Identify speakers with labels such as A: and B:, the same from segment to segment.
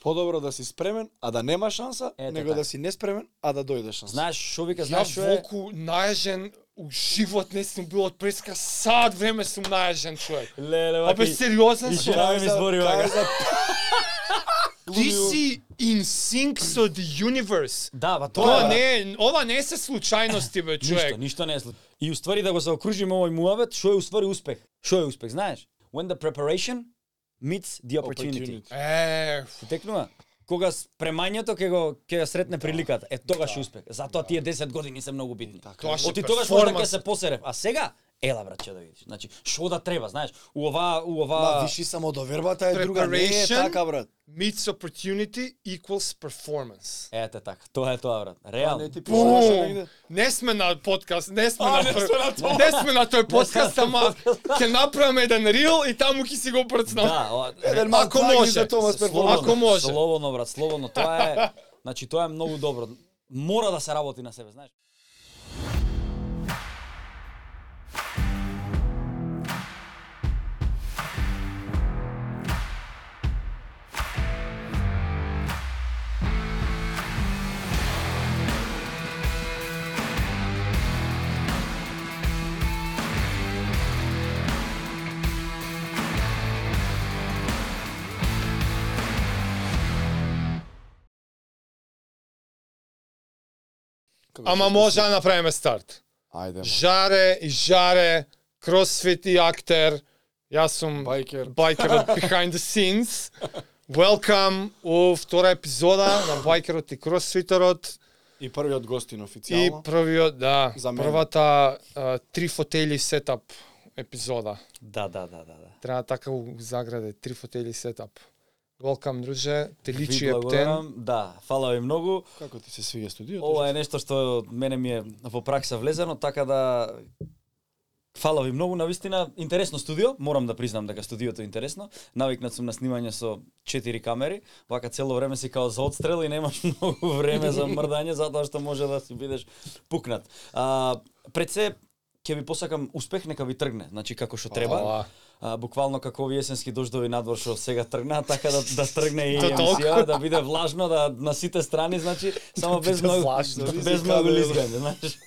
A: Подобро да си спремен, а да нема шанса,
B: Ете
A: него
B: така.
A: да си неспремен, а да дојде шанса.
B: Знаеш што вика,
C: Ја
B: знаеш што е?
C: волку најажен у живот не сум бил од преска сад време сум најажен човек.
B: Леле,
C: Абе сериозен
B: и
C: сум.
B: жена ми
A: Кажа-
B: збори вака.
A: кажа-
C: Ти си in sync со the universe.
B: Да, ба тоа
C: Тоа
B: е. брат.
C: не е, ова не се случајности бе
B: Ништо,
C: човек.
B: ништо не е случ. И уствари да го заокружиме овој муавет, што е уствари успех? Што е успех, знаеш? When the preparation meets the opportunity.
A: Opportunity.
C: Е,
B: Ти текнува? Кога спремањето ќе го ќе ја сретне приликата, е тогаш е успех. Затоа тие 10 години се многу битни.
A: Така.
C: тоа
B: Оти
C: ще
B: тогаш може да ќе
C: перформанс.
B: се посерев, а сега Ела брат, ќе да видиш. Значи, што да треба, знаеш? У ова, у ова
A: Ма, виши само довербата е друга, не е
C: Preparation.
A: така, брат.
C: Meets opportunity equals performance.
B: Ете така, тоа е тоа брат. Реално.
A: ти пишуваше
C: Бум!
A: негде?
C: Не сме на подкаст, не сме
B: А,
C: на
B: не сме на тоа.
C: Не сме на тој подкаст, ама ќе направиме еден рил и таму ќе си го брцнам.
B: Да, ова,
A: Еден мал
C: Ако
A: клаги
C: може.
A: за Томас
B: Слободно,
A: перформанс.
C: Ако може.
B: Слободно брат, слободно, тоа е значи тоа е многу добро. Мора да се работи на себе, знаеш.
C: Ама може да направиме старт.
A: Ајде, ма.
C: Жаре и жаре, кросфит и актер. Јас сум
A: Байкер.
C: байкерот behind the scenes. Welcome у втора епизода на байкерот и кросфитерот.
A: И првиот гостин
C: И
A: официјално.
C: првиот, да,
A: За мене.
C: првата а, три фотели сетап епизода.
B: Да, да, да, да, да.
C: Треба така у заграде, три фотели сетап. Welcome, друже, те личи
B: Ви
C: ептен.
B: благодарам. Да, фала ви многу.
A: Како ти се свиѓа студиото?
B: Ова е нешто што од мене ми е во пракса влезено, така да Фала ви многу, навистина, интересно студио, морам да признам дека студиото е интересно. Навикнат сум на снимање со четири камери, вака цело време си као за одстрел и немаш многу време за мрдање, затоа што може да си бидеш пукнат. А, пред се, ќе ви посакам успех, нека ви тргне, значи како што треба.
C: Ова.
B: А, буквално како овие есенски дождови надвор што сега тргна, така да, да тргне и
C: Тоа толку. Да
B: емисија, да биде влажно, да на сите страни, значи, само без
C: биде
B: многу
C: влажно,
B: да,
A: визи
B: без
A: каде,
B: многу
A: бе.
B: лизгање, знаеш.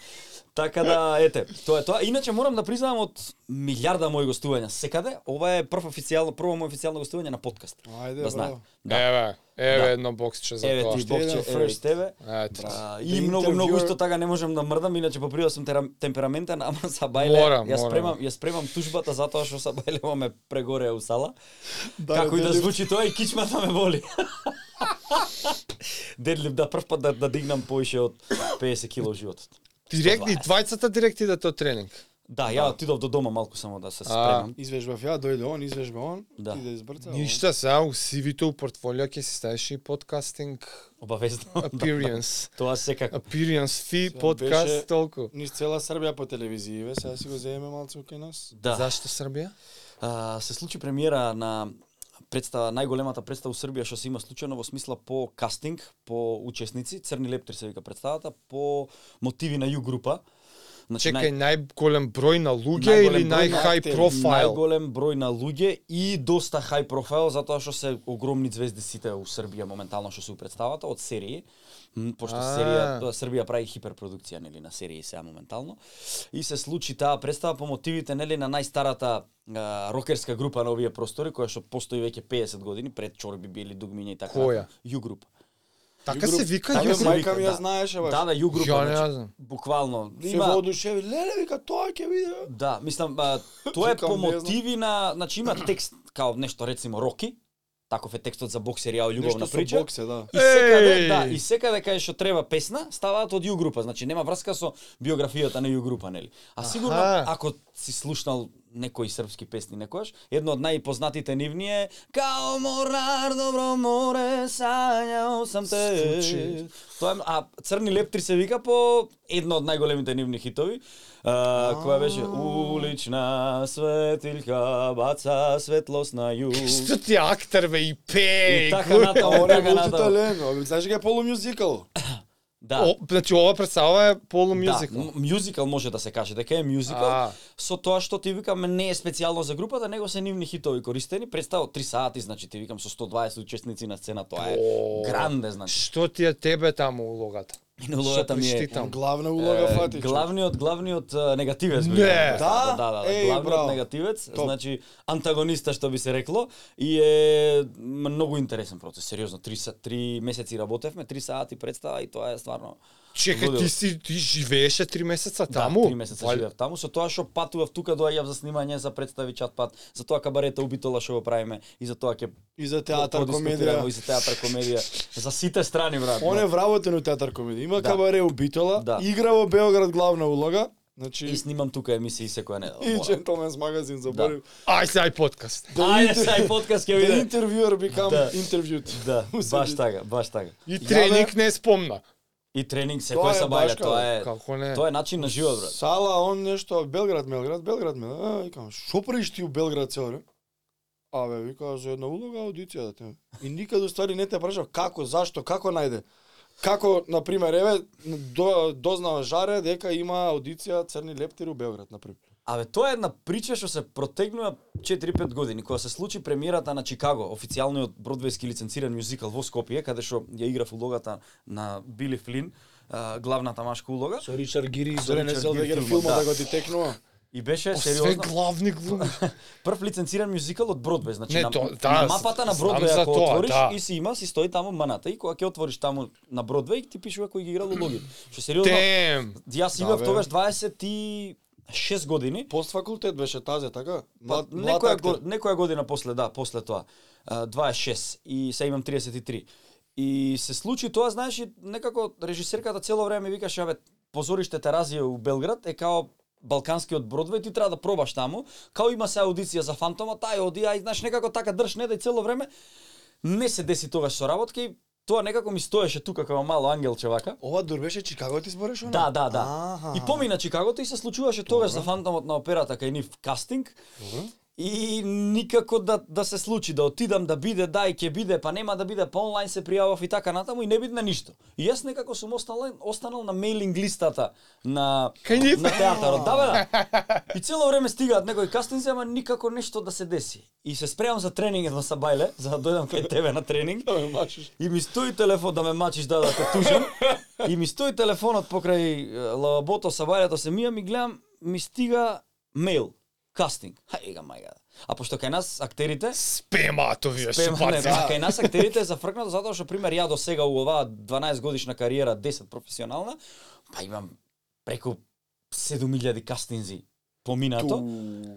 B: Така да, ете, тоа е тоа. Иначе морам да признаам од милиарда мои гостувања секаде, ова е прв официјално, прво мое официјално гостување на подкаст.
A: Ајде,
B: Да знае.
A: браво.
B: Да.
C: Еве, еве
B: Да.
C: едно боксче за
B: Еве
C: тоа.
B: ти
A: Уште еден
B: бокче, еве и
A: first.
B: тебе.
C: Ето.
B: А,
A: The
B: и многу многу
A: interviewer-
B: исто така не можам да мрдам, иначе по природа сум терам- темпераментен, ама са бајле
C: Морам,
B: ја
C: морам.
B: спремам, ја спремам тужбата затоа што са бајле ме прегоре у сала.
A: Да,
B: Како и да
A: дели-
B: звучи тоа и кичмата ме боли. Дедлив да прв пат да, да дигнам поише од 50 кг во животот.
C: Директни,
B: 120.
C: двајцата директни да тоа тренинг.
B: Да, ја отидов до дома малку само да се спремам.
A: Извежбав ја, дојде он, извежба он,
B: Да.
A: ти да избрца. он.
C: Ништо, сега у CV-то, у портфолио ќе си ставиш и подкастинг
B: Обавезно.
C: appearance.
B: Тоа секако.
C: Appearance
A: Сега
C: fee,
A: беше-
C: подкаст, толку.
A: Низ цела Србија по телевизија, бе, сега си го земеме малку кај нас.
B: Да.
C: Зашто Србија?
B: А, се случи премиера на представа најголемата представа у Србија што се има случајно во смисла по кастинг, по учесници, Црни лептир се вика представата, по мотиви на Ју група. Значи,
C: Чекај, најголем број на луѓе
B: Најголем
C: или
B: број на
C: најхај
A: актери,
C: профайл?
B: најголем број на луѓе и доста хай профайл затоа што се огромни звезди сите у Србија моментално што се у представата од серии М, пошто
C: А.
B: серија тоа Србија прави хиперпродукција нели на серии сега моментално и се случи таа представа по мотивите нели на најстарата а, рокерска група на овие простори која што постои веќе 50 години пред Чорби били Дугмиња и така
C: Која?
B: Ју група
C: Така
A: Ју груп-
C: се вика,
A: Така
C: јас
A: се
C: сум-
A: мајка ми ја
B: да.
A: знаеше, баш.
B: Да, да, Ју група.
C: Ја не
B: значи,
C: знам.
B: Буквално.
A: Се воодушеви, леле, вика, тоа ќе биде.
B: Да, мислам, а, тоа е
A: Чекам,
B: по
A: не знам.
B: мотиви на, значи има текст као нешто рецимо Роки, таков е текстот за боксер ја
A: Нешто
B: љубовна
A: со
B: прича.
A: боксе, да.
B: И секаде,
C: Еј!
B: да, и секаде кај што треба песна, ставаат од Ју група, значи нема врска со биографијата на Ју група, нели? А сигурно
C: Аха.
B: ако си слушнал некои српски песни некојаш, едно од најпознатите нивни е Као морар, добро море, сањао сам те.
C: Случи.
B: Тоа е, а Црни лептри се вика по едно од најголемите нивни хитови, а, која беше Улична светилка баца светлост на југ.
C: Што ти е актер бе и пее.
B: И
C: и
B: така
C: гу-
B: натаму,
A: Оре,
B: така
A: мулти
B: натаму.
A: талент, знаеш дека е полумюзикал.
B: Да.
C: О, значи ова представа е полу мюзикл.
B: Да, м- мюзикал може да се каже, дека е мюзикал.
C: А.
B: Со тоа што ти викаме не е специјално за групата, него се нивни хитови користени. Представо 3 сати, значи ти викам со 120 учесници на сцена, тоа е
C: О.
B: гранде, значи.
C: Што ти е тебе таму улогата?
B: Минулогата ми е
C: прищита. Там.
A: Главна улога
B: Е,
A: Фатич.
B: Главниот, главниот а, негативец.
C: Не.
B: би рекол.
A: Да?
B: да, да, да.
A: Еј,
B: главниот
A: браво.
B: негативец,
A: Топ.
B: значи антагониста што би се рекло и е многу интересен процес, сериозно. Три, са- три месеци работевме, три сати представа и тоа е стварно.
C: Чекај,
B: лудило.
C: ти си ти живееше три месеца таму?
B: Да, три месеца
C: Вали-
B: живеев таму, со тоа што патував тука доаѓав за снимање, за представи чат пат, за тоа кабарета убитола што го правиме и за тоа ќе
A: И за театар
B: продискутираме,
A: комедија.
B: и за театар комедија, за сите страни брат.
A: Он е вработен у театар комедија. Има
B: Да.
A: кабаре у Битола,
B: Да.
A: игра во Белград главна улога. Значи
B: и снимам тука емисии секоја
A: и Да
B: недела.
A: Gentleman's магазин заборив.
B: Да.
C: Ај сеј подкаст.
B: Ајде, сај подкаст ќе
A: The
B: биде.
A: interviewer become
B: Да.
A: interviewed.
B: Да, баш
A: Да. Усети.
B: така, баш така.
C: И
A: Јаве-
C: треник не спомна.
B: И тренинг се
A: Тоа
B: кој
A: е
B: се
A: баш
B: баја, тоа е
C: Како не?
B: тоа е начин на живот, брат.
A: Сала, он нешто, Белград, Белград, Белград, Белград. А, викам, шо правиш ти у Белград цел време? Абе, вика, за една улога аудиција да те. И никад у ствари не те прашав како, зашто, како најде. Како, на пример, еве, до, дознава Жаре дека има аудиција Црни лептири у Белград, на пример.
B: Абе, тоа е една прича што се протегнува 4-5 години, кога се случи премиерата на Чикаго, официјалниот бродвејски лиценциран мюзикал во Скопје, каде што ја играв улогата на Били Флин, а, главната машка улога,
A: Со Ричард Гири,
B: Со
A: со Рене
B: Ричард
A: Зелвегер
B: Гир
A: филма
B: филма,
A: да
B: да.
A: го детекнува.
B: и беше
C: Освен
B: сериозно
C: главни глуми.
B: прв лиценциран мюзикал од Бродвеј, значи
C: Не,
B: на,
C: то- да,
B: на мапата на
C: знам
B: Бродвеј
C: за
B: ако
C: тоа,
B: отвориш
C: да.
B: и си има, си стои таму маната и кога ќе отвориш таму на Бродвеј ти пишува кој ги играл улогите. Што сериозно,
C: Тем.
B: јас
A: Да,
B: имав
A: бе.
B: тогаш 26 години
A: Постфакултет беше тазе, така?
B: Па,
A: Млад, млад
B: некоја,
A: актер.
B: го, некоја година после, да, после тоа. А, 26 и се имам 33. И се случи тоа, знаеш, и некако режисерката цело време ми викаше, абе, позориште Теразије у Белград е као балканскиот Бродвеј, ти треба да пробаш таму. Као има се аудиција за Фантома, тај оди, а и знаеш некако така држ не да и цело време не се деси тогаш со работка и тоа некако ми стоеше тука како мало ангелче вака.
A: Ова дур беше Чикаго ти збореш она?
B: Да, да, да.
A: Аха.
B: И помина Чикагото и се случуваше тогаш за фантомот на операта кај нив кастинг.
A: Добро.
B: И никако да да се случи, да отидам да биде, да и ќе биде, па нема да биде, па онлайн се пријавав и така натаму и не бидна ништо. И јас некако сум останал останал на мейлинг листата на
C: Кај нив?
B: на театарот. Да бе, да. И цело време стигаат некои кастинзи, ама никако нешто да се деси. И се спремам за тренинг едно са бајле, за да дојдам кај тебе на тренинг.
A: Да ме машиш.
B: И ми стои телефон да ме мачиш да да те тужам. и ми стои телефонот покрај е, лавабото, сабајлето се мијам и гледам, ми стига мејл, кастинг. Хај га мајга. А пошто кај нас актерите,
C: Спемато вие
B: Пема, не, па, да.
C: супаци.
B: кај нас актерите е зафркнато затоа што пример ја до сега у оваа 12 годишна кариера, 10 професионална, па имам преку 7000 кастинзи поминато.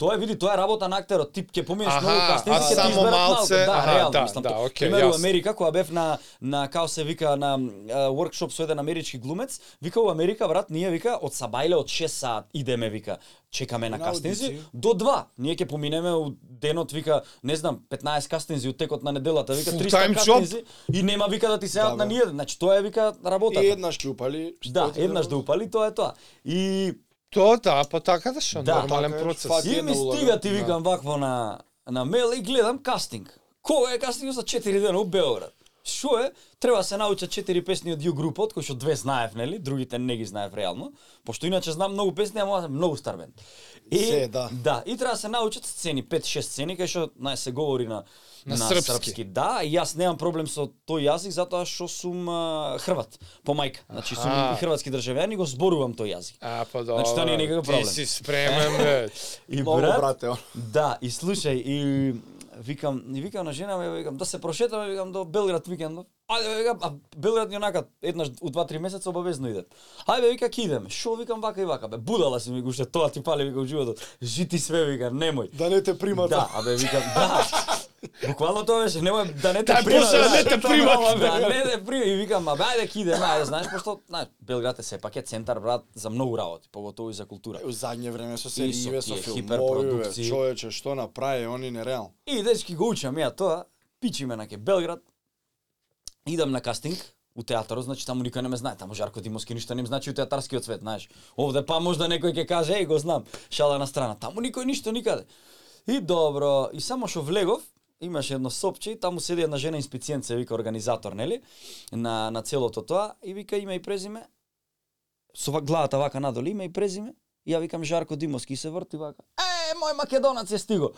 B: Тоа е види, тоа е работа на актерот. Тип ќе поминеш
C: Аха,
B: многу
C: а
B: кастинзи, ќе ти
C: само
B: изберат малку.
C: малце,
B: Да,
C: аха,
B: реално,
C: да,
B: мислам.
C: да,
B: тоа.
C: окей,
B: пример, у
C: јасно.
B: Америка кога бев на на како се вика на а, workshop со еден амерички глумец, вика у Америка брат, ние вика од сабајле од 6 саат идеме вика. Чекаме на
A: На
B: кастинзи
A: аудиција.
B: до 2. Ние ќе поминеме у денот вика, не знам, 15 кастинзи у текот на неделата, вика
C: Full
B: 300
C: time job.
B: кастинзи и нема вика да ти сеат
A: Да,
B: на
A: бе.
B: ниједен. Значи тоа е вика работа.
A: И еднаш ќе упали.
B: така. Да,
A: Што ти
B: еднаш
A: треба?
B: да упали, тоа е тоа. И
C: Тоа да, па така да што,
B: Да,
C: нормален
A: така е,
C: процес.
A: фак.
B: И
A: една
B: ми
A: улога. Да.
B: стига ти викам вакво на на мејл и гледам кастинг. Кога е кастинг за 4 дена у Beograd? Што е? Треба се науча 4 песни од Ју групот, кои што две знаев, нели? Другите не ги знаев реално, пошто иначе знам многу песни, ама аз сум многу стар бенд. И
A: Се, да.
B: Да, и треба се научат сцени, 5-6 сцени кај што нај се говори на
C: На српски.
B: Да, и јас немам проблем со тој јазик затоа што сум а, хрват по мајка. Значи сум
C: Аха.
B: и хрватски државјанин и го зборувам тој јазик.
C: А, па добро.
B: Значи, тоа не е никаков проблем.
C: Ти си спремен, бе.
B: И
A: Много, брате, он.
B: Да, и слушај, и викам, и викам на жена ми, викам да се прошетаме, викам до Белград викендов. Ајде, бе, викам, а Белград јонака еднаш у 2-3 месеца обавезно идат. Ајде, вика, ќе идеме. Шо викам вака и вака, бе, будала си ми го уште тоа ти пали вика у животот. Жити све вика, немој.
A: Да не те примат.
B: Да, абе викам, да. Буквално тоа беше, немој да не те
C: Да,
B: примат,
C: после да не те
B: Да,
C: примат.
B: Да, не те примат. И викам, абе, ајде, ќе идеме, ајде, знаеш, пошто, знаеш, Белград е сепак е центар, брат, за многу работи, поготово и за култура.
A: У задње време со
B: со
A: серијиве, со
B: тие
A: филмови, бе,
B: хиперпродукции.
A: човече, што направи, они нереално.
B: И дечки го учам ја тоа, пичиме на ке Белград. Идам на кастинг у театарот, значи таму никој не ме знае, таму Жарко Димовски ништо не им значи у театарскиот свет, знаеш. Овде па можда некој ќе каже, еј го знам, шала на страна. Таму никој ништо никаде. И добро, и само што влегов, имаше едно сопче и таму седи една жена инспициент, се вика организатор, нели? На, на целото тоа и вика име и презиме. Со ва- главата вака надолу име и презиме. И ја викам Жарко Димовски и се врти вака. Е, мој македонац е стиго.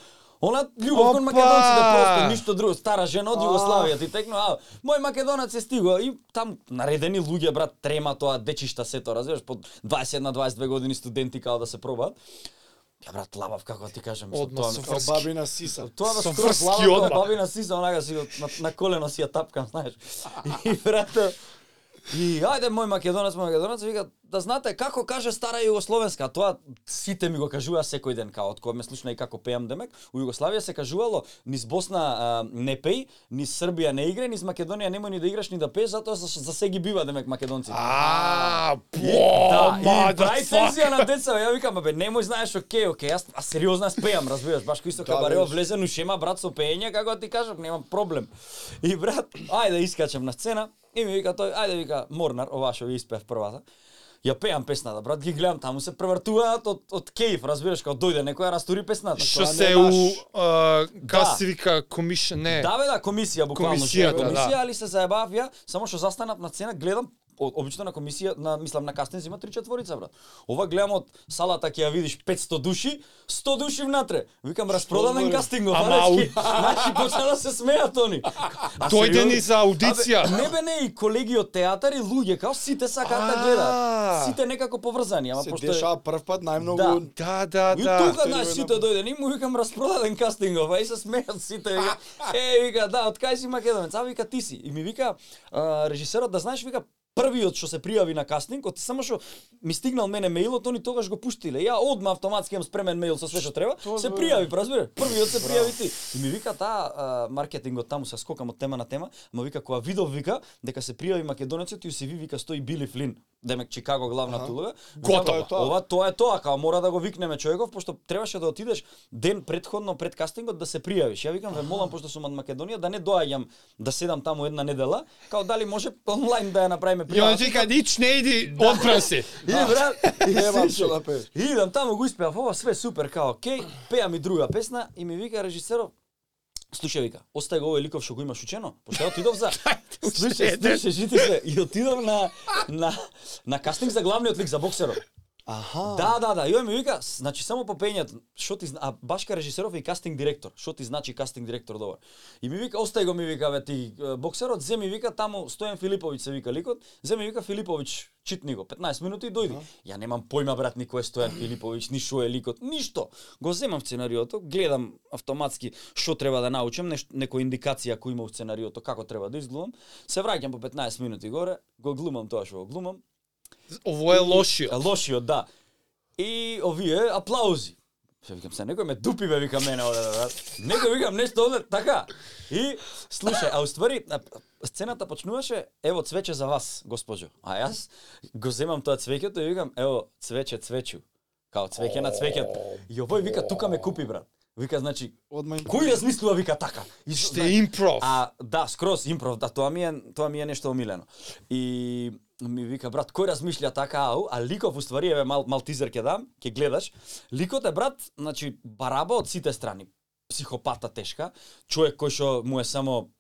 B: Она љубов кон
C: Опа!
B: македонците просто ништо друго, стара жена од Југославија ти текнува, а мој македонац е стиго и там наредени луѓе брат трема тоа дечишта се тоа, разбираш, по 21 22 години студенти као да се пробаат. Ја брат лабав како ти кажам, мислам,
C: Одма
B: тоа
C: со
B: ми-
A: Као
C: Врски.
A: бабина сиса.
B: Тоа
C: Со
B: да скрос
C: врски
B: лава,
C: одма.
B: бабина сиза, онага си го на, на колено си ја тапкам, знаеш. И брате, И ајде мој македонец, мој македонец вика да знаете како каже стара југословенска, а тоа сите ми го кажува секој ден као од кога ме слушна и како пеам демек, у Југославија се кажувало низ Босна а, не пеј, низ Србија не играј, низ Македонија немој ни да играш ни да пееш, затоа за, за се ги бива демек македонците.
C: А,
B: Да,
C: бо, ма,
B: и
C: да
B: прај
C: фак.
B: тензија на деца, бе, ја викам, бе, немој знаеш, окей, окей, јас а сериозно јас пеам, разбираш, баш кој со
A: Да,
B: кабарео
A: бе.
B: влезе, ну шема брат со пеење, како ти кажам, немам проблем. И брат, ајде искачам на сцена, и ми вика тој, ајде вика, Морнар, овашо ви испев првата. Ја пеам песната, брат, ги гледам, таму се превртуваат од, од кејф, разбираш, као дојде некоја растури песната.
C: Што
A: Тоа
C: се у,
A: немаш.
C: а,
B: Да.
C: кај се вика, комишн, не.
B: Да, бе, да, комисија, буквално.
C: Комисијата,
B: што е комисија,
C: да.
B: али се заебав ја, само што застанав на цена, гледам, о- обично на комисија, на, мислам, на кастинг има три четворица, брат. Ова гледам од салата ќе ја видиш 500 души, 100 души внатре. Викам, распродаден
A: збориш?
B: кастингот,
C: Ама,
B: баречки. Значи, почна да се смеат они. А
C: Дојде
B: сериозно?
C: ни за аудиција.
B: Абе, Не бе, не, и колеги од театар и луѓе, као сите сакаат да гледаат.
C: А.
B: Сите некако поврзани, ама
A: Се
B: пошто е...
A: дешава прв пат најмногу
B: Да.
C: Да, да,
B: И
C: да.
B: тука знаеш сите дојде, и му викам распродаден кастингов, а и се смеат сите. Вика, е, вика, да, од кај си македонец? А вика ти си. И ми вика а, режисерот да знаеш вика првиот што се пријави на кастинг, оти само што ми стигнал мене мејлот, они тогаш го пуштиле. Ја одма автоматски имам спремен мејл со све што треба. Се пријави, разбираш? Првиот се пријави ти. И ми вика таа а, маркетингот таму се скокам од тема на тема, ама вика кога видов вика дека се пријави македонецот и се ви вика стои Били Флин. Демек Чикаго главна улога.
A: Готово.
B: Ова Ова Па, тоа е тоа, као мора да го викнеме човеков, пошто требаше да отидеш ден предходно пред кастингот да се пријавиш. Ја викам, ве молам, пошто сум од Македонија, да не доаѓам да седам таму една недела, као дали може онлайн да ја Да. направиме
C: И он
B: пријава.
C: вика, нич не иди, одбран си.
B: И брат, и
A: Немам
B: слушай,
A: што да пееш.
B: Идам таму го испеав ова све супер као окей, пеам и друга песна и ми вика режисеров Слушај вика, остај го овој ликов што го имаш учено, пошто ја отидов за Слушај,
C: уште еден.
B: слушај, жити се да. и отидов на на на кастинг за главниот лик за боксерот.
A: Аха.
B: Да, да, да. И ој ми вика, значи само по пењето, што ти зна- а башка режисеров е и кастинг директор. Што ти значи кастинг директор добар? И ми вика, остај го ми вика бе ти е, боксерот, земи вика таму Стојан Филиповиќ се вика ликот, земи вика Филиповиќ читни го 15 минути и дојди. Ја немам појма брат ни кој е Стојан Филиповиќ, ни што е ликот, ништо. Го земам сценариото, гледам автоматски што треба да научам, неш, некоја индикација кој има у сценариото, како треба да изглумам. Се враќам по 15 минути горе, го глумам тоа што го глумам.
C: Ово е
B: Да. Е,
C: лошиот.
B: Лошиот, да. И овие аплаузи. Се викам се, некој ме дупи бе вика мене овде, бе, брат. Некој викам нешто овде, така. И слушај, а уствари а, а, сцената почнуваше ево цвече за вас, госпоџо. А јас го земам тоа цвеќето и викам ево цвече цвечу. Као цвеќе на цвеќето. И овој вика тука ме купи брат. Вика значи
A: Одма им
B: кој размислува вика така. И
C: Ще е импров.
B: А да, скрос импров, да тоа ми е тоа ми е нешто омилено. И ми вика брат, кој размишља така, ау, а ликов уствари еве мал мал тизер ќе дам, ќе гледаш. Ликот е брат, значи бараба од сите страни. Психопата тешка, човек кој што му е само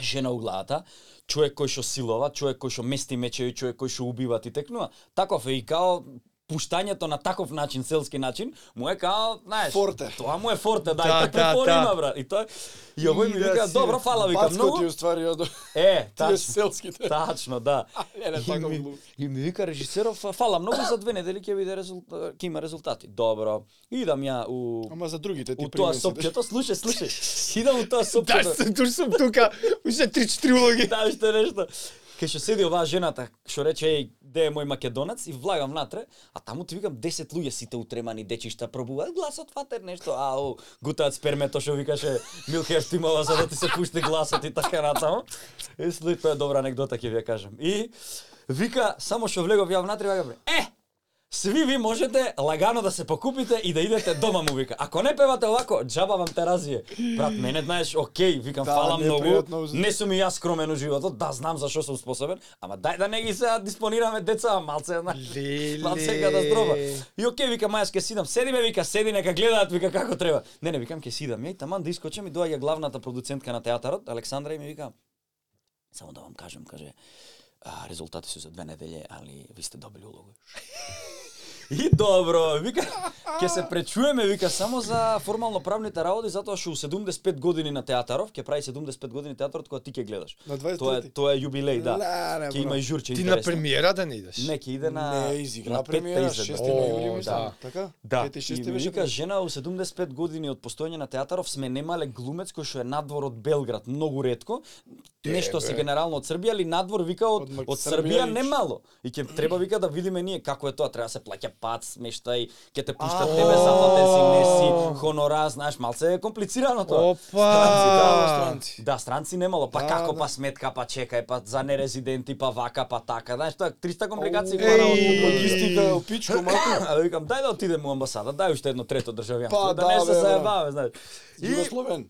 B: жена у главата, човек кој што силова, човек кој што мести мечеви, човек кој што убива и текнува. Таков е и као пуштањето на таков начин, селски начин, му е као, знаеш,
A: Форте.
B: тоа му е форте, да,
C: Да,
B: и
C: да,
B: така да,
C: да.
B: има, брат. И тоа и овој ми вика, добро, фала, вика, Така.
A: Бацко ти
B: многу.
A: уствари од
B: Е,
A: тие
B: таш,
A: селските.
B: тачно, да.
A: Е, не,
B: И
A: така
B: ми,
A: глупо.
B: и ми вика режисеров, «А, фала, многу за две недели ќе биде резултат, ќе има резултати. Добро. Идам ја у
A: Ама за другите ти
B: у тоа
A: примеси, бе.
B: сопчето, слушај, слушај. Идам у тоа
C: Да,
B: сопчето.
C: се туш сум тука, уште 3-4 улоги.
B: Да, уште нешто. Ке што седи оваа жената, што рече еј, де е мој македонец и влагам внатре, а таму ти викам 10 луѓе сите утремани дечишта пробуваат гласот фатер нешто, ау, гутаат спермето што викаше Милхев Тимова за да ти се пушти гласот и така натаму. Е, слуј, тоа е добра анекдота ќе ви ја кажам. И вика само што влегов ја внатре, вака бре, е, Сви ви можете лагано да се покупите и да идете дома му вика. Ако не певате овако, џаба вам те развие. Брат, мене знаеш, окей, викам
A: Да,
B: фала
A: непријатно
B: многу.
A: уз-
B: Не сум и јас скромен у животот, да знам за што сум способен, ама дај да не ги се диспонираме деца, а малце една.
C: Леле.
B: Малце е катастрофа. да И окей, вика мајас ќе сидам. Седиме, вика, седи, нека гледаат, вика како треба. Не, не, викам ќе сидам. Ја и таман да искочам и доаѓа главната продуцентка на театарот, Александра и ми вика Само да вам кажам, каже, а, резултати се за две неделе, али ви сте добили улога. И добро, вика, ќе се пречуеме, вика, само за формално правните работи, затоа што у 75 години на театаров, ќе прави 75 години театарот кога ти ќе гледаш.
A: На
B: Тоа е
A: 23-ти.
B: тоа е јубилеј, да.
A: Леле,
B: Ќе има и журче
C: Ти на
B: интересно.
C: премиера да не идеш.
B: Не, ќе иде на
A: Не, изигра
B: на петта
A: премиера,
B: изедба.
A: 6
C: О,
A: ноември, мислам.
C: да.
A: Така?
B: Да,
A: Пет и
B: и
A: шести
B: ми
A: беше.
B: вика жена у 75 години од постоење на театаров сме немале глумец кој што е надвор од Белград, многу ретко. Нешто се генерално од Србија, али надвор вика од
A: Од Мак-
B: од
A: Србија
B: Србија
A: и-
B: немало. И ќе треба вика да видиме ние како е тоа, треба да се плаќа пат, смештај, ќе те пуштат
A: А,
B: тебе заплатен си, не
C: о.
B: си, хонорар, знаеш, малце е комплицирано тоа.
A: да,
C: Опа!
A: странци.
B: Да, странци немало, па
A: Да,
B: како
A: да.
B: па сметка, па чекај, па за нерезиденти, па вака, па така, знаеш, тоа 300 компликации
A: Ау,
B: кои на
C: Еј.
B: од
A: Логистика, у пичко, мако.
B: А да викам, дај да отидеме у амбасада, дај уште едно трето државјанство,
A: Па,
B: да,
A: да,
B: не
A: бе,
B: се
A: брат.
B: заебаваме, знаеш. И,
A: Југословен.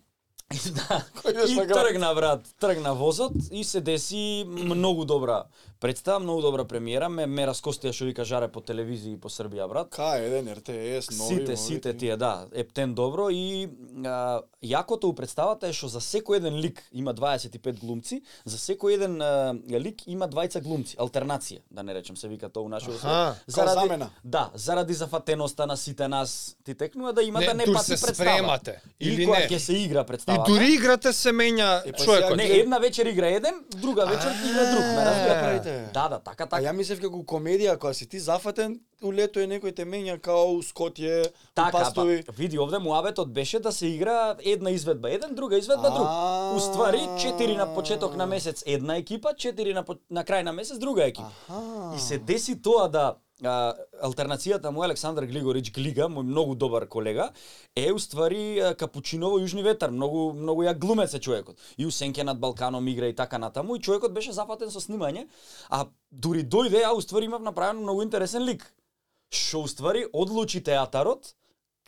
B: да,
A: Кој идеш
B: и
A: на град?
B: тргна, брат, тргна возот и се деси многу добра представа, многу добра премиера, ме, ме раскостија што вика жаре по телевизија и по Србија, брат.
A: К1, РТС, нови.
B: Сите,
A: мови,
B: сите
A: ти.
B: тие, да, ептен добро и а, јакото у представата е што за секој еден лик има 25 глумци, за секој еден а, лик има двајца глумци, алтернација, да не речем се вика тоа у нашиот
C: Аха.
A: Као замена.
B: Да, заради зафатеноста на сите нас ти текнува да има
C: Не,
B: да не
C: тур
B: пати
C: се
B: представа.
C: спремате, или
B: или кога
C: не?
B: ќе се игра
C: И
B: представата.
C: дури играта се менја
A: Е, па
C: човекот.
A: сега
B: не,
A: Кога ќе-
B: една вечер игра еден, друга вечер игра друг, ме
A: Ја
B: разбира.
A: правите.
B: Да, да, така,
A: А
B: така.
A: ја мислев како комедија, кога си ти зафатен, у лето е некој те менја као у Скотје, у
B: Така, па,
A: Пастови.
B: види, овде муабетот беше да се игра една изведба еден, друга изведба друг.
A: А.
B: Уствари, четири на почеток на месец една екипа, четири на, по- на крај на месец друга екипа.
A: Аха.
B: И се деси тоа да а, алтернацијата му Александар Глигорич Глига, мој многу добар колега, е уствари а, Капучиново Јужни ветар, многу многу ја глумец е човекот. И у Сенке над Балканом игра и така натаму и човекот беше зафатен со снимање, а дури дојде а уствари имав направен многу интересен лик. Што уствари одлучи театарот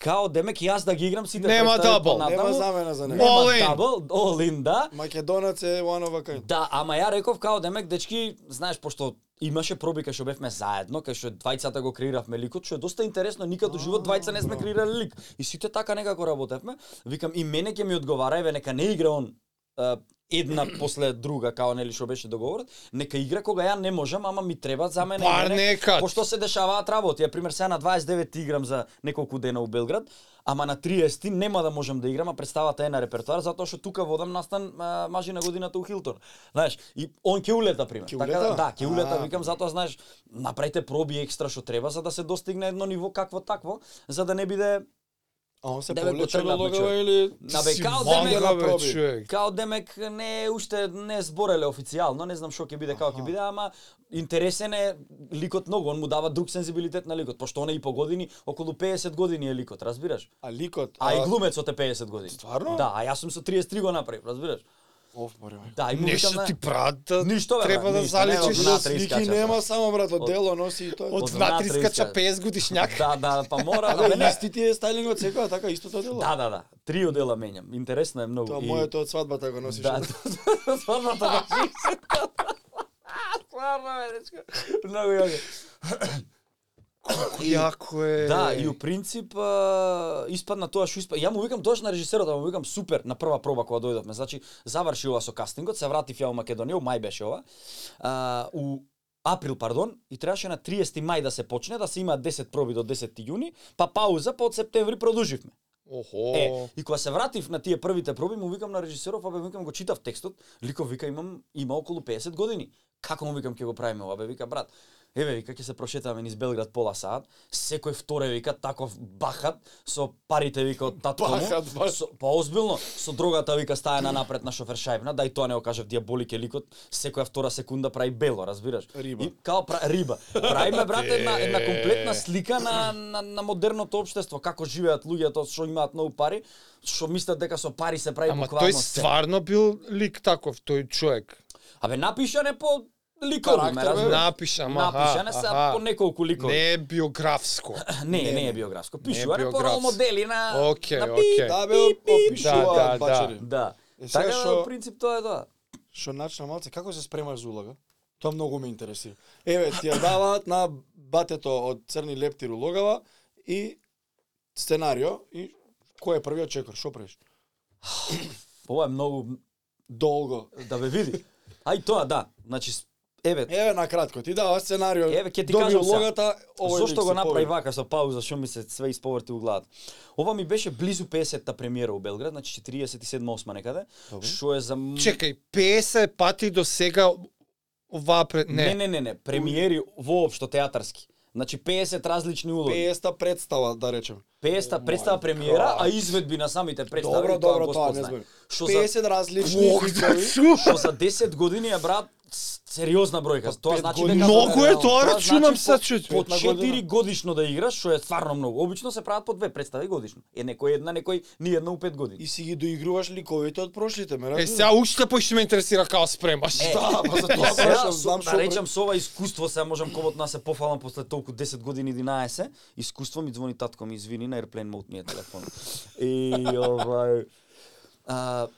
B: као демек јас да ги играм сите
C: Нема
B: представи
C: дабл.
B: понатаму.
A: Нема замена за него.
B: Нема
C: All in.
B: дабл, all in, да.
A: Македонац е one of a kind.
B: Да, ама ја реков као демек дечки, знаеш пошто имаше проби кај што бевме заедно, кај што двајцата го креиравме ликот, што е доста интересно, никад у живот двајца не сме креирале лик. И сите така некако работевме. Викам и мене ќе ми одговара, еве нека не игра он а, една после друга, као нели што беше договорот, нека игра кога ја не можам, ама ми треба за мене. и
C: Пар
B: мене,
C: некад.
B: Пошто се дешаваат работи. Ја пример сега на 29 играм за неколку дена у Белград, ама на 30 нема да можам да играм, а представата е на репертоар затоа што тука водам настан а, мажи на годината у Хилтон. Знаеш, и он ќе улета пример.
A: Ќе
B: така
A: улета?
B: да, ќе улета,
A: А.
B: викам затоа знаеш, направете проби екстра што треба за да се достигне едно ниво какво такво, за да не биде
A: А он се
B: Деве го
A: повлече на
B: тргнат, бе,
A: логава
B: човек.
A: или...
B: на бе,
C: Си
B: као
C: вангра,
B: демек,
A: да проби.
C: бе, човек.
B: као демек не е уште не е збореле официјално, не знам што ќе биде, како ќе биде, ама интересен е ликот многу, он му дава друг сензибилитет на ликот, пошто он е и по години, околу 50 години е ликот, разбираш?
A: А ликот...
B: А и глумецот е 50 години.
A: Стварно?
B: Да, а јас сум со 33 го направив, разбираш?
A: Оф, море, бе.
B: Да, и му викам
C: Нешто
B: на...
C: ти прават, да
B: Ништо, бе,
C: треба
B: брат,
C: да
B: ништо, не,
C: залечиш
B: од внатре
A: Слики
B: искача,
A: нема
B: брат.
A: само, брат, од дело носи и тоа.
C: од
B: од
C: внатре
B: внатре
C: искача
B: искача.
C: 50 годишњак.
B: Да, да, па мора, да, бе,
A: Абе,
B: не.
A: исти ти е стайлингот секоја, така, истото дело.
B: Да, да, да, три одела менјам, интересно е многу.
A: Тоа
B: И-
A: моето од свадбата го носиш.
B: Да, стварно тоа беше. Стварно е, дечко. Многу јако.
C: Јако е.
B: Да, и у принцип а, испадна тоа што испадна. Ја му викам тоа што на режисерот, а му викам супер на прва проба кога дојдовме. Значи заврши ова со кастингот, се вратив ја во Македонија, у мај беше ова. А, у април, пардон, и требаше на 30 мај да се почне, да се има 10 проби до 10 јуни, па пауза, па од септември продолживме.
C: Охо.
B: Е, и кога се вратив на тие првите проби, му викам на режисеров, абе викам го читав текстот, ликов вика имам има околу 50 години. Како му викам ќе го правиме ова, бе вика брат. Еве вика ќе се прошетаме низ Белград пола саат, секој вторе вика таков бахат со парите вика од татко му.
A: Бахат, баш.
B: Со, па озбилно, со дрогата вика стаја на напред на шофер шајбна, да и тоа не го кажав диаболик е ликот, секоја втора секунда прави бело, разбираш?
A: Риба.
B: И, као пра, риба. Правиме брат една една комплетна слика на, на на модерното општество, како живеат луѓето што имаат многу пари, што мислат дека со пари се прави
C: Ама
B: буквално
C: тој
B: се.
C: стварно бил лик таков, тој човек.
B: Абе напишан е по ликови, ме
A: Карактер, бе.
B: разбираш?
C: Напишам, аха,
B: Напишане са
C: аха.
B: по неколку ликови.
C: Не е биографско.
B: Не, не, е биографско. Пишува
C: Не е
B: не, по
C: биографско.
B: рол модели на...
C: Океј,
B: на
C: океј.
B: пи-
A: Да, бе,
B: пи- пи-
A: опишува
C: Да, да,
A: бачери.
B: Да.
A: Е, сега
B: Така да,
A: шо-
B: во принцип тоа е тоа.
A: Што начна малце, како се спремаш за улога? Тоа многу ме интересира. Еве, ти ја даваат на батето од црни лептир улогава и сценарио и кој е првиот чекор, што правиш?
B: Ова е многу
A: Долго.
B: да ве види. Ај тоа да. Значи с- еве
A: Еве на кратко, ти дава сценарио.
B: Еве, ќе ти
A: доби
B: кажам сега.
A: улогата, овој лик
B: Зошто
A: се
B: го направи
A: пови.
B: вака со пауза, што ми се све исповерти у главата? Ова ми беше близу 50-та премиера у Белград, значи 47-8 некаде,
A: Добро.
B: што е за... м-
C: Чекај, 50 пати до сега ова пред...
B: Не,
C: Не,
B: не, не, не, премиери воопшто театарски. Значи 50 различни улоги.
A: 50-та представа, да речем.
B: 50 представа премиера, а изведби на самите представи.
A: Добро,
B: тоа
A: добро,
B: Господ
A: тоа не
B: знае.
A: збори.
B: Што за
A: 50 различни
C: Бог да
A: ликови.
C: су!
B: што за 10 години е брат с- сериозна бројка. Тоа
A: Па пет
B: значи
A: години.
C: Многу е тоа,
B: Тоа
C: рачунам
B: значи
C: се,
B: по-
C: чуј.
B: По
A: Една година.
B: 4 годишно да играш, што е стварно многу. Обично се прават по две представи годишно. Е некој една, некој ни една у 5 години.
A: И си ги доигруваш ликовите од прошлите, ме
C: Е,
A: разбираш?
C: сега уште пој што ме интересира како спремаш.
B: Е,
A: Да, па за
B: Тоа
A: тоа
B: сега,
A: прашам,
B: со-
A: знам
B: да
A: што.
B: речам со ова искуство, сега можам кобот на се пофалам после толку 10 години 11, искуство ми звони татко ми извини на airplane mode ми е телефон. И овај а,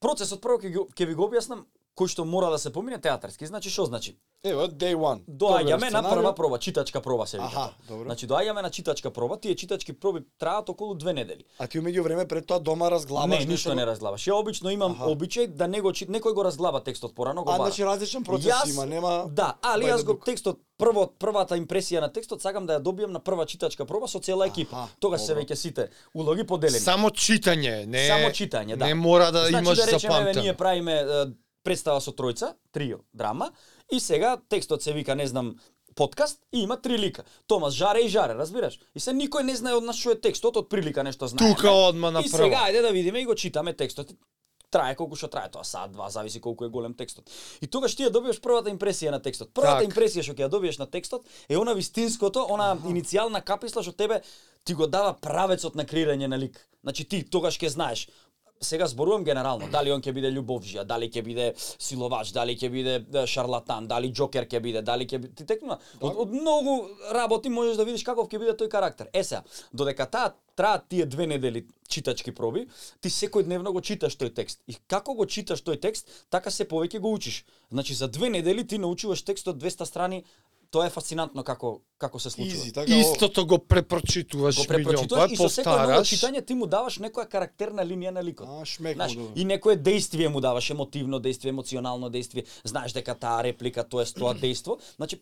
B: процесот прво ќе ги- ќе ви го објаснам кој што мора да се помине театарски. Значи што значи?
A: Ева, day one.
B: Доаѓаме на
A: Сценарио.
B: прва проба, читачка проба се вика.
A: Аха,
B: тоа.
A: добро.
B: Значи доаѓаме на читачка проба, тие читачки проби траат околу две недели.
A: А ти умеѓу време пред тоа дома разглаваш
B: не, ништо не разглаваш. Ја обично имам
A: Аха.
B: обичај да не го чит, некој го разглава текстот порано, го
A: А
B: бара.
A: значи различен процес
B: Јас-
A: има, нема
B: Да, али
A: by the
B: јас го
A: book.
B: текстот прво првата импресија на текстот сакам да ја добием на прва читачка проба со цела екипа.
A: Аха,
B: Тогаш се
A: добро.
B: веќе сите улоги поделени.
C: Само читање, не...
B: Само читање, да.
C: Не мора да
B: значи,
C: имаш
B: да речеме, еве, ние
C: запамтено.
B: правиме е, представа со тројца, трио, драма, и сега текстот се вика, не знам, подкаст и има три лика. Томас Жаре и Жаре, разбираш? И се никој не знае од нас што е текстот, од прилика нешто знае.
C: Тука одма на
B: И
C: прво.
B: сега ајде да видиме и го читаме текстот. Трае колку што трае тоа, сат, два, зависи колку е голем текстот. И тогаш ти ја добиваш првата импресија на текстот. Првата
C: Так.
B: импресија што ќе ја добиеш на текстот е она вистинското, она иницијална каписла што тебе ти го дава правецот на креирање на лик. Значи ти тогаш ќе знаеш сега зборувам генерално, дали он ќе биде љубовжија, дали ќе биде силовач, дали ќе биде е, шарлатан, дали џокер ќе биде, дали ќе биде... Ти текнува. Од, од многу работи можеш да видиш каков ќе биде тој карактер. Е сега, додека таа траат тие две недели читачки проби, ти секојдневно го читаш тој текст. И како го читаш тој текст, така се повеќе го учиш. Значи за две недели ти научуваш текст од 200 страни, тоа е фасцинантно како како се случува
A: изи, така. о,
C: Истото го препрочитуваш
B: го
C: милион
B: препрочитуваш
C: пат,
B: и со секој ново
C: повтараш.
B: читање ти му даваш некоја карактерна линија на ликот.
A: А, шмекнал
B: Знаеш,
A: добро.
B: и некое действие му даваш, емотивно действие, емоционално действие. Знаеш дека таа реплика, тоа е тоа действо. Значи,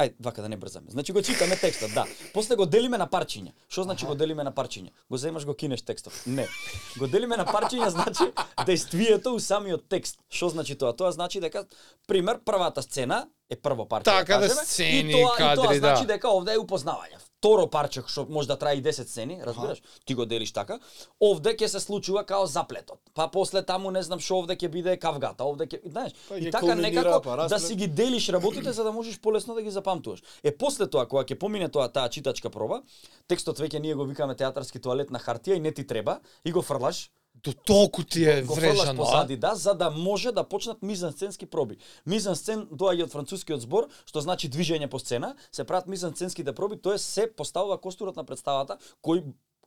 B: Ај, вака да не брзаме. Значи го читаме текстот, да. После го делиме на парчиња. Што значи го делиме на парчиња? Го земаш го кинеш текстот. Не. Го делиме на парчиња значи действието у самиот текст. Што значи тоа? Тоа значи дека пример првата сцена е прво парче.
C: Така да
B: кажеме,
C: сцени,
B: и тоа, и
C: кадри,
B: тоа значи
C: да.
B: дека овде е упознавање. Второ парче што може да трае и 10 сцени, разбираш? Ти го делиш така. Овде ќе се случува као заплетот. Па после таму не знам што овде ќе биде кавгата, овде ќе, знаеш,
A: Па
B: и
A: ќе
B: така
A: кулминира,
B: некако
A: па
B: да
A: расплет.
B: си ги делиш работите за да можеш полесно да ги запамтуваш. Е после тоа кога ќе помине тоа таа читачка проба, текстот веќе ние го викаме театарски тоалет на хартија и не ти треба и го фрлаш
C: До толку ти е
B: го фрлаш
C: врежано, а?
B: позади, да, за да може да почнат мизансценски проби. Мизансцен доаѓа од францускиот збор, што значи движење по сцена, се прават мизансценските проби, тоа е се поставува костурот на представата, кој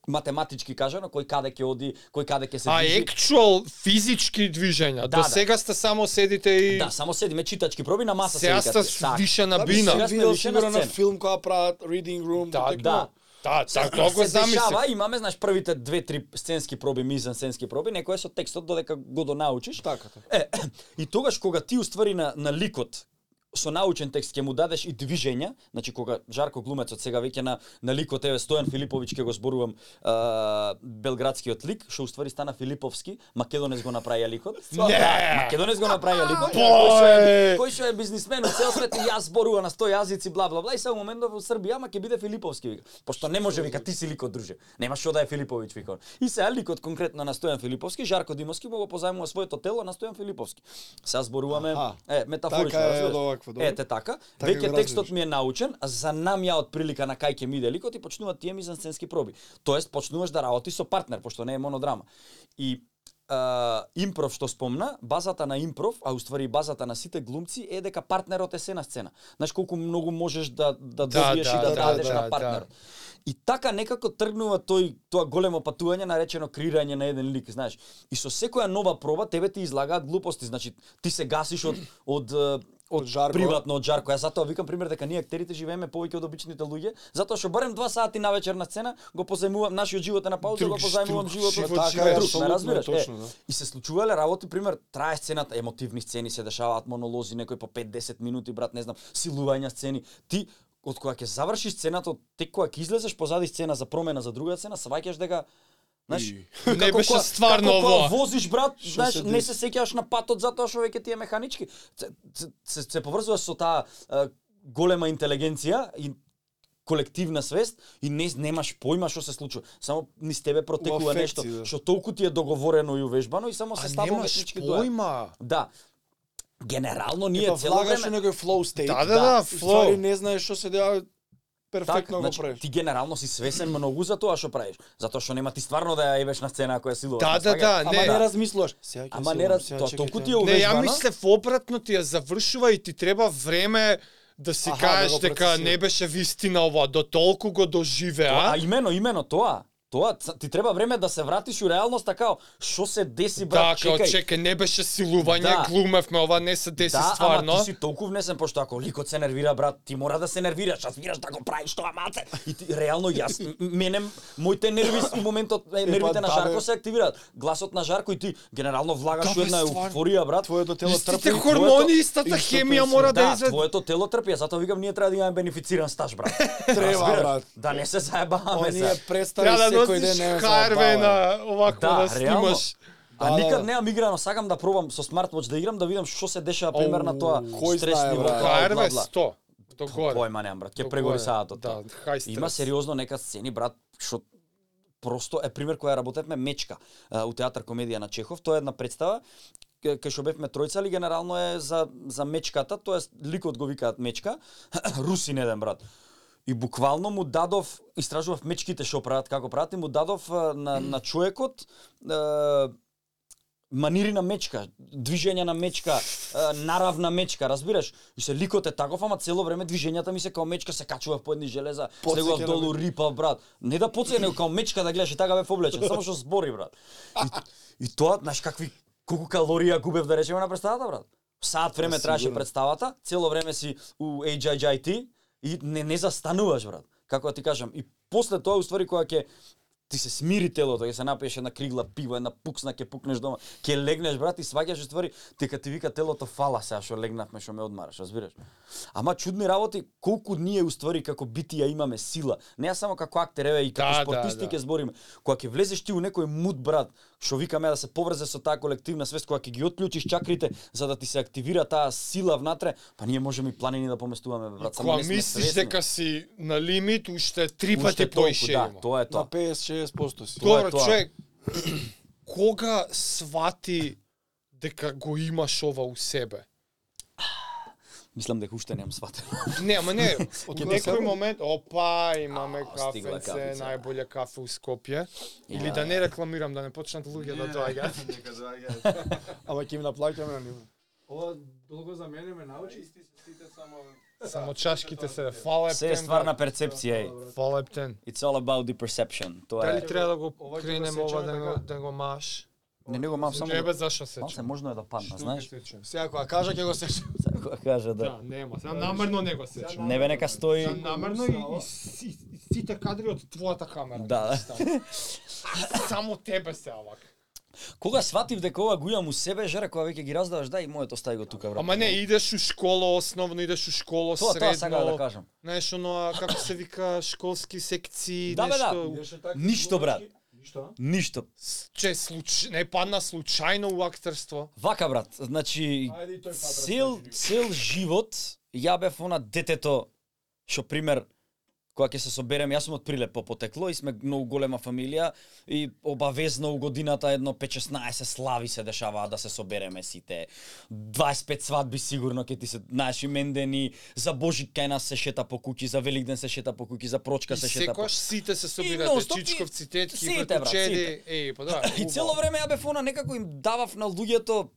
B: математички кажано, кој каде ќе оди, кој каде ќе се
C: А
B: движи.
C: екчуал физички движења.
B: Да,
C: До
B: да.
C: сега сте само седите и
B: Да, само седиме читачки проби на маса се
C: сега
B: викат.
C: сте
B: тие. Така.
C: више на
A: да, би,
C: бина.
A: сега
B: Сега сме
A: видел
B: лишена
A: сигурно на
B: сцена.
A: филм која прават Reading Room.
C: Да,
A: така,
B: да.
C: Да,
B: Се-
C: так тоа го
B: се
C: замислив.
B: дешава, имаме, знаеш, првите две-три сценски проби, мизансценски проби, некој е со текстот додека го донаучиш.
A: Така, така.
B: Е, и тогаш кога ти уствари на, на ликот, со научен текст ќе му дадеш и движења, значи кога Жарко Глумецот сега веќе на на ликот еве Стојан Филиповиќ ќе го зборувам а, белградскиот лик, што уствари стана Филиповски, македонец го направија ликот.
C: Не!
B: Да, македонец го направија ликот.
C: Бој!
B: Кој што е- кој што е бизнисмен од цел свет и јас зборува на 100 јазици бла бла бла и само моментов во Србија ама ќе биде Филиповски вика. Пошто не може вика ти си ликот друже. Нема што да е Филиповиќ вика. он. И сега ликот конкретно на Стојан Филиповски, Жарко Димовски му го позајмува своето тело на Стојан Филиповски. Сега зборуваме
A: Аха.
B: е метафорично.
A: Така е,
B: разбираш?
A: од овакво, добро.
B: Ете така.
A: Така го
B: Веќе
A: разбираш.
B: текстот ми е научен, а за намја од прилика на кај ќе ми иде ликот и почнуваат тие мизансценски проби. Тоест почнуваш да работиш со партнер, пошто не е монодрама. И а, импров што спомна, базата на импров, а уствари и базата на сите глумци е дека партнерот е се на сцена. Знаеш колку многу можеш да да добиеш
C: да,
B: и да,
C: да,
B: дадеш
C: да, да.
B: на партнер. И така некако тргнува тој тоа големо патување наречено креирање на еден лик, знаеш. И со секоја нова проба тебе ти излагаат глупости, значи ти се гасиш од од е,
A: Од жарко.
B: приватно од жарко. Јас затоа викам пример дека ние актерите живееме повеќе од обичните луѓе, затоа што барем два сати на вечер на сцена го позајмувам нашиот живот е на пауза,
C: Друг,
B: го позајмувам
C: друг
B: животот
C: живот
B: на
C: живееш.
B: друг, ме
A: Апсолутно,
B: разбираш?
A: точно,
B: е,
A: да.
B: и се случувале работи, пример, трае сцената, емотивни сцени се дешаваат, монолози некои по 5-10 минути, брат, не знам, силувања сцени. Ти од кога ќе завршиш сцената, од тек кога ќе излезеш позади сцена за промена за друга сцена, сваќаш дека Знаеш,
A: И-
B: како
C: Не беше
B: кога-
C: стварно
B: како кога
C: ова.
B: возиш брат,
A: Што
B: знаеш,
A: се
B: не се сеќаваш на патот затоа што веќе ти е механички. Се, се- се, се поврзуваш со таа е, голема интелигенција и колективна свест и не немаш појма што се случува. Само низ тебе протекува
A: афекци,
B: нешто
A: да.
B: што толку ти е договорено и увежбано и само се
C: А
B: става
C: немаш
B: умешнички дуел.
C: појма.
B: Да. Генерално ние
A: Епа,
B: цело
A: влагаш у
B: време
A: некој flow state.
C: Да, да, да,
A: И
C: флоу.
A: ствари не знаеш што се деа перфектно го правиш.
B: значи, ти генерално си свесен многу за тоа што правиш, затоа што нема ти стварно да ја ебеш на сцена ако ја силуваш.
C: Да,
B: Ја
C: да,
B: сваѓаш.
C: да,
A: Ама
C: не.
A: не размислуваш. Сега ќе
B: Ама
A: се
B: не
A: умам,
B: раз
A: сега
B: тоа
A: чекај,
B: толку
A: сега.
B: ти е
C: Не, ја
B: увежбана.
C: мислев обратно ти ја завршува и ти треба време да си
A: Аха,
C: кажеш
A: да го
C: дека
A: процесира.
C: не беше вистина ова, до толку го
B: Тоа, а
C: доживеа.
B: имено, имено тоа. Тоа ц- ти треба време да се вратиш у реалноста као што се деси
C: Да,
B: брат,
C: као
B: Така, чекај.
C: чекај, не беше силување,
B: Да.
C: глумевме, ова не се деси
B: да,
C: стварно.
B: ама ти си толку внесен пошто ако ликот се нервира брат, ти мора да се нервираш, а свираш да го правиш тоа малце. И ти реално јас м- мене моите нерви у моментот е, нервите
A: Епа,
B: на
A: да, бе.
B: Жарко се активираат. Гласот на Жарко и ти генерално влагаш
A: Да,
B: у
A: бе,
B: една
A: стварно.
B: еуфорија брат.
A: Твоето тело
C: Истите
A: трпи.
C: хормони,
B: твоето-
C: истата
A: истото е
C: хемија
A: се.
C: мора да
B: да,
C: изед...
B: твоето тело трпи, а затоа викам ние треба да имаме бенефициран стаж брат.
A: Треба,
B: Разбираш?
A: брат.
B: Да не се заебаваме
A: Оние
B: се.
A: представи
C: Треба да
A: секој
C: носиш
A: ден не
C: харве на овако
B: Да,
C: да
B: реално.
C: снимаш.
B: А
A: Да, да,
B: никад
A: да.
B: немам играно, сакам да пробам со смартвоч да играм, да видам што се дешава пример на
A: Оу,
B: тоа
A: кој
B: стрес
A: знае,
B: ниво,
A: брат.
B: тоа,
C: Харве
B: бла, бла.
C: 100. Догоре.
B: Појма немам брат, ќе
C: Тоа
B: прегори
C: е,
B: саатот.
C: да,
B: тоа.
C: хај стрес.
B: Има сериозно нека сцени брат што просто е пример која работевме мечка а, у театар комедија на Чехов, тоа е една представа ка- кај што бевме тројца, али генерално е за за мечката, тоест ликот го викаат мечка, русин еден брат. И буквално му дадов, истражував мечките што прават, како прават, и му дадов а, на, на човекот е, манири на мечка, движења на мечка, е, наравна мечка, разбираш? И се ликот е таков, ама цело време движењата ми се као мечка, се качував по едни железа,
A: Потсеќа
B: слегував
A: на
B: долу, рипав, брат. Не да подсеќа, него као мечка да гледаш и така бев облечен, само што збори, брат. И, и тоа, знаеш какви, колку калорија губев да речеме на представата, брат. Саат време
A: Па,
B: траеше
A: сигурно.
B: представата, цело време си у HIJT и не, не застануваш, брат. Како да ти кажам, и после тоа, уствари, кога ќе ти се смири телото, ќе се напиеш една кригла пиво, една пуксна, ќе пукнеш дома, ќе легнеш, брат, и сваќаш ствари, дека ти вика телото фала сега што легнавме, што ме одмараш, разбираш? Ама чудни работи, колку ние уствари како битија имаме сила, не само како актереве и како
C: Да, да,
B: спортисти
C: да.
B: ќе збориме. Кога ќе влезеш ти у некој муд брат, што викаме да се поврзе со таа колективна свест, кога ќе ги отклучиш чакрите за да ти се активира таа сила внатре, па ние можеме и планини да поместуваме брат, само
C: Кога
B: не сме
C: мислиш
B: свесни.
C: дека си на лимит, уште три
B: Уште
C: пати
B: толку, да,
C: поишеемо.
B: тоа е
A: На
B: тоа.
A: 50-60% си.
B: Тоа е
C: Добро,
B: тоа.
C: човек, кога свати дека го имаш ова у себе?
B: Мислам дека уште немам сватено.
C: Не, ама не, од
A: Ќе
C: некој
A: досега?
C: момент, опа, имаме
B: А, стигла да.
C: кафенце,
B: кафица.
C: најболја кафе у Скопје. Или
B: Ја.
C: да не рекламирам, да не почнат луѓе да доаѓаат.
A: Ама ќе им наплаќаме на нив.
D: Ова долго за мене ме научи. Исти се сите само...
C: Само чашките се, фала
B: Се е
C: ептен,
B: ствар на перцепција. е.
C: брат, фала ептен.
B: It's all about the perception. Тоа Па, е.
C: Дали треба да го
D: Ова ќе го
C: кренем
D: сечеме
C: ова да го,
D: така?
C: да го маш?
B: Не него мав само.
C: Ебе, зашо се
B: Малце можно е да падна, знаеш?
A: Сега кога кажа ќе го сеш.
B: Кога кажа да.
C: Да, нема, сега намерно не го сечам.
B: Не бе нека
C: Сега
B: стои.
C: намерно и, и, си- и сите кадри од твојата камера.
B: Да.
C: ги ставам. Само тебе се овак.
B: Кога сватив дека ова го имам у себе, жара кога веќе ги раздаваш, да и моето остави го тука, брат.
C: Ама не, идеш у школа основно, идеш у школа
B: тоа
C: средно.
B: тоа сакам да кажам.
C: Знаеш, оноа, како се вика, школски секции,
B: Да, бе, да.
C: нешто...
B: Ништо, брат.
D: Ништо?
B: Ништо.
C: С- Че, случ... не падна случајно у актерство.
B: Вака брат, значи
D: Ајде и тој патра.
B: цел цел живот ја бев она детето што пример кога ќе се собереме, јас сум од Прилепо потекло и сме многу голема фамилија и обавезно у годината едно 5-16 слави се дешава да се собереме сите. 25 свадби сигурно ќе ти се, знаеш, и мендени, за Божик кај нас се шета по куќи, за Великден се шета по куќи, за Прочка
C: И
B: се шета по
C: секојаш сите се
B: И
C: собирате,
B: нонстоп и-
C: Чичковци, тетки,
B: сите, брат,
C: братучеди.
B: сите.
C: Еј, па да.
B: И
C: хубаво.
B: цело време ја бев она некако им давав на луѓето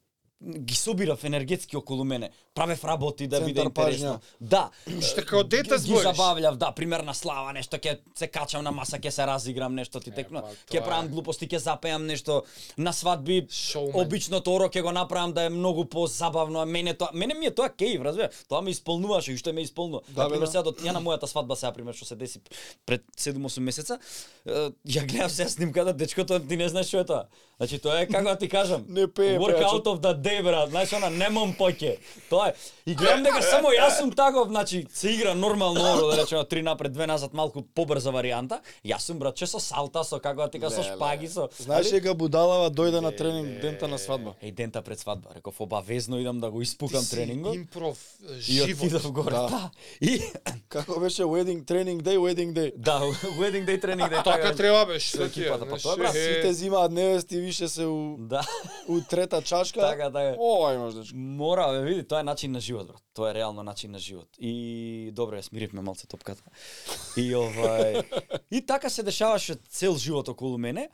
B: ги собирав енергетски околу мене. Правев работи да биде
A: Центар
B: интересно.
A: пажња.
B: Да.
C: Што како
B: ги
C: дете збориш.
B: забавлјав, да, пример на слава, нешто ќе се качам на маса, ќе се разиграм нешто ти текно,
C: па,
B: ќе
C: тоа е.
B: правам глупости, ќе запеам нешто на свадби.
C: Шоумен.
B: Обичното оро ќе го направам да е многу позабавно, а мене тоа, мене ми е тоа кејв, разбира. Тоа ме исполнуваше и што ме исполнува.
A: Да,
B: Да,
A: бе,
B: пример,
A: да.
B: сега до ја на мојата свадба сега пример што се деси пред 7-8 месеца, е, ја гледав сега снимката, дечкото ти не знаеш што е тоа. Значи тоа е како да ти кажам.
A: Не пее,
B: Work
A: пејачот.
B: out of the day, брат. Знаеш, она немам поќе. Тоа е. И гледам дека само јас сум таков, значи се игра нормално оро, да речеме три напред, две назад, малку побрза варијанта. Јас сум брат, че со салта, со како да ти кажам, со
C: Леле.
B: шпаги, со
A: Знаеш дека Будалава дојде на тренинг дента на свадба.
B: Еј дента пред свадба, реков обавезно идам да го
C: Ти
B: испукам
C: си
B: тренингот.
C: Импров, е,
B: И
C: живот.
B: отидов горе.
A: Да.
B: Да. И
A: Како беше wedding training day, wedding day.
B: да, wedding day тренинг да day.
C: Така треба беше.
B: Со
C: Со тие,
B: екипата, па
C: знаеш,
B: тоа е, брат,
C: е,
A: Сите зимаат невести, више се у,
B: Да.
A: у трета чашка.
B: Така, така.
A: Ова имаш дечко.
B: Мора, бе, види, тоа е начин на живот, брат. Тоа е реално начин на живот. И добре, ја смиривме малце топката. И овај и така се дешаваше цел живот околу мене.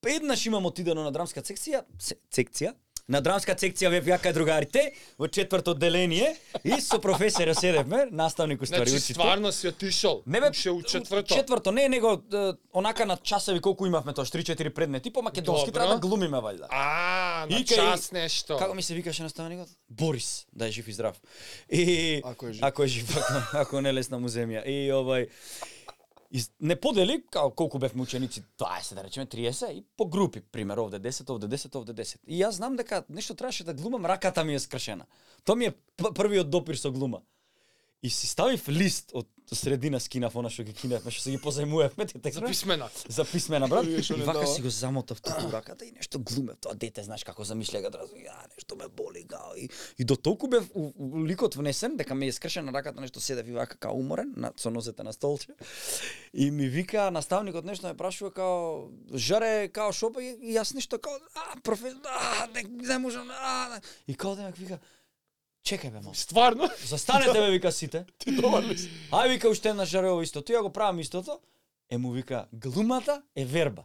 B: Па Еднаш имам отидено на драмска секција, се, секција, на драмска секција ве ја кај другарите во четврто отделение и со професор седевме, наставник уствари
C: Значи,
B: учител.
C: стварно си отишол.
B: Не бе,
C: Уше у четврто.
B: Четврто, не, него е, онака на часови колку имавме тоа, 3-4 предмети по македонски
C: Добро.
B: треба да глумиме вајда.
C: А, на
B: И кај-
C: час нешто.
B: Како ми се викаше наставникот? Борис, да е жив и здрав. И
A: Ако е жив.
B: ако е жив, ако, ако не лесна му земја. И овај и с- не подели као колку бевме ученици 20 да речеме 30 и по групи пример овде 10 овде 10 овде 10 и јас знам дека нешто требаше да глумам раката ми е скршена тоа ми е п- првиот допир со глума и си ставив лист од средина скинав она што ги кинавме што се ги позајмувавме те
C: За
B: текна
C: писмена.
B: за писмена брат.
A: Вие што
B: И
A: не
B: вака
A: дава?
B: си го замотав туку раката и нешто глуме. Тоа дете знаеш како замишля го одразу, ја нешто ме боли гао и и до толку бев у, у, ликот внесен дека ми е скршена раката нешто седев и вака као уморен на со нозете на столче. И ми вика наставникот нешто ме прашува као жаре као шопа и и јас нешто као а професор а не, не можам а не». и као да вика чекај бе мал.
C: Стварно?
B: Застанете бе вика сите.
A: Да. Ти добар ли си?
B: Ај вика уште една жарево истото, ја го правам истото. Е му вика, глумата е верба.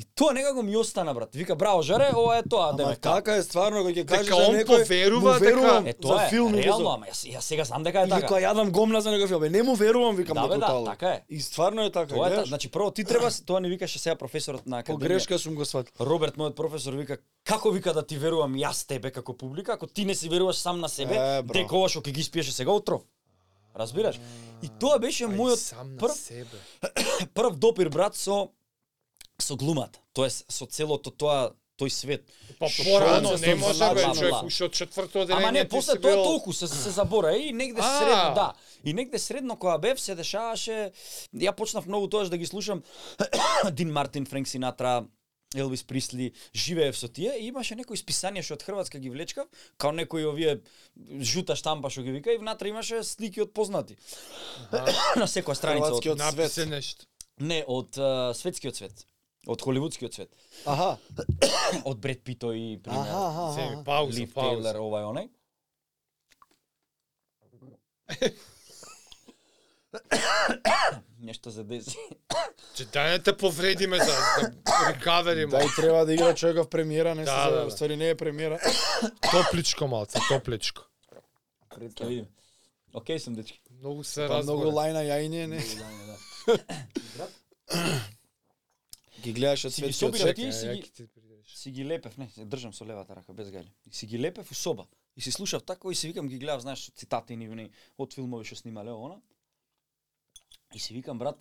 B: И тоа некако ми остана брат. Вика, браво жаре, ова е тоа
A: Ама
B: деме.
A: така е стварно кога ќе
C: Дека
A: кажеш на
C: он
A: некој,
C: поверува,
A: му верувам
B: Е
A: за
B: тоа е,
A: филм или за-
B: реално, ама јас, јас сега знам дека е
A: Или
B: така.
A: кога јадам гомна за некој филм, бе, не му верувам викам
B: Да,
A: на
B: бе, да,
A: тотално.
B: така е.
A: И стварно е така,
B: Тоа е, та-
A: гледаш?
B: значи прво ти треба, тоа ни викаше сега професорот на
A: По
B: академија.
A: грешка сум го сватил.
B: Роберт, мојот професор, вика, како вика да ти верувам јас тебе како публика, ако ти не си веруваш сам на себе,
A: Е, бро.
B: дека ова што ќе ги спиеше сега отров. Разбираш? И тоа беше
C: Ај,
B: мојот
C: сам на
B: прв
C: себе.
B: прв допир брат со со глумата, тоест со целото тоа тој свет.
C: Па
B: Шо
C: порано
B: се
C: не може да бе
B: зла,
C: човек
B: зла.
C: уште од четврто одделение.
B: Ама не,
C: ти
B: после
C: си
B: тоа
C: бил-
B: толку се, се забора и негде
C: А.
B: средно, да. И негде средно кога бев се дешаваше, ја почнав многу тоа да ги слушам Дин Мартин, Френк Синатра, Елвис Присли, живеев со тие и имаше некои списанија што од Хрватска ги влечкав, као некои овие жута штампа што ги вика и внатре имаше слики од познати. На секоја страница од,
A: Хрватскиот
C: Написи
A: свет.
C: нешто.
B: не од uh, светскиот свет, од холивудскиот свет.
A: Аха.
B: од Бред Пито и пример
A: Аха,
B: Аха,
A: аха,
C: Земи,
A: аха.
C: пауза,
B: Лив Тейлор
C: пауза.
B: овај онај. Нешто за дези.
C: Че да не те повредиме за да рекавериме.
A: Да и треба да игра човеков премиера, не се
C: Да, да, да.
A: за- ствари не е премиера.
C: Топличко малце, топличко.
B: Пред да видим. Океј сум дечки.
C: Многу се
A: Па
C: разбора.
A: Многу лајна јајне, не. Ги гледаш од
B: Си ги
A: светскиот
B: собира
A: свет.
B: ти и си
C: Е,
B: ги
C: ќе ти придеш.
B: си ги лепев, не, се држам со левата рака без гаље. И си ги лепев у соба. И си слушав тако и си викам ги гледав, знаеш, цитати ни ни од филмови што снимале она. И си викам брат,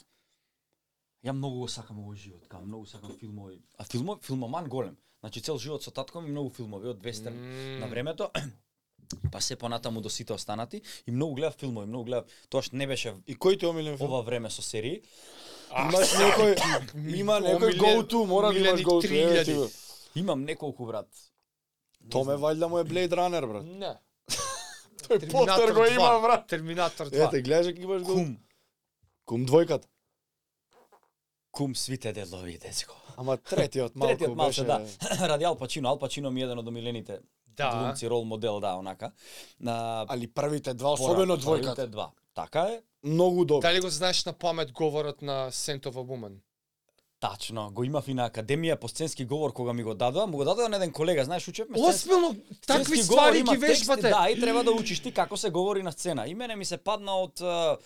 B: ја многу го сакам овој живот, као многу сакам филмови. А филмо филмоман голем. Значи цел живот со татко ми многу филмови од вестерн
C: Мм.
B: на времето. Па се понатаму до сите останати и многу гледав филмови, многу гледав. Тоа што не беше
A: И кој ти е омилен филм?
B: ова време со серии.
A: Имаш некој има некој
C: Омилен-
A: go to, мора да имаш
C: омилени
A: go to. Еве ти
C: 3000.
A: го.
B: Имам неколку брат. Не
A: Томе
B: знам.
A: валјда му е Blade Runner брат.
C: Не.
A: Тој постер го
C: 2,
A: има брат.
C: Терминатор 2.
A: Ете, гледаш ги имаш go.
B: Кум.
A: Кум двојката.
B: Кум свите дедлови, дечко.
A: Ама третиот малку
B: Третиот
A: беше...
B: малце, да. Ради Ал Пачино. Ал Пачино ми е еден од омилените
C: Да.
B: глумци, рол модел, да, онака. На
A: Али првите два, особено
B: пора-
A: двојката.
B: првите Два. Така е,
A: Многу добро.
C: Дали го знаеш на памет говорот на Сентова Woman?
B: Тачно, го имав и на академија по сценски говор кога ми го дадоа, му го дадоа на еден колега, знаеш, учевме сценски-
C: Осмелно, такви
B: сценски говор,
C: ствари
B: има
C: ги
B: текст,
C: вежбате.
B: Да, и треба да учиш ти како се говори на сцена. И мене ми се падна од а,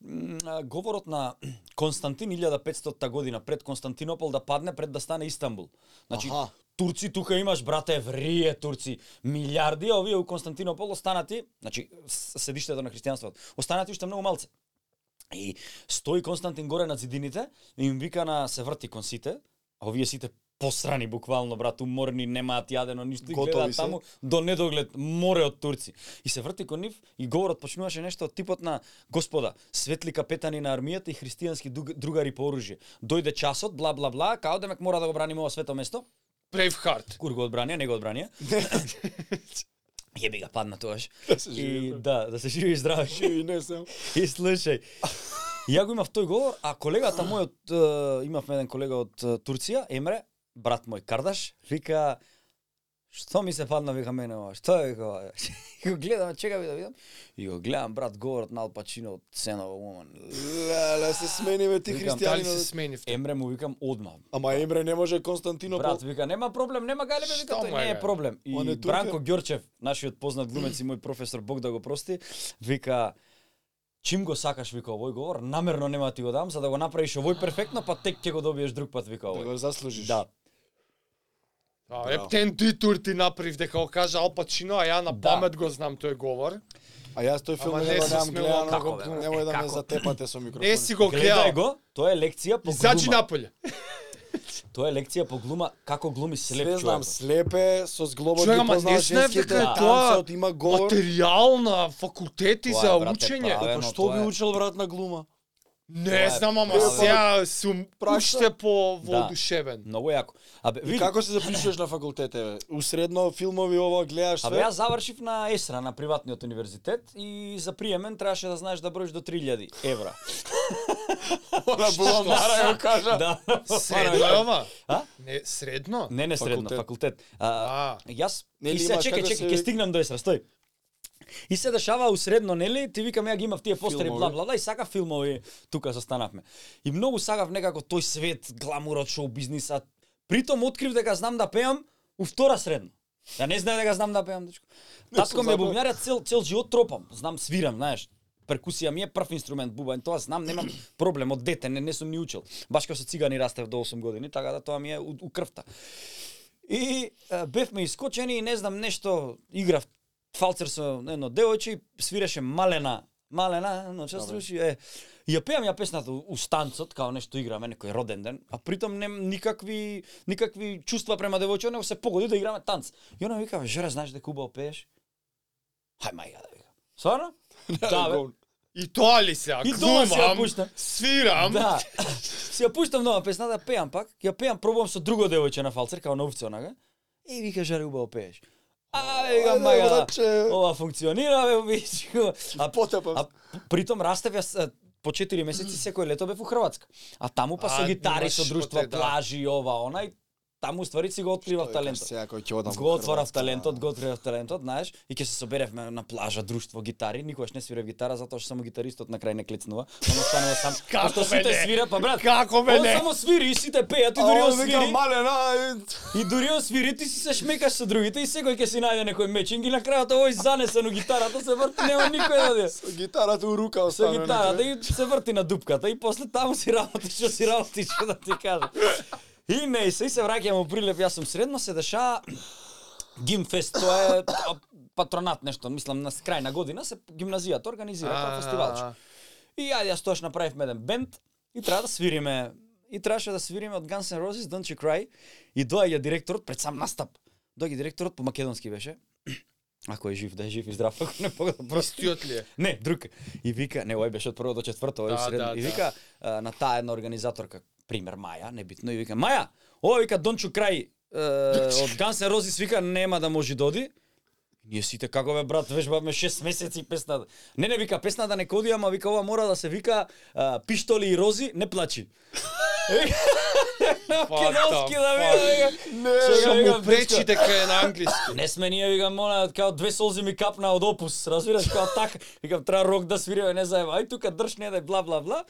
B: м, а, говорот на Константин 1500 година пред Константинопол да падне пред да стане Истанбул. Значи,
A: Аха.
B: Турци тука имаш, брате, врие турци. Милиарди, а овие у Константинопол останати, значи с- седиштето на христијанството, останати уште многу малце. И стои Константин горе на зидините и им вика на се врти кон сите, а овие сите посрани буквално, брат, уморни, немаат јадено, ништо и
A: Готови
B: гледаат
A: се.
B: таму до недоглед море од турци. И се врти кон нив и говорот почнуваше нешто од типот на Господа, светли капетани на армијата и христијански дуг- другари по оружје. Дојде часот, бла бла бла, као демек мора да го браним ова свето место.
C: Braveheart.
B: Кур го одбранија, не го одбранија. Јеби га падна тогаш.
A: Да се живи,
B: И
A: брат.
B: да, да се живи и здраво.
A: И не сам.
B: И слушај, ја го имав тој говор, а колегата мој од е, имавме еден колега од е, Турција, Емре, брат мој Кардаш, вика Што ми се падна вика мене ова? Што е вика ова? И го гледам, чека ви да видам. И го гледам брат говорот на Ал Пачино од Сенова Woman.
A: Леле, се смениме ти
B: Викам,
C: Дали се
A: христијани.
C: сменивте?
B: Емре му викам одма.
A: Ама Емре не може Константинопол.
B: Брат вика нема проблем, нема галебе вика
C: Што,
B: тој
C: мајга?
B: не е проблем. И
A: Он е туркин.
B: Бранко Ѓорчев, нашиот познат глумец и мој професор Бог да го прости, вика Чим го сакаш вика овој говор, намерно нема да ти го дам за да го направиш овој перфектно, па тек ќе го добиеш друг пат вика
A: Да
B: овој.
A: го заслужиш.
B: Да.
C: А, Ептен ти тур ти направив дека го кажа Ал Пачино, а ја на
B: Да.
C: памет го знам тој говор.
A: А јас тој филм
C: Ама
A: не
C: не
A: го
C: се
A: немам
C: смело,
A: гледано.
B: како,
A: го-
B: бе, брат?
A: Немој да ме
B: Како?
A: затепате со микрофон.
C: Не си го
B: Гледај
C: гледал.
B: го, тоа е лекција по
C: Изаđи
B: глума.
C: наполе.
B: Тоа е лекција по глума како глуми слеп
A: Све знам,
B: човек.
A: слепе, со зглобот
C: Човек,
A: ги
C: ама не
A: познава
C: знаев
A: женските
C: дека е тоа
A: танцот, има говор.
C: материјал на факултети
B: Тоа е,
C: за
B: брате,
C: учење.
B: праве.
A: Па
B: Ено,
A: што
B: тоа
A: би
B: е.
A: учел брат на глума?
B: Тоа е
C: Не знам, ама
B: праве.
C: сега сум
A: Пракса.
C: уште по
B: Да.
C: воодушевен.
B: Многу јако. Абе,
A: И
B: види,
A: како се запишуваш на факултете? бе? Усредно филмови ова гледаш
B: Абе
A: све?
B: јас завршив на ЕСРА на приватниот универзитет и за приемен требаше да знаеш да броиш до 3000 евра.
A: Она була мара ја кажа.
B: Да.
C: Средно е ова?
B: А?
C: Не, средно?
B: Не, не средно,
A: Факултет.
B: факултет. А,
C: А,
B: јас
A: Нели
B: и се
A: имаш
B: чекај,
A: како
B: чекај,
A: се-
B: ќе стигнам до есра, стој. И се дешава усредно, нели? Ти викам ја ги имав тие постери
A: Филмови.
B: бла бла бла и сакав филмови тука застанавме. И многу сакав некако тој свет, гламурот, шоу бизнисот. Притом открив дека знам да пеам у втора средно. Ја не знае дека знам да пеам, дечко. Татко
A: сум
B: ми е
A: забавен.
B: бубњарја цел цел живот тропам, знам свирам, знаеш. Перкусија ми е прв инструмент, бубањ, тоа знам, немам проблем од дете, не, не сум ни учел. Баш како со цигани растев до 8 години, така да тоа ми е у, у крвта. И е, бевме искочени и не знам нешто играв фалцер со едно девојче и свиреше малена Малена, но се слуши, е. И ја пеам ја песната у у станцот, као нешто играме, некој роден ден, а притом нем никакви, никакви чувства према девојче, него се погоди да играме танц. И она ми вика, Жора, знаеш дека убаво пееш? Хај мајга да викам. Сварно? да, бе.
C: и тоа ли се?
B: И тоа се ја
C: Глумам,
B: пуштам.
C: свирам.
B: Да. Си ја пуштам нова песна да пеам пак. Ја пеам, пробувам со друго девојче на фалцер, као на овце онага. И вика, жаре, убаво пееш. Ај, га, да.
A: Ајде, да братче.
B: мајга, ова функционира, бе, бичко. А,
A: Потепам.
B: а притом растев јас а, по 4 месеци секој лето бев у Хрватска. А таму па со
C: А,
B: гитари, со
C: имаш
B: друштва,
C: поте, да.
B: плажи, ова, она и таму ствари си го откривав талентот.
A: Сега кој ќе одам.
B: Го
A: во
B: отворав
A: Хрватска.
B: талентот, го отворав талентот, знаеш, и ќе се соберевме на плажа, друштво, гитари, никогаш не свирев гитара затоа што само гитаристот на крај не клецнува, он останува сам.
C: Како
B: Пошто
C: бе
B: сите
C: не?
B: свира, па брат,
C: Како бе
B: он
C: не?
B: само свири и сите пеат и
A: А
B: дури он
A: он вика
B: свири.
A: малена. и-
B: И дури он свири, ти си се шмекаш со другите и секој ќе си најде некој мечинг и на крајот овој занесен у гитарата се врти, нема никој да дие.
A: Со гитарата у рука
B: Со
A: остана.
B: гитарата и се врти на дупката и после таму си работиш, што си работиш, што да ти кажам. И не, и се, и се враќам во Прилеп, јас сум средно, се деша Гимфест, тоа е тоа патронат нешто, мислам на крај на година се гимназијата организира
C: А,
B: како фестивалче. И ајде, јас тогаш направивме еден бенд и треба да свириме. И требаше да свириме од Guns N' Roses Don't You Cry и доаѓа директорот пред сам настап. Доаѓа директорот по македонски беше. Ако е жив, да е жив и здрав, ако не Бог да прости.
C: Истиот ли е?
B: Не, друг. И вика, не, овој беше од прво до четврто, овој
C: Да,
B: средно.
C: да,
B: и
C: да.
B: вика а, на таа една организаторка, пример Маја, небитно, и вика, Маја, ова вика Дончо Крај е, од Guns N' Roses вика нема да може да оди. Ние сите како бе брат, вежбавме 6 месеци песната. Не не вика песната не коди, ама вика ова мора да се вика а, пиштоли и рози, не плачи. Македонски да
C: fuck.
B: вика. Не,
C: Што му пречи дека е на англиски.
B: Не сме ние, викам, мона, као две солзи ми капна од опус, разбираш, као така, викам, треба рок да свириме, не заеба, ај тука држ, не дај, бла, бла, бла.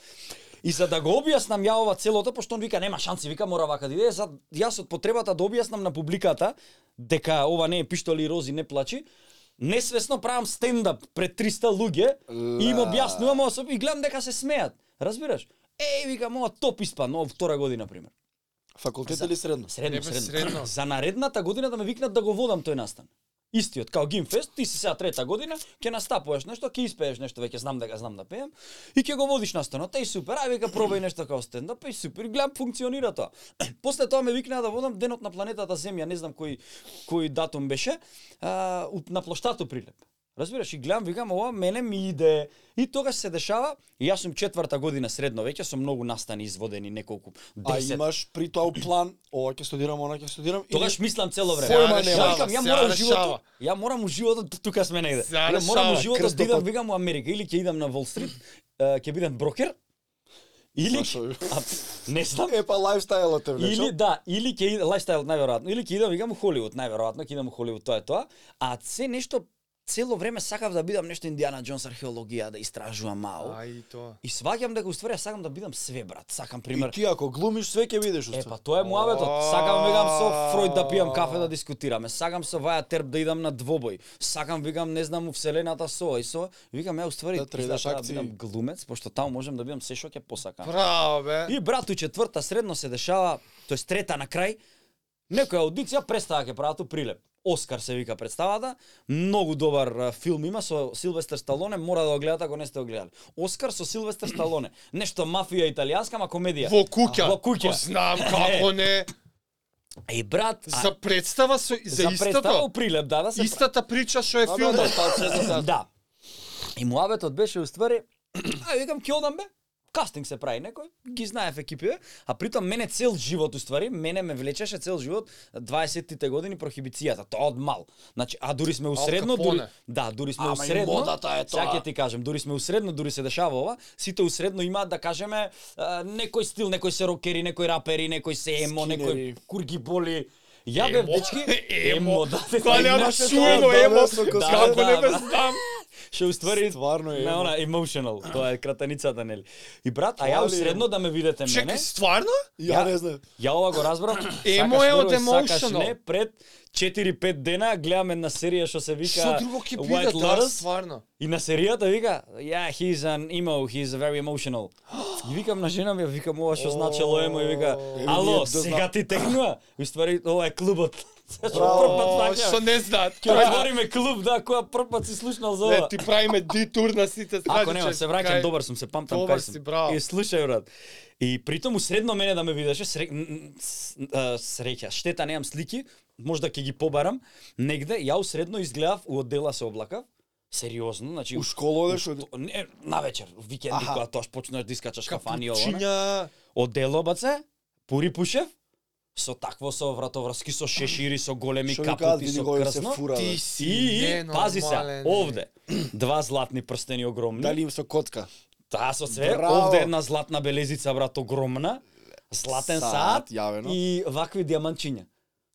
B: И за да го објаснам ја ова целото, пошто он вика нема шанси, вика мора вака да иде, сад јас од потребата да објаснам на публиката дека ова не е пиштоли и рози, не плачи, несвесно правам стендап пред 300 луѓе и им објаснувам ова со- и гледам дека се смеат, разбираш? Еј, вика, моја топ испан, ова втора година, пример.
A: Факултет или средно?
B: Средно,
C: Не бе,
B: средно.
C: средно.
B: За наредната година да ме викнат да го водам тој настан. Истиот, као Гимфест, ти си сега трета година, ќе настапуваш нешто, ќе испееш нешто, веќе знам дека знам да пеам, и ќе го водиш настанот, еј супер, ај века пробај нешто као стендап, еј супер, гледам функционира тоа. После тоа ме викнаа да водам денот на планетата Земја, не знам кој кој датум беше, а, у- на плоштато Прилеп. Разбираш, и гледам, викам, ова мене ми иде. И тогаш се дешава, и јас сум четврта година средно веќе, со многу настани изводени неколку 10
A: А имаш при тоа план, ова ќе студирам, она ќе студирам. или-
B: Тогаш мислам цело време.
A: Фојма
B: Ја
A: нема.
B: викам, ја
C: Се
B: морам у
C: решава.
B: животот. Ја морам у животот да тука сме негде.
C: Се
B: Ја морам у
C: решава,
B: животот да
C: крстопат.
B: идам викам у Америка или ќе идам на Wall Street, е, ќе бидам брокер или
A: Слушај.
B: а, не знам.
A: Е, па лайфстайлот те влече.
B: Или да, или ќе иде лайфстайл најверојатно, или ќе идам викам у Холивуд, најверојатно ќе идам у Холивуд, тоа е тоа. А се нешто цело време сакав да бидам нешто Индиана Джонс археологија да истражувам мало.
C: Ај тоа.
B: И сваѓам дека уствари јас сакам да бидам све брат, сакам пример
A: И ти ако глумиш, све ќе видиш.
B: Е,
A: уствари.
B: па тоа е муабетот. Сакам викам со
C: А.
B: Фројд да пијам кафе да дискутираме. Сакам со Ваја Терп да идам на двобој. Сакам викам не знам у вселената со ова и со. ова. Викам ја уствари
A: Да тренираш
B: изгледа
A: акции.
B: бидам глумец, пошто таму можам да бидам се што ќе посакам.
C: Браво бе.
B: И брату четврта средно се дешава, тоест трета на крај, некоја аудиција престава ќе прават у прилеп. Оскар се вика представата, многу добар а, филм има со Силвестер Сталоне, мора да го гледате ако не сте го гледали. Оскар со Силвестер Сталоне, нешто мафија италијанска, ма комедија.
C: Во куќа.
B: Во куќа.
C: Го знам како не.
B: Е брат, а-
C: За представа со за,
B: представа
C: истото.
B: у прилеп, да, да се
C: Истата прича што е
A: Абе,
C: филмот.
A: да, па, се за сега.
B: Да. И муабетот беше уствари, ај викам ќе одам бе. Кастинг се прави некој, ги знаев екипиве, а притом мене цел живот уствари, мене ме влечеше цел живот 20-тите години прохибицијата, тоа од мал. Значи, а дури сме усредно, дури,
C: Капоне.
B: да, дури сме
A: Ама и
B: усредно.
A: модата е
B: сега
A: тоа.
B: ќе ти кажам, дури сме усредно, дури се дешава ова, сите усредно имаат да кажеме а, некој стил, некој се рокери, некој рапери, некој се емо, некој
A: Скинери.
B: курги боли. Ја бев дечки, емо, да, да,
C: Тоа не
B: да,
C: е
A: да,
C: чуено
A: да,
C: емо.
A: да, да,
C: Како
B: да,
C: не бе
B: брат.
C: знам.
B: Ше уствари
A: Стварно е,
B: на
A: ема.
B: она emotional, тоа е кратеницата нели. И брат, а ја
A: Тоа ли е?
B: усредно да ме видете мене.
C: Чекај, стварно?
A: Ја не знам.
B: Ја ова го разбрав.
C: Емо
B: сакаш
C: е од
B: верувај, сакаш
C: emotional.
B: Не, пред 4-5 дена гледам една серија што се вика
C: Што друго ќе биде
B: White
C: тоа
B: Lotus.
C: стварно?
B: И на серијата вика, yeah, he's an emo, he's very emotional. И викам на жена ми, викам ова што значело емо и вика,
A: ние
B: ало,
A: да знам-
B: сега ти текнува. И ствари, ова е клубот. Се што прв пат
C: О,
B: сакам.
C: Што не знаат.
B: Ќе отвориме клуб, да, која прв пат си слушнал за
C: Не,
B: ова.
C: ти правиме дитур на сите страни.
B: Ако нема, се враќам, добар сум, се памтам
C: Добар
B: кај сум.
C: си, браво.
B: И слушај, брат. И притому средно мене да ме видеше, сре... н- н- с- а, среќа, штета немам слики, можда ќе ги побарам, негде, ја усредно изгледав у оддела со облака, сериозно, значи...
A: У школа одеш од...
B: то- Не, на вечер, викенди,
A: Аха.
B: кога тоаш почнеш да искачаш кафани и ова. не.
C: Капучиња.
B: Оддело баце, Пури Пушев, со такво, со вратоврски, со шешири, со големи
A: Што ви кажат,
B: капути,
A: види
B: со
A: го се
B: крсно.
A: фура. да. бе.
C: Ти
B: И,
C: си
B: и пази се,
C: ненормален, е.
B: овде, два златни прстени огромни.
A: Дали им со котка?
B: Таа со све,
A: Браво!
B: овде една златна белезица, брат, огромна, златен
A: Саат,
B: саат
A: јавено.
B: и вакви диаманчиња.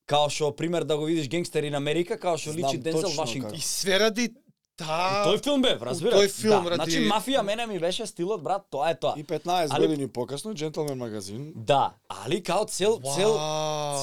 B: Као што, пример, да го видиш Гангстери на Америка, као што
A: Знам
B: личи Дензел
A: точно
B: Вашингтон.
C: И
A: како.
C: све ради таа...
B: Тој филм бе, разбираш?
C: тој филм,
B: да.
C: ради-
B: Значи, мафија мене ми беше стилот, брат, тоа е тоа.
A: И 15
B: Али-
A: години покасно, Джентлмен магазин.
B: Да, али као цел, цел,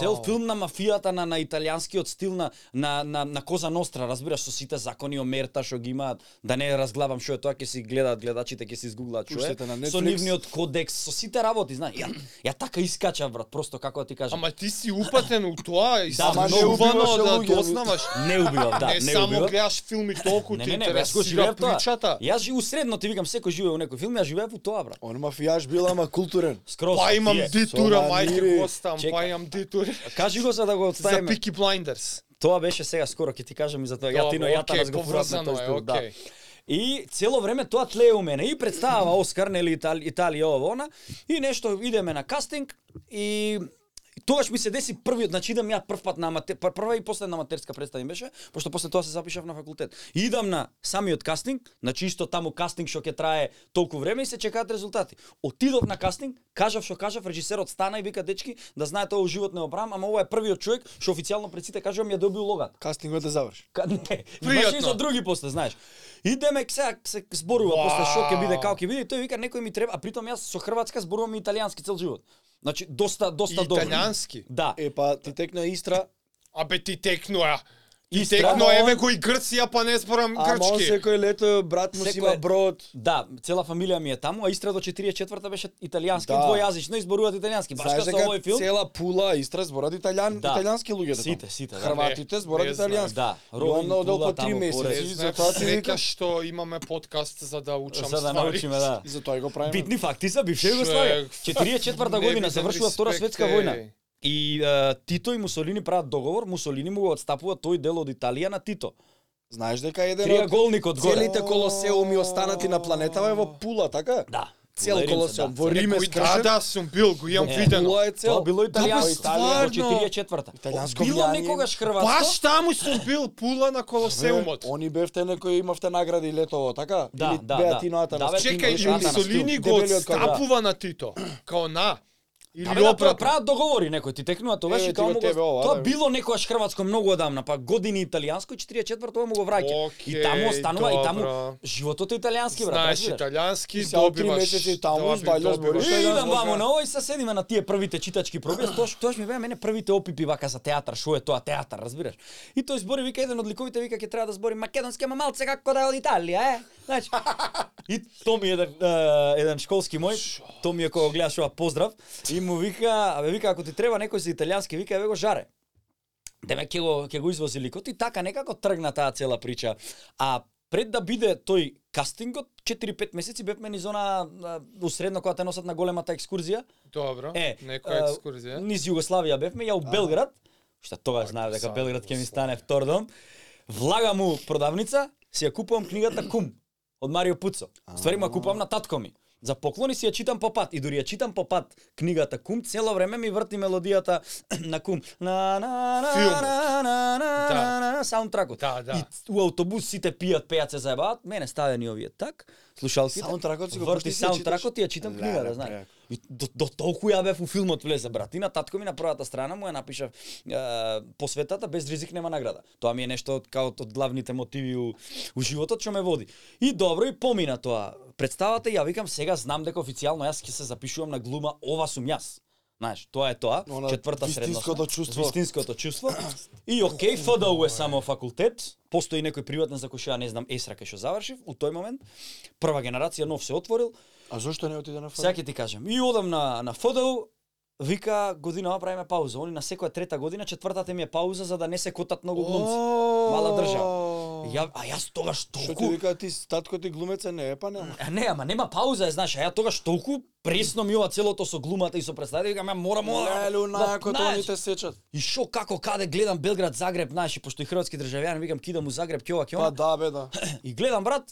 B: Цел филм на мафијата на на италијанскиот стил на на на, на Коза Ностра, разбираш со сите закони о мерта што ги имаат, да не разглавам што е тоа ќе си гледаат гледачите ќе се изгуглаат што е.
A: Пуштете на
B: Со
A: Netflix.
B: нивниот кодекс, со сите работи, знаеш. Ја, ја така искачав брат, просто како да ти кажам.
C: Ама ти си упатен у тоа и
B: Да, ама
C: да,
B: не
A: убиваш
C: да
A: луѓе,
C: дознаваш.
B: Не убивам, да,
C: не,
B: не,
C: само
B: убивам.
C: гледаш филми толку
B: Не,
C: ти
B: не, не, јас го
C: интересира
B: живеев тоа.
C: причата.
B: Јас жи усредно ти викам секој живее во некој филм, јас живеев во тоа брат.
A: Он мафијаш бил, ама културен.
B: Скроз.
C: Па имам
B: тие.
C: дитура,
A: со
C: мајке
A: манири.
C: Костам, па
B: Чекај.
C: имам дитура.
B: Кажи го за да го
C: За
B: отставиме.
C: Peaky Blinders.
B: Тоа беше сега скоро ќе ти кажам и за тоа. Ја
C: Добро,
B: тино ја
C: окей,
B: таа го фуратме
C: поврзано
B: тој
C: е,
B: стил, да.
C: окей.
B: И цело време тоа тлее у мене. И представава Оскар, нели Итали, Италија ова она, и нешто идеме на кастинг и тогаш ми се деси првиот, значи идам ја прв пат на аматер, пр- прва и последна аматерска представа им беше, пошто после тоа се запишав на факултет. И идам на самиот кастинг, значи исто таму кастинг што ќе трае толку време и се чекаат резултати. Отидов на кастинг, кажав што кажав, режисерот стана и вика дечки, да знаете овој живот не обрам, ама ова е првиот човек што официјално пред сите кажувам ја доби улогата.
A: Кастингот да заврши.
B: Ка- Не, имаше
C: Пријатно.
B: и за други после, знаеш. И Демек сега се зборува
C: Вау.
B: после што ќе биде, како ќе биде, и тој вика некој ми треба, а притом јас со хрватска зборувам и италијански цел живот. Значи доста
C: И
B: доста добро.
C: италиански.
B: Да.
A: Е, па ти текна Истра,
C: Абе ти текнуа. Ти
B: Истра,
C: текно,
B: но-
C: еве го и Грција, па не спорам
A: ама он
C: грчки.
A: секој лето брат му си
B: Секој-
A: има брод.
B: Да, цела фамилија ми е таму, а Истра до 44-та беше италијански,
A: Да.
B: двојазично изборуваат италијански. Баш
A: Знаеш
B: што
A: дека
B: овој филм.
A: цела Пула Истра зборат италијан,
B: Да.
A: италијански луѓе.
B: Сите, сите, да.
A: Хрватите
C: Не,
A: зборат
C: не знам.
A: италијански.
B: Да,
A: И
B: Ровин,
A: он наодел
B: Пула,
A: по три
B: таму,
A: месеци,
B: Порез.
A: и
C: Знаеш,
A: затоа ти
C: Среќа
A: викам,
C: што имаме подкаст за да учам
B: За да
C: ствари.
B: научиме, да.
A: и затоа го правиме.
B: Битни факти за бивша
C: Ше,
B: Југославија.
C: ф-
B: 44-та година
C: невиден
B: завршува Втора
C: респект,
B: светска
C: е.
B: војна. И е, Тито и Мусолини прават договор, Мусолини му го отстапува тој дел од Италија на Тито.
A: Знаеш дека еден од
B: Триаголникот горе.
A: целите колосеуми останати на планетава е во Пула, така?
B: Да.
A: Цел
B: Ларимца,
A: колосеум,
B: да.
A: во Рим е
C: Некој да,
A: скршен,
C: да, сум бил, го имам
B: Е,
C: видено.
A: Пула е цел.
B: Тоа било
A: бе,
B: италијанско, во
A: стварно.
B: 44-та.
A: Италијанско
B: Било
A: влијание.
B: некогаш хрватско.
C: Баш таму сум бил пула на Колосеумот.
A: Бе, Они бевте некои имавте награди летово, така?
B: Да,
A: Или
B: да,
A: беа
B: да.
A: ти ноата на
B: Да, бе,
A: стил?
C: Чекај,
B: Ти имаш Атанас
C: Мусолини
A: Тил,
C: го
A: дебелиот као да.
C: отстапува на Тито. Као на. Или
B: Абе, да, пра,
C: обратно.
B: прават договори некој, ти текнува тогаш
A: Еве
B: и
A: ти
B: тоа
A: го
B: му го...
A: тебе ова,
B: Тоа
A: да, бе.
B: било некојаш хрватско многу одамна, па години италијанско и 44 тоа му го враќа. и
C: Океј,
B: таму останува и таму
C: добро.
B: животот е италијански брат.
C: Знаеш,
B: разбираш?
A: И
C: италијански
A: сега од три
C: добиваш.
A: месеци таму
C: доби-
A: избаљаш,
C: добиваш.
A: бориш.
B: И
A: Е,
B: идам
A: да,
B: вамо
A: да.
B: на овој се седиме на тие првите читачки проби, тош тош ми беа мене првите опипи вака за театар, што е тоа театар, разбираш? И тој збори вика еден од ликовите вика ќе треба да збори македонски, ама малце како да е од Италија, е. Значи, и то ми е еден, е, еден школски мој, то ми е кога го гледаш ова поздрав, и му вика, абе вика ако ти треба некој за италијански, вика еве го жаре. Деме ќе го ќе го извози ликот и така некако тргна таа цела прича. А пред да биде тој кастингот 4-5 месеци бевме низ она а, усредно кога те носат на големата екскурзија.
C: Добро, да
B: Е,
C: некоја
B: а,
C: екскурзија.
B: Низ Југославија бевме, ја у Белград, што тогаш знаев дека
C: Па, сам
B: Белград ќе ми стане втор дом. Влагам у продавница, си ја купувам книгата Кум од Марио Пуцо. Ствари му ја купувам на татко ми. За поклони си ја читам по пат и дури ја читам по пат книгата Кум цело време ми врти мелодијата на Кум. На на на
C: Филмот.
B: на на на
C: Да.
B: на на саундтракот.
C: Да, да.
B: И у автобус сите пијат, пејат се заебават, мене ставени овие так, слушалките.
A: Саундтракот си го пушти
B: врти
A: и си ја
B: саундтракот и ја читам
A: Леле,
B: книгата, знаеш.
A: преко.
B: И до, до толку ја бев у филмот влезе брат. И на татко ми на првата страна му ја напишав е, посветата без ризик нема награда. Тоа ми е нешто од као од главните мотиви у, у животот што ме води. И добро и помина тоа. Представата и ја викам сега знам дека официјално јас ќе се запишувам на глума, ова сум јас. Знаеш, тоа е тоа,
A: Она
B: четврта средна.
A: вистинското чувство.
B: Вистинското чувство. И окей, ФДУ е само факултет, постои некој приватен за кој што ја не знам есра кај што завршив у тој момент. Прва генерација нов се отворил,
A: А зошто не отиде на ФД?
B: Па- Сега ќе ти кажам. И одам на на ФДУ, вика годинава правиме пауза. Они на секоја трета година, четвртата ми е пауза за да не се котат многу глумци. Мала држава. Ја, а јас тогаш
A: Што ти
B: толку...
A: вика ти татко ти глумец е, не е па нема.
B: А не, ама нема пауза, е, знаеш, а ја тогаш толку пресно ми ова целото со глумата и со представите, викам, ја морам ова. Да,
A: Леле, унајакот
B: знаеш.
A: они те сечат.
B: И шо, како, каде гледам Белград, Загреб, знаеш, и пошто и хрватски државјани, викам, кидам у Загреб, ќе ова, ќе
A: Па
B: ова.
A: да бе да.
B: И гледам, брат,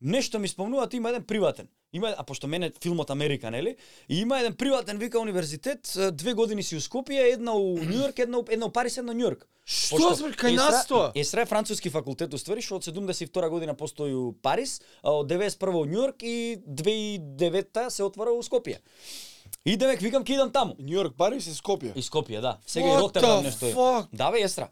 B: нешто ми спомнуваат, има еден приватен. Има, а пошто мене филмот Америка, нели? И има еден приватен, вика, универзитет, е, две години си у Скопје, една у Њујорк, една, у- една у Париз, една у Њујорк.
C: Што збор кај нас тоа?
B: Есра е француски факултет, уствари, што од 72 година постои у Париз, а од 91 у Њујорк и 2009 се отвора у Скопје. И демек викам ќе идам таму.
A: Нью Йорк, Париз и Скопје.
B: И Скопје, да. Сега и
C: What
B: Ротердам
C: the
B: нешто е.
C: fuck?
B: Да, бе, Есра.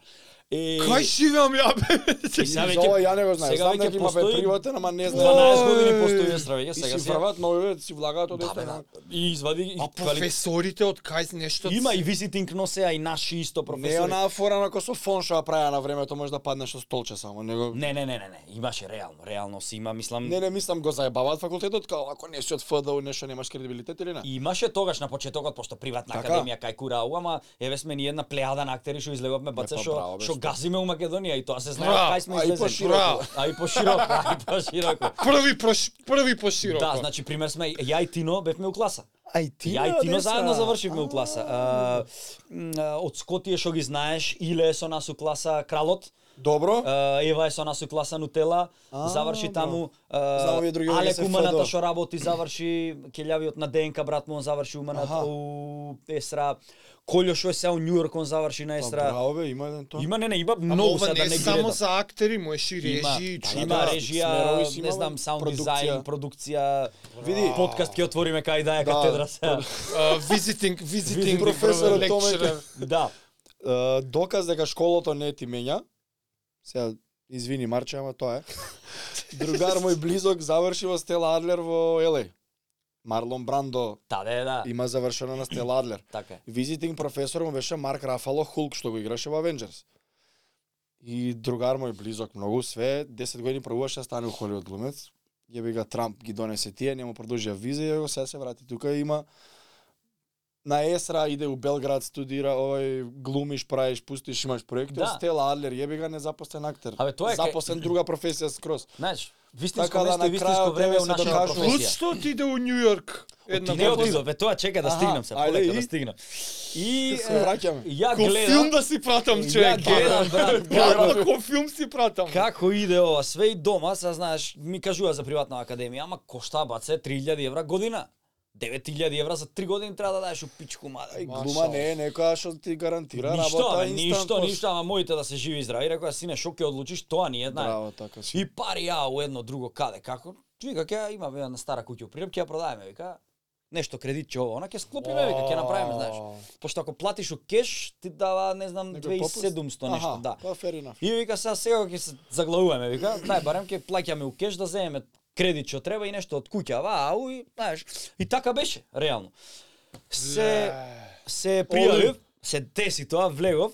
B: Е,
C: Кај живеам ја,
B: и
C: бе?
B: сега
A: За
B: веќе-
A: ова ја не го знаам.
B: сега
A: Знам
B: веќе
A: дека има бе
B: постои
A: приватен, ама не знам.
B: 12 години
C: Ој.
B: постои Есра веќе,
A: И
B: сега
A: си
B: се
A: врват нови, си влагаат од
B: Да, бе,
A: ефтина.
B: да. И извади и
C: А
B: квали...
C: професорите Па од кај нешто...
B: Има и визитинг носе, а и наши исто
A: Не е
B: професори.
A: онаа фора на кој со фон што ја праја на времето може да паднеш со столче само, него
B: Не, не, не, не, не, имаше реално, реално си има, мислам,
A: Не, не, мислам го заебаваат факултетот, као ако не си од ФДУ, нешто немаш кредибилитет или не?
B: И имаше тогаш на почетокот, пошто приватна
A: Така.
B: академија кај Курау, ама еве сме ние една плејада на актери што излеговме баце
A: па, браво,
B: што
A: бе,
B: што
A: што.
B: газиме у Македонија и тоа се знае
C: Браво,
B: кај сме
A: а и
B: излезени.
A: пошироко.
B: А и пошироко, а и пошироко.
C: Први прош... први пошироко.
B: Да, значи пример сме ја и Тино бевме у класа.
A: Ај ти.
B: Ја и Тино заедно завршивме у класа. А, м, а, од Скотие што ги знаеш, Иле е со нас у класа, Кралот.
A: Добро.
B: Е, Ева е со нас у класа Нутела,
A: А,
B: заврши
A: браво.
B: таму. е,
A: Знам овие други
B: Але
A: ОСФ,
B: куманата
A: да.
B: што работи заврши келјавиот на ДНК брат му он заврши уманат
A: Аха.
B: у Есра. Колјо што е сега у Њујорк он заврши на
A: Па,
B: Есра.
A: Браво бе, има еден тоа.
B: Има не не има
C: Ама
B: многу
C: ова
B: сега
C: не
B: да
C: е
B: не ги
C: само
B: редам.
C: за актери, можеш и режи,
A: да,
C: чу-
B: Има
A: да, смерови си
B: режија, не
A: има,
B: знам,
A: бе,
B: саунд
A: продукција.
B: дизајн, продукција.
A: Види.
B: подкаст ќе отвориме кај да е
A: Да,
B: катедра сега.
C: а, visiting, visiting
A: Професорот
C: lecturer.
A: Томе.
B: Да.
A: Е, доказ дека школото не ти менја. Сега извини Марче, ама тоа е. Другар мој близок заврши во Стела Адлер во ЛА. Марлон Брандо
B: Таде да.
A: има завршено на Стела Адлер.
B: Така е.
A: Визитинг професор му беше Марк Рафало Хулк, што го играше во Avengers. И другар мој близок многу, све 10 години пробуваше да стане у Холивуд глумец. Ја би га Трамп ги донесе тие, нема продолжија виза и го сега се врати тука и има на Есра иде у Белград студира, овој глумиш, правиш, пустиш, имаш проекти.
B: Да.
A: Да. Стела Адлер, јеби га незапослен актер.
B: Абе, тоа е кај-
A: запослен друга професија скрос.
B: Знаеш, вистинско
A: Така да,
B: место и
A: на
B: вистинско
A: крајот
B: време е
A: тебе
B: у
A: се
B: нашата
A: докажува.
B: професија.
C: Лудство ти иде у Нью Йорк. Една
B: Не
C: година.
B: отидов, бе тоа чека да
A: Аха,
B: стигнам се,
A: ајде,
B: полека да
A: и?
B: стигнам. И
A: Се
B: е,
A: враќаме.
B: ја
C: Кој филм
B: гледам,
C: да си пратам,
B: ја
C: човек?
B: гледам, брат,
C: Гадно
B: како-
C: кој филм си пратам.
B: како иде ова, све и дома, са знаеш, ми кажува за приватна академија, ама кошта баце 3000 евра година. 9000 евра за 3 години треба да даеш у пичку мада.
A: Ај, глума не е некоја што ти гарантира
B: Ништо,
A: работа
B: бе, ништо,
A: instant
B: ништо, ама моите да се живи и здрави, рекоа сине, шо ќе одлучиш, тоа ни е, знаеш.
A: Браво, така си.
B: И пари ја у едно друго каде како? Вика ќе ја има ве на стара куќа у Прилеп, ќе ја продаеме, вика. Нешто кредит ќе ова, она ќе склопиме, вика, ќе направиме, знаеш. Пошто ако платиш у кеш, ти дава, не знам,
A: Некој попуст?
B: 2700 нешто, да.
A: Па fair enough.
B: И вика сега сега ќе се заглавуваме, вика, дај барем ќе плаќаме у кеш да земеме кредит што треба и нешто од куќа, ва, ау, и, знаеш. И така беше, реално. Се се пријавив, се деси тоа, влегов.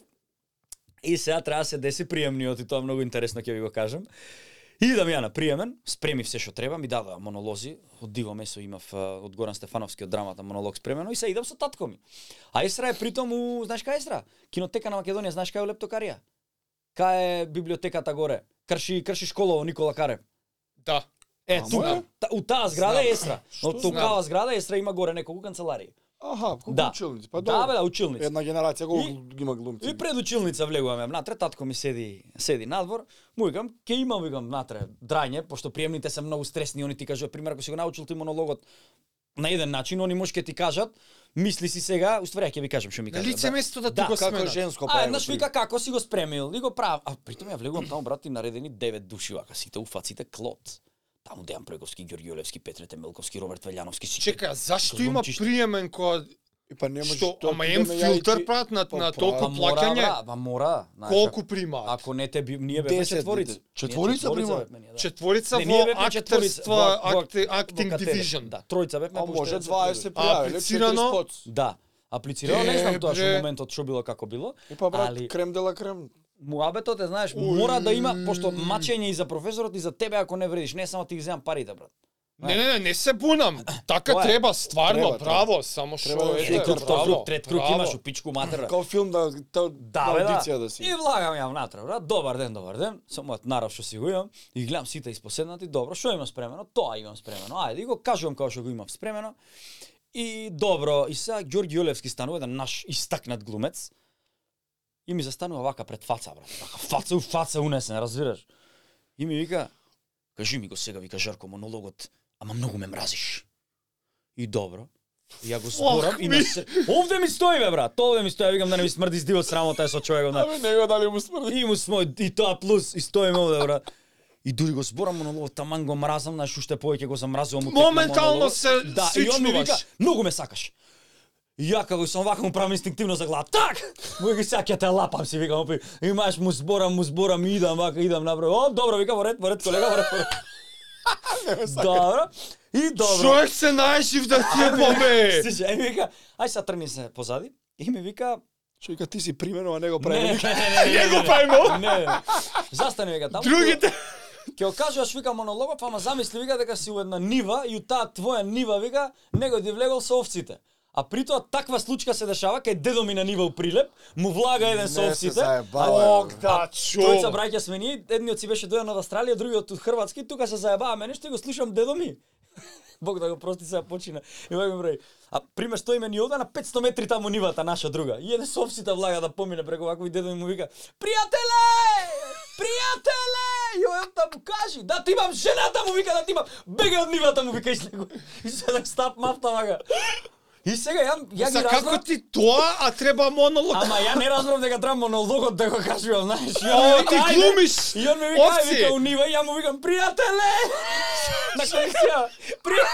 B: И сега треба да се деси приемниот и тоа многу интересно ќе ви го кажам. И идам ја на приемен, спреми се што треба, ми дадоа монолози, од диво месо имав е, од Горан Стефановски од драмата монолог спремено и се идам со татко ми. А Есра е притом у, знаеш кај Есра? Кинотека на Македонија, знаеш кај е у Лептокарија? Кај е библиотеката горе? Крши, крши школа во Никола Карев.
C: Да.
B: Е,
A: Ама
B: тука,
A: е?
B: та- у таа зграда е Есра.
A: Што
B: Но тукава зграда Есра има горе неколку канцеларии.
A: Аха, колку
B: Да.
A: училници? Па
B: Да,
A: добро.
B: бе, да, училници.
A: Една генерација колку
B: И-
A: има глумци.
B: И пред училница влегуваме внатре, татко ми седи седи надвор, му викам, ке имам викам внатре драње, пошто приемните се многу стресни, они ти кажуваат, пример ако си го научил ти монологот на еден начин, они може ке ти кажат, мисли си сега, уствари ќе ви кажам што ми
C: На
B: кажат.
C: лице место да
B: Да,
C: тука
A: како
C: сменат.
A: женско
B: А,
A: па.
B: еднаш вика како си го спремил, и го прав. А притом ја влегувам таму брат и наредени 9 души вака, сите уфаците клот. Таму Дејан Преговски, Ѓорѓи Олевски, Петре Темелковски, Роберт Велјановски, сите.
C: Чека, зашто има
B: Глумчиште.
C: приемен кој
A: па не можеш
C: што
A: тоа
C: ама
A: ти
C: ем
A: да ме ја и
C: филтер
A: ти-
C: прават на
A: Па,
C: на
B: Па
C: толку
B: мора,
C: плаќање?
B: бра, па мора. знаеш,
C: Колку примаат?
B: Ако не те би, ние бевме
A: 10
B: четворица.
A: дете. Четворица
B: Ние
A: примаат?
B: бевме, ние, да.
C: Четворица
B: Не, ние
C: во
B: бевме четворица, во-
C: актерства,
B: во-
C: акти-
B: во
C: acting
B: катедра.
C: division.
B: Да, тројца бевме.
A: А
B: пошто
A: Па може
B: еден се
A: 20
B: трудел.
A: се пријавиле,
C: Аплицирано?
A: 40 поц.
B: Да. Аплицирано, не
C: Е,
B: знам тоа што
C: бре.
B: моментот што било како било,
A: И па брат,
B: Али-
A: крем дела крем.
B: муабетот е, знаеш, мора да има, пошто мачење и за професорот и за тебе ако не вредиш, не само ти ги земам парите, брат.
C: Не, не, не, не се бунам. Така
B: Тоа е.
C: треба, стварно,
A: Треба,
C: право, само што
A: Треба да
C: е,
A: се
B: Еден круг, тој
C: право,
B: круг, трет круг
C: право.
B: имаш у пичку матера.
A: Као филм да та
B: Да, бе,
A: аудиција
B: да.
A: да
B: И
A: си.
B: влагам ја внатре, брат. Добар ден, добар ден. Само ја нарав што си го имам и гледам сите испоседнати. Добро, што имам спремено? Тоа имам спремено. Ајде, и го кажувам како што го имам спремено. И добро, и сега Ѓорѓи Јолевски станува еден наш истакнат глумец. И ми застанува вака пред фаца, брат. Вака фаца у фаца унесен, разбираш? И ми вика, кажи ми го сега, вика Жарко монологот, ама многу ме мразиш. И добро. И ја го зборам и на
C: ми.
B: се... Овде ми стои бе брат, овде ми стои, Ја викам да не ми смрди здивот срамота е со човекот. на-
A: Абе него дали му смрди.
B: и му смо и тоа плюс и стоиме овде брат. И дури го зборам монолог, таман го мразам, знаеш уште повеќе го замразувам му тек на
C: Моментално
B: монологот.
C: се
B: да, и он ми
C: свичнуваш.
B: вика, многу ме сакаш. И ја како сум вака му правам инстинктивно за глава. Так! Му ги сега ќе те лапам си викам, опи. Имаш му зборам, му зборам, и идам вака, идам направо. О, добро, вика, во ред, во ред, колега, во ред. Во ред. Добро. И добро.
C: Човек се најжив да ти е побе.
B: Слушај, Ај ми вика, ај сега тргни се позади. И ми вика,
A: Што вика ти си примено, а него
B: не, не, не,
A: прави.
B: не, не,
C: Него
B: не,
C: правимо.
B: не, не. Застани вика таму.
C: Другите
B: Ќе го кажуваш вика монологот, ама замисли вика дека си у една нива и у таа твоја нива вика него ти влегол со овците. А при тоа таква случка се дешава кај дедо ми на нива у Прилеп, му влага еден со
A: Не се
B: овците.
A: заебава,
B: а-
A: бе.
C: Да,
B: а
C: чо.
B: Тојца браќа сме ние, едниот си беше дојден од Австралија, другиот од Хрватски, тука се заебаваме нешто и го слушам дедо ми. Бог да го прости сега почина. И вај ми број. А пример што име ни овда на 500 метри таму нивата наша друга. И еден со овците влага да помине преку вако и дедо ми му вика: "Пријателе! Пријателе!" пријателе! Јоел да му кажи, да ти имам жената му вика, да ти имам, бегај од нивата му вика и слегува. И се да стап мафта вага. И сега ја, ја ги
C: Са
B: разбрав,
C: како ти тоа, а треба монолог.
B: ама ја не разбрав дека треба монологот да го кажувам, знаеш. И он ми
C: О,
B: вика,
C: ти
B: ајде.
C: глумиш.
B: И он ми вика, ај
C: овци.
B: вика у нива, и ја му викам, пријателе! Така На колекција,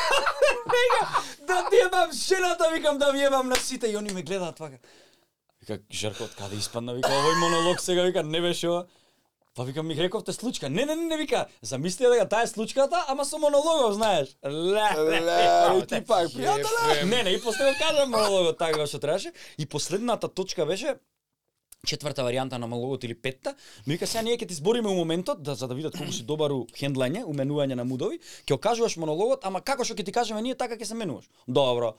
B: пријателе! Да ти јебам жената, викам, да ви јебам на сите. И они ме гледаат вака. Вика, Жерко, од каде испадна? Вика, овој монолог сега, вика, не беше ова. Па викам, ми рековте случка. Не, не, не, не, вика. Замисли дека таа е случката, ама со монологов, знаеш. Ле, ле,
A: Ле,
B: ле.
A: и ти пак,
B: да-
A: пријател.
C: Ефрем.
B: Не, не, и после го кажам монологот така како што требаше. И последната точка беше четврта варијанта на монологот или петта, но вика сега ние ќе ти збориме у моментот да за да видат колку си добар у хендлање, у менување на мудови, ќе окажуваш монологот, ама како што ќе ти кажеме ние така ќе се менуваш. Добро.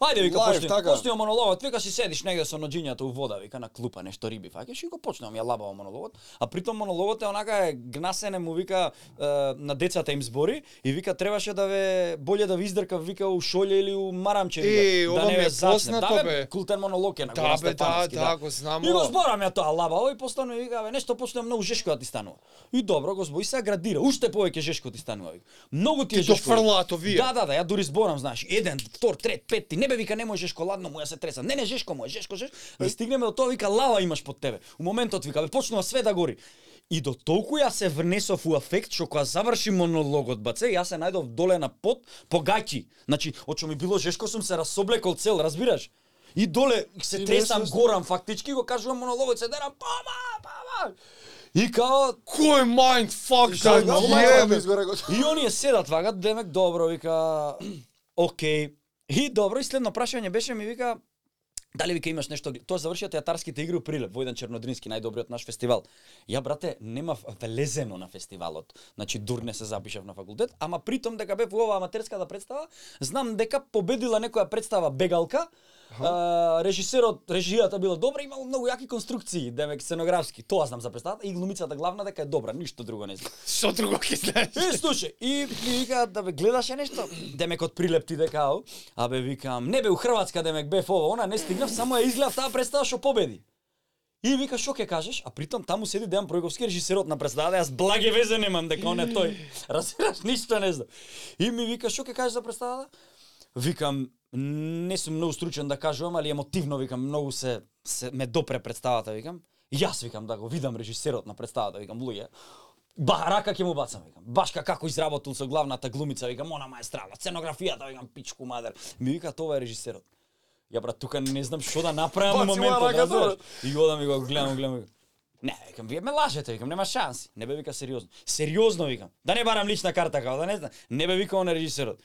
B: Ајде вика
A: Лајф,
B: почни.
A: така.
B: Почни монологот, вика си седиш негде со ноджињата у вода, вика на клупа нешто риби фаќаш и го почнам ја лабава монологот, а притом монологот е онака е гнасене му вика е, на децата им збори и вика требаше да ве боле да ви издрка вика у шоле или у марамче
C: Е,
B: вика,
C: ова
B: да не
C: ми е
B: ве зачне.
C: познато,
B: Да, бе,
C: бе.
B: култен монолог е на
C: Да,
B: Горан
C: бе, да,
B: Стефановски,
C: да, го знам.
B: И го
C: ова.
B: зборам ја тоа лабаво и постојано ми вика, бе, нешто почна многу жешко да ти станува. И добро, го збори, се градира, уште повеќе жешко ти станува. вика. Многу ти е
C: Ти
B: жешко.
C: дофрлаат овие.
B: Да, да, да, ја дури зборам, знаеш, еден, втор, трет, петти, не бе вика, не може жешко, ладно му ја се треса. Не, не, жешко му е, жешко, жешко. Да стигнеме до тоа, вика, лава имаш под тебе. У моментот вика, бе, почнува све да гори. И до толку ја се внесов у афект, што кога заврши монологот, баце, јас се најдов доле на пот, погаќи. Значи, од што ми било жешко, сум се расоблекол цел, разбираш? И доле се
A: Ти не
B: тресам
A: се-
B: горам фактички, го кажувам монологот, се дерам, помаг, помаг. И као,
C: Кој мајнд фак да
A: Да, да,
C: јебе?
A: изгоре го.
B: И оние седат вака, демек добро, вика, окей. И добро, и следно прашање беше ми вика, дали вика имаш нешто, тоа завршија театарските игри у Прилеп, Војдан Чернодрински, најдобриот наш фестивал. Ја, брате, немав влезено на фестивалот. Значи, дурне се запишав на факултет, ама притом дека бев у оваа аматерската представа, знам дека победила некоја представа Бегалка, а, режисерот, режијата била добра, имало многу јаки конструкции, демек сценографски. Тоа знам за представата и глумицата главна дека е добра, ништо друго не знам.
C: Што друго ќе знаеш?
B: Е, слушай, и ми викаат да бе гледаше нешто, демек од прилеп ти дека, ау. а бе викам, не бе у Хрватска демек бев ова, она не стигнав, само ја изгледав таа представа што победи. И вика што ќе кажеш, а притом таму седи Дејан Пројковски режисерот на представа, да јас благе везе немам дека он е тој. Разбираш, ништо не знам. И ми вика што ќе кажеш за представата? Викам, не сум многу стручен да кажувам, али емотивно викам, многу се, се ме допре представата, викам. Јас викам да го видам режисерот на представата, викам, луѓе. Ба, рака ќе му бацам, викам. Башка како изработил со главната глумица, викам, она маестрала, сценографијата, викам, пичку мадер. Ми вика, тоа е режисерот. Ја брат, тука не знам што да направам во
A: Баци му ја
B: моментот,
A: раката,
B: разбираш? И одам и го гледам, гледам. викам, Не, викам, вие ме лажете, викам, нема шанси. Не бе вика сериозно. Сериозно викам. Да не барам лична карта као, да не знам. Не бе вика он е режисерот.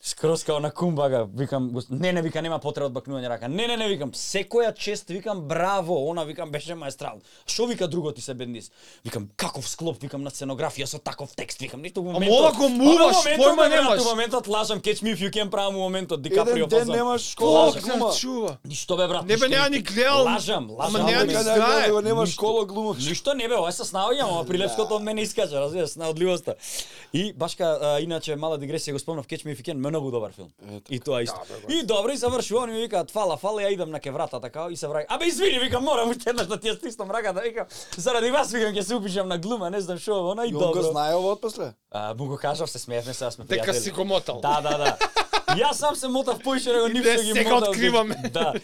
B: Скрос као на кумбага, викам, гос- не, не, вика, нема потреба од бакнување рака. Не, не, не, викам, секоја чест, викам, браво, она, викам, беше маестрал. Што вика друго ти се бендис? Викам, каков склоп, викам, на сценографија со таков текст, викам, ништо во моментот.
C: ова го муваш,
B: Ама во моментот, бе,
C: појма
B: брат,
C: немаш.
B: Во моментот лажам, catch me if you can правам во моментот, Дикаприо
A: Еден ден
B: фазон.
A: немаш школа,
C: Бог
B: Лажам.
C: не чува.
B: Ништо бе брат.
C: Не
B: ништо,
C: бе, неа ни
B: ништо.
C: гледал.
B: Лажам, лажам.
C: Ама неа
B: бе,
C: ни
B: брат.
A: Кај да
C: знае.
A: гледа, немаш
B: Ништо.
A: школа глумаш.
B: Ништо не бе, ова е со снавањам,
C: Да.
B: ова прилепското од мене искажа, разбираш, на одливоста. И башка, а, иначе мала дигресија го спомнав Catch Me If You Can, многу добар филм.
C: така.
B: и тоа
C: Да,
B: исто. и добро и завршува, они ми викаат фала, фала, ја идам на кеврата така и се враќам. Абе извини, викам, морам уште еднаш да ти ја стиснам раката, викам, заради вас викам ќе се упишам на глума, не знам што, она и
A: И он го
B: добро.
A: знае ова од после.
B: А, му го кажав, се смеевме, сега сме
C: Дека
B: пријатели.
C: си го мотал.
B: Да, да, да. Јас сам се мотав поише него нив
C: Иде,
B: што ги
C: сега
B: мотав.
C: откриваме.
B: Да.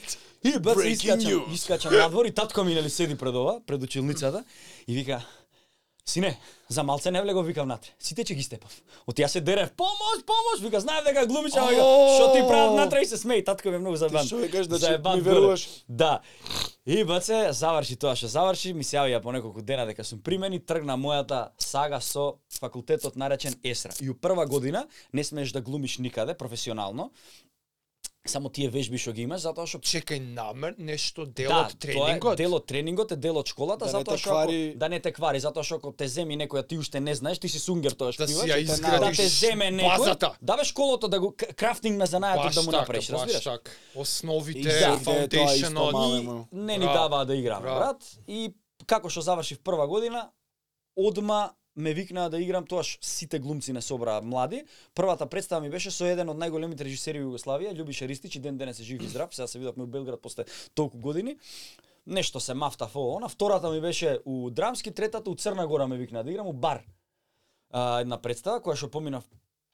B: И бац
A: Breaking
B: искачам,
A: news.
B: искачам надвор и татко ми нели седи пред ова, пред училницата и вика Сине, за малце не влегов викам натре. Сите ќе ги степав. От ја се дерев, помош, помош, вика, знаев дека глумиш, ама вика, што ти прават натре и се смеј, татко ми е многу заебан.
A: што ми кажеш, значи,
B: Заебан
A: ми
B: горе.
A: веруваш?
B: Да. И баце, заврши тоа што заврши, ми се јавија по неколку дена дека сум примен и тргна мојата сага со факултетот наречен ЕСРА. И у прва година не смееш да глумиш никаде професионално, само тие вежби што ги имаш, затоа што
C: Чекај, намер нешто дел
B: Да,
C: од
B: тоа е
C: тренингот.
B: дел од тренингот, е дел од школата,
A: Да не
B: затоа
A: те
B: што ако-
A: квари-
B: да не те квари, затоа што ако те земи некоја ти уште не знаеш, ти си сунгер тоа што
C: Да си ја
A: да
C: изградиш
B: да те земе некој,
C: базата.
B: да бе школото да го к- крафтинг на занајатот
C: Баш
B: да му
C: така,
B: направиш,
C: баш
B: разбираш?
C: така.
A: И
C: Основите,
A: да, тоа е исто
C: фаундейшенот.
A: мале.
B: И
A: Малемо.
B: не ни
C: Браво.
B: даваа да играм,
C: Браво.
B: брат. И како што завршив прва година, одма ме викнаа да играм, тоаш сите глумци не собраа млади. Првата представа ми беше со еден од најголемите режисери во Југославија, Љуби Шеристич, и ден денес е жив и здрав, сега се видовме во Белград после толку години. Нешто се мафтав ово. Она втората ми беше у Драмски, третата у Црна Гора ме викна да играм у бар. А, една представа која што помина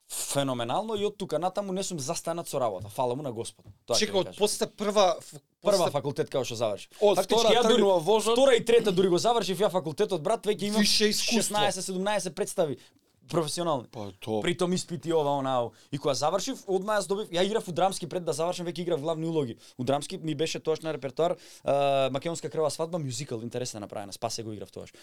B: феноменално и од тука натаму не сум застанат со работа. Фала му на Господ. ќе
C: Чека,
B: ви
C: од
B: кажам.
C: после прва... ф-
B: прва
C: после-
B: факултет као што завршив.
A: Од
B: Фактички,
A: втора
B: ја дури-
A: тргнува возот.
B: Втора и трета дури го завршив ја факултетот, брат, веќе имам
C: Више искуство.
B: 16-17 представи професионални.
A: Па тоа.
B: Притом испити ова онао. И кога завршив, одма јас добив, ја играв у драмски пред да завршам, веќе играв главни улоги. У драмски ми беше тоаш на репертоар а, Македонска крва свадба мюзикал, интересна направена, спасе го играв тоаш.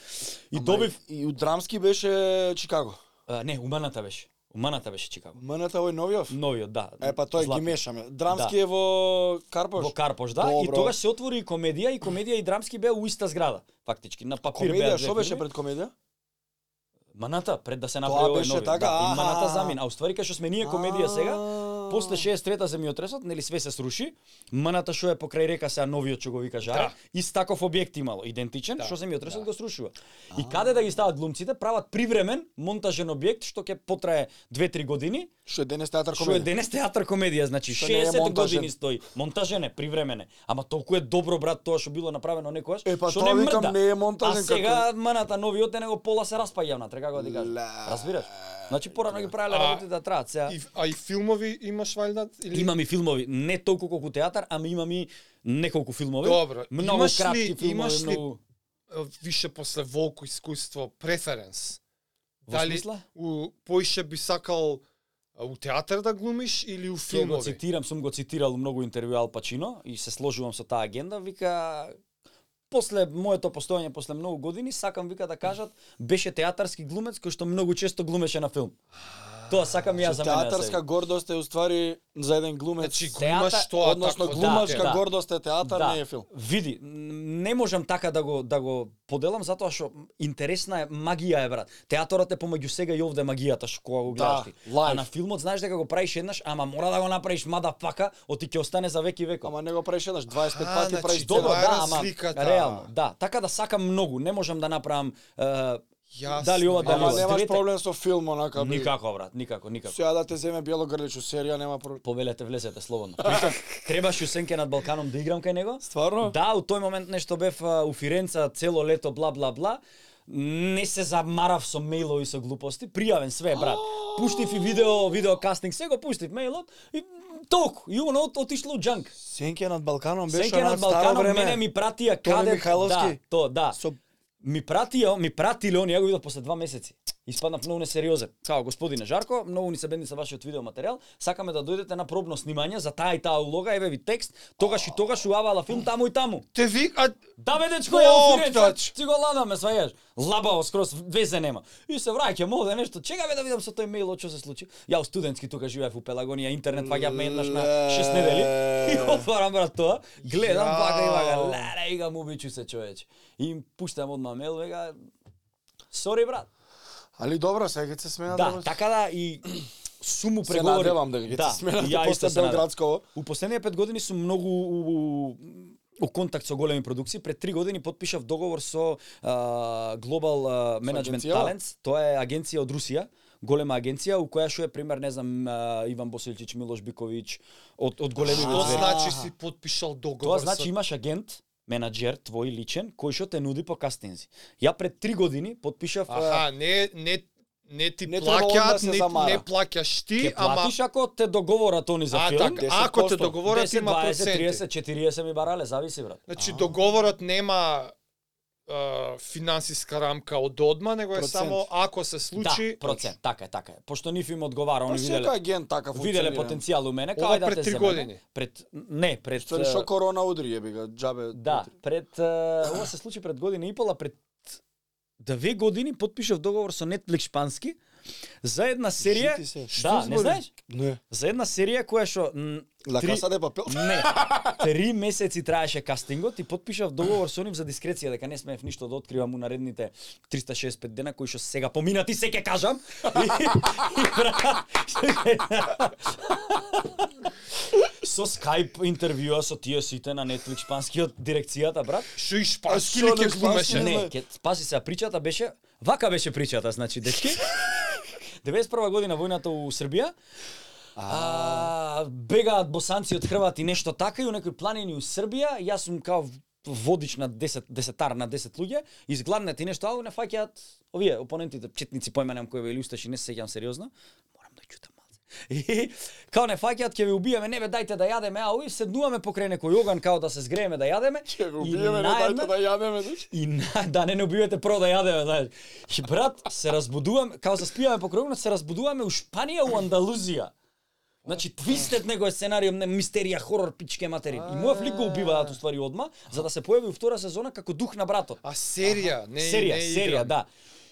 B: И добив,
A: И у драмски беше Чикаго.
B: а, не, уманата беше. Уманата беше Чикаго.
A: Мната овој новиов.
B: Новиот, да.
A: Е па тој ги
B: Златни. Да.
A: мешаме. Драмски е во Карпош.
B: Во Карпош, да, и
A: Добро.
B: тогаш се отвори и комедија, и комедија и драмски беа у иста зграда, фактички, на папир беа
A: Комедија,
B: две
A: што беше
B: фирми.
A: пред комедија?
B: Маната, пред да се направи овој
A: беше
B: нови.
A: така,
B: да, и маната
A: аха.
B: замина. А уствари кај што сме ние комедија сега,
A: А.
B: после 63-та се ми отресот, нели све се сруши. Маната што е покрај река сега новиот што го вика Жаре,
A: Да.
B: и таков објект имало, идентичен, што се ми отресот го срушува. И каде да ги стават глумците, прават привремен монтажен објект што ќе потрае 2-3 години,
A: Што е денес театар
B: Што е
A: комедија?
B: денес театар комедија, значи
A: Што не е
B: 60
A: монтажен.
B: години стои. Монтажен е, привремене. Ама толку е добро брат тоа што било направено некогаш.
A: Е, па
B: што
A: тоа
B: не
A: викам,
B: мрда.
A: не е монтажен
B: А сега маната новиот е него пола се распаѓа внатре, како да ти кажам.
A: Ле.
B: Разбираш? Значи порано ги правеле
C: А,
B: работи да траат сега.
C: И, а и филмови имаш валјда? Или...
B: Имам и филмови, не толку колку театар, ама имам и неколку филмови.
C: Добро.
B: Многу
C: Имаш ли-
B: кратки филмови,
C: имаш ли
B: многу...
C: е, више после волку искуство преференс?
B: Во смисла?
C: у, поише би сакал а, у театар да глумиш или
B: Ќе го
C: у филмови?
B: цитирам, сум го цитирал у многу интервју Ал Пачино и се сложувам со таа агенда, вика после моето постоење после многу години сакам вика да кажат беше театарски глумец кој што многу често глумеше на филм. Тоа сакам и јас за мене. да се
A: Значи, Театарска гордост е уствари за еден глумец.
C: Значи го
B: Театар,
C: имаш тоа така,
A: Односно
C: такво.
A: глумачка
B: да.
A: гордост е театар,
B: да,
A: не е филм.
B: Види, н- не можам така да го да го поделам затоа што интересна е магија е брат. Театорот е помеѓу сега и овде магијата што кога
A: Да,
B: го гледаш ти.
A: live.
B: а на филмот знаеш дека го правиш еднаш, ама мора да го направиш мада пака, оти ќе остане за веки веков.
A: Ама не го правиш еднаш 25
C: А,
A: пати,
C: значи,
A: правиш
C: тоа
B: Добро,
A: добро.
C: е
B: да, ама
C: разликата.
B: реално, да. Така да сакам многу, не можам да направам е,
C: Така, Јасно,
B: дали ова, дали
A: Ама
B: ова.
C: јасно.
A: немаш
B: Директно.
A: проблем со филм онака. би.
B: никако брат, никако, никако.
A: Сега да те земе Бело Грлич у серија нема проблем.
B: Повелете, влезете слободно. Притом, требаше Усенке над Балканом да играм кај него.
A: Стварно?
B: Да, у тој момент нешто бев а, у Фиренца цело лето бла бла бла. Не се замарав со мејлови и со глупости, пријавен све брат. Пуштив и видео, видео кастинг, се го пуштив мејлот и толку. И оно от- отишло у џанк.
A: Сенке над Балканом беше
B: Сеќа
A: на
B: над
A: старо
B: Балканот
A: време.
B: мене ми пратија
A: Тони
B: каде
A: Михајловски?
B: Да, то да.
A: Со-
B: Со... Ми пратија, ми пратиле они, ја го видов после два месеци. Испаднав многу несериозен. Као господине Жарко, многу ни се бедни со вашиот видеоматеријал, сакаме да дојдете на пробно снимање за таа и таа улога, еве ви текст, тогаш и тогаш уавала филм таму и таму.
C: Те вик, а
B: Да бе дечко, ја офирен,
C: Оптач.
B: ти го ладаме, свајаш. Лабаво скрос, везе нема. И се враќам овде нешто, чека бе да видам со тој мејл што се случи. Ја у студентски тука живеев у Пелагонија, интернет паѓав ме еднаш на 6 недели. И отварам брат тоа, гледам
C: Јао.
B: вака и вака, леле, и га му бичу се човече. И им пуштам одма мејл, вега, сори брат.
A: Али добро, сега ќе се смена.
B: Да, така да и суму
A: Се
B: преговори. Да,
A: надевам дека ќе се смена. да
B: ја
A: после
B: исто се надевам.
A: Белградско. ово.
B: У последниве пет години сум многу у, у контакт со големи продукции. Пред три години потпишав договор со а, Global а, Management
A: агенцијава?
B: Talents. Тоа е агенција од Русија голема агенција у која што е пример не знам а, Иван Босилчич, Милош Биковиќ од од големи
C: Тоа
B: звери.
C: значи си подпишал договор
B: Тоа значи имаш агент, менаџер твој личен кој што те нуди по кастинзи. Ја пред три години потпишав а,
C: Аха, не, не, не ти
A: Не треба он да
C: плаќаат,
A: се
C: не,
A: замара.
C: не плаќаш ти,
B: ќе
C: ама...
B: платиш ако те договорат они за
C: А,
B: филм.
C: така, ако те
A: 10%,
C: договорат
B: 10,
C: има
B: 20,
C: проценти.
B: 30, 40 ми барале, зависи брат.
C: Значи договорот нема а, финансиска рамка од одма, него е
A: Процент.
C: само ако се случи. значи,
B: Да, процент, така е, така е. Пошто нив им одговара,
A: Па
B: они
A: секој
B: виделе
A: агент така функционира.
B: виделе потенцијал у мене,
C: Ова
B: кај да
C: пред
B: те
C: три
B: земеме.
C: години.
B: Пред не, пред
A: Што ли
B: е,
A: шо корона удри јеби га, џабе.
B: Да,
A: удри.
B: пред е, ова се случи пред година и пола, пред две години потпишав договор со Netflix шпански за една серија.
A: Жити се.
B: Да,
A: Што
B: не
A: збори?
B: знаеш?
A: Не.
B: За една серија која што м,
A: Ла
B: три-
A: каса де папел.
B: Не. Три месеци траеше кастингот и потпишав договор со нив за дискреција дека не смеев ништо да откривам у наредните 365 дена кои што сега поминати се ќе кажам. И, и, брат, со Skype интервјуа со тие сите на Netflix шпанскиот дирекцијата брат.
C: Шо и
A: А
C: шпански
A: што
C: ли
A: не
C: ќе глумеше?
A: шпански?
B: Не,
A: знаеш.
B: ќе пази се, а причата беше вака беше причата, значи дечки. 91 година војната у Србија. А, бегаат босанци од Хрвати нешто така и у некој планини у Србија, јас сум као водиш на 10, десетар на 10 луѓе, изгладнат и нешто, ало не фаќаат овие опонентите, четници, појма немам кој бе, или усташи, не се сеќавам сериозно. Морам да чутам малце. И као не фаќаат, ќе ви убиеме, не бе, дајте да јадеме, ау, и седнуваме покрај некој оган као да се згрееме да јадеме.
A: Ќе го
B: и
A: убиеме, не
B: наедно-
A: дајте да јадеме. значи.
B: и на, да не не убивате прво да јадеме, знаеш. И брат, се разбудувам, као се спијаме по кругнат, се разбудуваме у Шпанија, у Андалузија. Значи, твистет него е сценарио, не, мистерија, хорор, пичке матери. И мојав лик го убиваат, уствари, одма, за да се појави у втора сезона како дух на братот.
C: А серија, не
B: серија,
C: не
B: серија, да.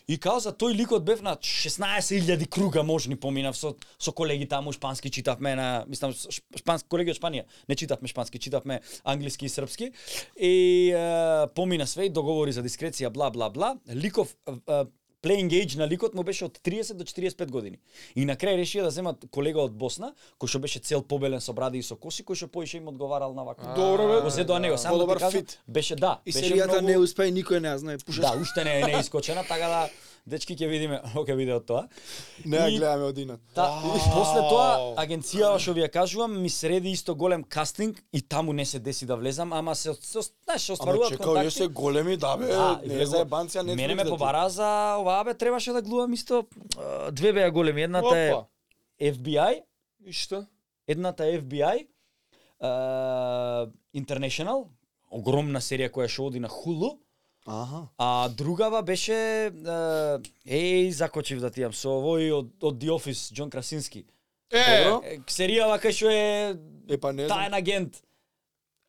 B: И као за тој ликот бев на 16.000 круга можни поминав со со колеги таму шпански читавме на мислам с- шп- шпански колеги од Шпанија. Не читавме шпански, читавме англиски и српски. И е, помина све и договори за дискреција бла бла бла. Ликов е, е, playing age на ликот му беше од 30 до 45 години. И на крај решија да земат колега од Босна, кој што беше цел побелен со бради и со коси, кој што поише им одговарал на вака.
A: Добро, бе.
B: Го зедоа него, само да
A: Подобар
B: ти кажам,
A: фит.
B: беше да,
E: И
B: беше
E: серијата
B: многу-
E: не успеа и никој не ја знае. Пуша
B: Да, уште не е не е искочена, така да дечки ќе видиме, ќе виде од тоа.
A: Не ја
B: И-
A: гледаме од инат.
B: Та, после тоа агенција што ви ја кажувам ми среди исто голем кастинг и таму не се деси да влезам, ама се се знаеш, се
A: Ама
B: остваруваат
A: чекао, је
B: контакти.
A: се големи, да бе,
B: Да, и
A: не е
B: влегува-
A: заебанција, не
B: Мене ме побара за оваа бе, требаше да глувам исто е, две беа големи, едната е
C: Опа.
B: FBI,
C: И што?
B: едната е FBI, е, International, огромна серија која што оди на Hulu,
A: Аха.
B: А другава беше е, еј закочив да тиам со овој од, од The Office Џон Красински.
C: Е,
A: Добро.
B: Е, Серијава кај што е
A: Е, па не знам.
B: таен агент.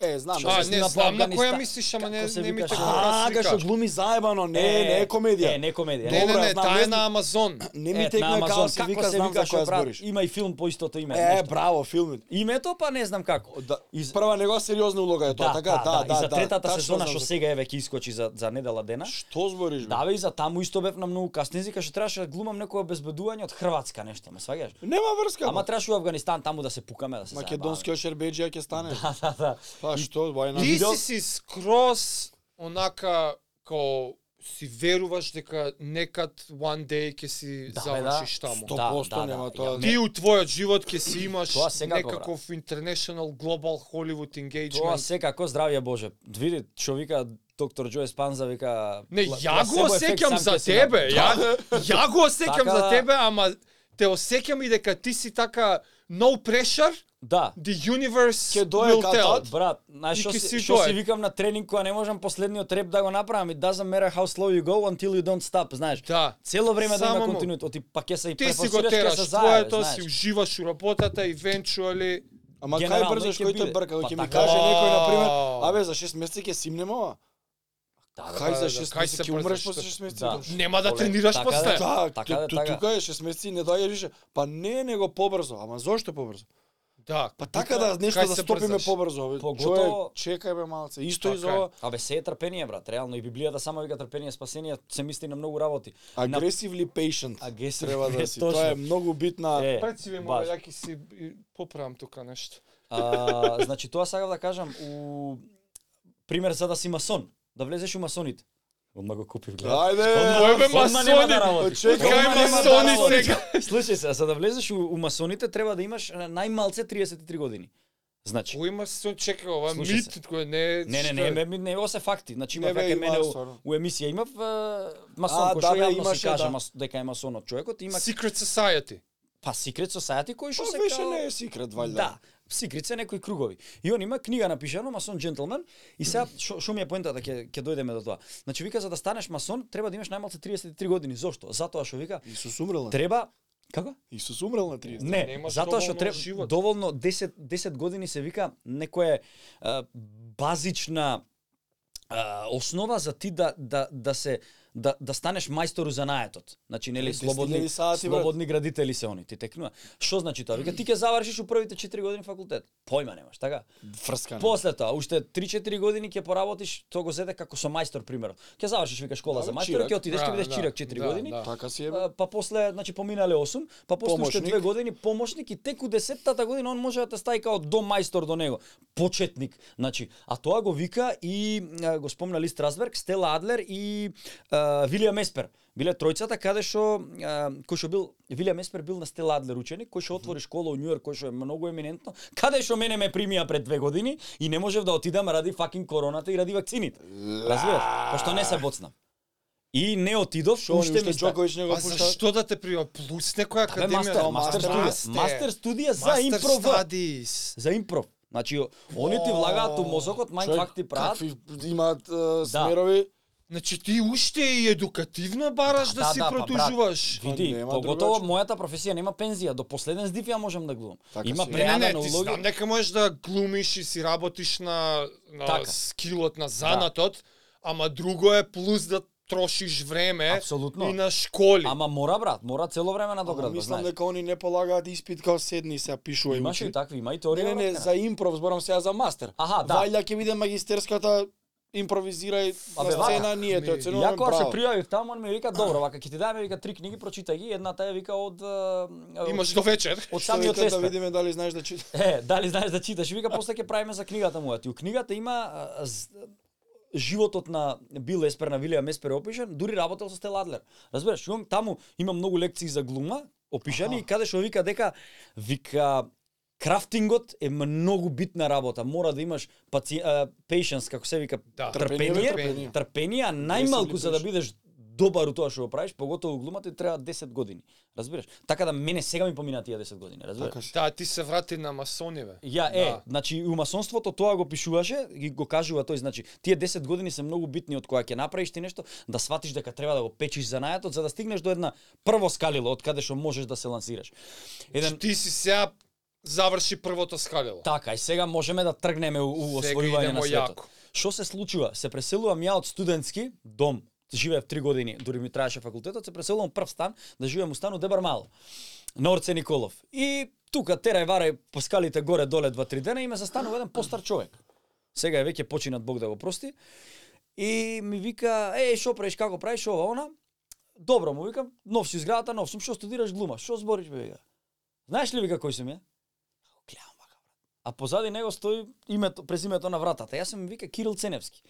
A: Е, знам.
B: Шо
A: да.
C: а
B: се
C: не
B: снима
C: знам на
B: по
C: која
B: Афганистан.
C: мислиш, ама не
B: Како се
C: не ми
B: викаше?
C: текна
A: А, га што
C: слика.
A: глуми заебано, не, не е комедија.
B: Е, не е комедија.
C: Не, не,
A: Добра,
C: не,
A: знам,
C: таа
A: не
C: е на Амазон.
A: Не
B: Е,
A: ми
B: на
A: текна
B: Амазон,
A: како
B: се
A: се
B: вика,
A: вика, знам за
B: викаше,
A: која
B: брат,
A: збориш.
B: Има и филм по истото име.
A: Е,
B: нешто.
A: браво, филмот.
B: Името па не знам како.
A: Да,
B: Из-
A: Прва негова сериозна улога е тоа, така? Да, да,
B: и за
A: да.
B: третата
A: Тачно
B: сезона
A: знам
B: што
A: за-
B: сега еве ќе искочи за за недела дена.
A: Што збориш? бе?
B: Да, бе, и за таму исто бев на многу кастинзи, кај што требаше да глумам некоја безбедување од Хрватска нешто, ме сваѓаш?
A: Нема врска.
B: Ама
A: Ама
B: требаше у Афганистан таму да се пукаме, да се
A: македонскиот шербеџија ќе стане.
B: заебаваме. Да, да, да.
A: Па што, вај на
C: Ти си си скрос онака као си веруваш дека некад one day ќе си
B: Да, бе,
C: завршиш
B: да.
C: таму.
B: Сто-
A: 100%
B: Да, да,
A: нема
B: да,
A: тоа.
B: ја-
C: Ти у твојот живот ќе си имаш
B: Тоа секако,
C: некаков international global Hollywood
B: Тоа
C: engagement.
B: секако здравје Боже. Види, што вика доктор Џо Еспанза вика
C: Не,
B: пла-
C: ја го
B: пласебо ефект
C: осеќам
B: сам
C: за
B: ќе си
C: тебе.
B: направи. Да.
C: Ја ја го осеќам
B: Така
C: за
B: да-
C: тебе, ама те осеќам и дека ти си така no pressure,
B: Да.
C: the universe
A: Ќе дое
C: will
A: кат
C: tell.
A: out.
B: Брат, знаеш
C: И
B: што
C: ќе
B: си,
C: си
B: што си
C: дојде.
B: викам на тренинг кога не можам последниот реп да го направам и doesn't matter how slow you go until you don't stop, знаеш.
C: Да.
B: Цело време да има
C: Само му.
B: континуитет, оти па ќе се и
C: Ти си го
B: префорсираш, ќе
C: тераш
B: се зајаве,
C: твоето, си
B: знаеш.
C: уживаш у работата, eventually...
A: Ама кај
B: Генерално
A: брзаш
B: ќе
A: кој те
B: биде.
A: брка,
B: Па
A: ќе ми
B: така.
A: каже некој на пример,
C: Ааа.
A: абе за 6 месеци ќе симнеме ова.
B: Да, да,
A: Кај
C: да,
A: за
C: да,
A: 6
C: кај
A: месеци
C: се
A: ќе умреш
C: брзаш,
A: после
C: што-
A: 6 месеци.
B: Да.
C: Нема да
B: Оле,
C: тренираш
B: така
C: после.
B: да е.
A: Да,
B: Така да,
A: ту-
B: така.
A: тука е 6 месеци не доаѓа више. Па не, него побрзо. Ама зошто побрзо?
C: Да,
A: Па така да нешто
C: кај
A: да
C: се
A: стопиме
C: брзаш?
A: побрзо. бе.
B: Поготово-
A: Човек, чекај бе малце. Исто и за
C: Така е.
A: ова
B: Абе се е трпение брат, реално и Библијата само вика трпение е спасение, се мисли на многу работи.
A: агресивли patient.
B: Агресив-
A: Треба да си.
B: точно.
A: Тоа е многу битна.
B: Е,
C: Преци ви
B: баш.
C: моја, ја ќе си и, поправам тука нешто.
B: А, значи тоа сакав да кажам у пример за да си масон, да влезеш у масоните. Одма го купив гледа.
A: Ајде.
C: Мој бе
B: Одма нема да
C: масони!
B: работи.
A: Чекај,
B: Одма
C: Кај
B: нема да
C: масони
B: работи.
C: сега!
B: Слушај се, за да влезеш у, у масоните треба да имаш а, најмалце 33 години. Значи,
C: Кој масон чека ова
B: Слушай се.
C: мит кој не
B: не,
C: е...
B: не,
C: што
B: не,
C: е?
B: не, не, не, ово се факти. Значи, има
A: Не, бе,
B: веќе
A: има,
B: мене у,
A: стварно.
B: у емисија имав е, масон,
A: А,
B: кој
A: да,
B: што
A: бе,
B: јавно
A: имаше,
B: си каже
A: да.
B: мас, дека е масон од човекот, има
C: Secret Society.
B: па секрет со сајати кој што
A: Тоа
B: се
A: веќе
B: као-
A: Па, не е секрет, валјда.
B: Да, секрет се некои кругови. И он има книга напишано масон джентлмен и сега шо, шо ми е поентата ќе ќе дојдеме до тоа. Значи вика за да станеш масон треба да имаш најмалку 33 години. Зошто? Затоа што вика
A: Исус умрел. на-
B: треба како?
A: Исус умрел на 30.
B: Не,
C: немаш
B: затоа што
C: доволно
B: треба
C: живот.
B: доволно 10 10 години се вика некоја е, базична е, основа за ти да да да се да да станеш мајстор у занаетот. Значи нели
A: 10.000
B: слободни
A: сати, брат.
B: слободни градители се они, ти текнува. Што значи тоа? Вика ти ќе завршиш у првите 4 години факултет. Појма немаш, така?
C: Да,
A: Фрскан.
B: После тоа, уште 3-4 години ќе поработиш, тоа го зеде како со мајстор примерот. Ќе завршиш вика школа
A: Да,
B: за
A: бе,
B: мајстор,
A: чирак.
B: ќе отидеш
C: Да,
B: ќе бидеш
C: да,
B: чирак 4
C: да,
B: години.
C: да.
A: Така си е. бе.
B: А, Па после, значи поминале 8, па после уште
A: Помошник.
B: две години помошник и тек у 10-тата година он може да те стави као до мајстор до него, почетник. Значи, а тоа го вика и а, го спомна Ли Страсберг, Стела Адлер и а, Вилиам Еспер. Биле тројцата каде што а, кој што бил Вилјам Еспер бил на Стел Адлер ученик, кој што отвори школа во Њујорк, кој што е многу еминентно, каде што мене ме примија пред две години и не можев да отидам ради факин короната и ради вакцините. Разбираш? Пошто не се боцнам. И не отидов, што
A: Шо
B: уште
A: уште
B: ми Па ста-
A: Джокович не го
C: А
A: пушта?
C: зашто да те прима плюс некоја
B: Абе, мастер,
C: академија? да.
B: мастер,
C: Масте.
B: студија, мастер студија за
C: Мастер
B: импров.
C: studies.
B: За импров. Значи, они ти влагаат у мозокот, мај
A: Човек,
B: факт ти прават. Да.
A: Какви имаат а, смерови?
C: Значи ти уште и едукативно бараш да,
B: Да,
C: си
B: да, па, брат.
C: продолжуваш.
B: Види,
A: Нема
B: поготово
A: другаче.
B: мојата професија нема пензија, до последен здив ја можам да глумам.
A: Така
B: Има
A: си е.
C: Не, не, не,
B: преадена
C: ти знам
B: улога.
C: дека можеш да глумиш и си работиш на, на
B: Така.
C: скилот, на занатот, ама друго е плюс да трошиш време
B: Апсолутно.
C: и на школи.
B: Ама мора брат, мора цело време на
A: Ама
B: доградба,
A: Мислам
B: да знаеш.
A: дека они не полагаат испит као седни се пишува и
B: Имаше
A: учи.
B: и такви, има и
A: Не,
B: теорија.
A: не, не,
B: брат,
A: за импров зборам сега за мастер.
B: Аха, да.
A: Ваља ќе биде магистерската импровизирај на
B: Абе,
A: сцена
B: вака.
A: ние тоа
C: Ми,
A: ценуваме
B: Ја кога се
A: браво.
B: пријавив таму, он ми вика, добро, вака ќе ти даме вика три книги, прочитај ги, едната е вика од е,
C: Имаш до вечер.
B: од
A: Што
B: самиот
A: викам да
B: лестер.
A: видиме дали знаеш да читаш.
B: Е, дали знаеш да читаш? Вика, после ќе правиме за книгата му. Ти у книгата има а, з- животот на Бил Еспер, на Вилијам Еспер е опишан, дури работел со Стел Адлер. Разбираш, имам таму има многу лекции за глума, опишани и каде што вика дека вика крафтингот е многу битна работа. Мора да имаш паци... а, patience, како се вика,
C: Да.
B: трпение,
A: Трпение.
B: трпение, трпение, а најмалку за да бидеш добар у тоа што го правиш, поготово у глумата ти треба 10 години. Разбираш? Така да мене сега ми помина тие 10 години, разбираш?
A: Така си.
C: Да, ти се врати на масониве.
B: Ја е,
C: Да.
B: значи у масонството тоа го пишуваше, ги го кажува тој, значи тие 10 години се многу битни од која ќе направиш ти нешто, да сватиш дека треба да го печиш занајатот за да стигнеш до една прво скалило од каде што можеш да се лансираш. Еден
C: Значи, Ти си сега заврши првото скалило.
B: така, и сега можеме да тргнеме у, у
C: Сега
B: освојување
C: идемо
B: на светот.
C: јако.
B: Што се случува? Се преселувам ја од студентски дом, живеев три години, дури ми траеше факултетот, се преселувам прв стан, да живеам у стану Дебар Мало, на Орце Николов. И тука терај варај по скалите горе доле два три дена и ме застанува еден постар човек. Сега е веќе починат Бог да го прости. И ми вика, е, шо правиш, како правиш, ова, она. Добро му викам, нов си изградата, нов сум, што студираш глума, што збориш, бе, вика. Знаеш ли, вика, кој сум ја? Гледам, вака, брат. А позади него стои името, презимето на вратата. Јас сум вика Кирил Ценевски.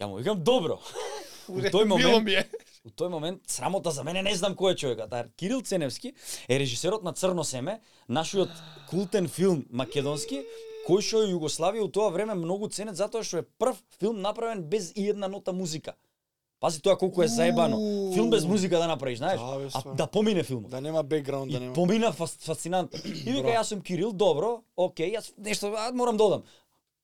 B: Ја му викам, добро. у тој
C: Мило
B: момент,
C: ми е.
B: у тој момент, срамота за мене, не знам кој е човекот. Ар Кирил Ценевски е режисерот на Црно семе, нашиот култен филм македонски, кој што е Југославија у тоа време многу ценет затоа што е прв филм направен без и една нота музика. Пази тоа колку е заебано. Филм без музика да направиш, знаеш?
A: Да, бе,
B: а
A: стварно.
B: да помине филмот.
A: Да нема бекграунд, да
B: И
A: нема.
B: помина фас, фасцинантно. И вика, јас сум Кирил, добро, окей, јас нешто, а, морам да одам.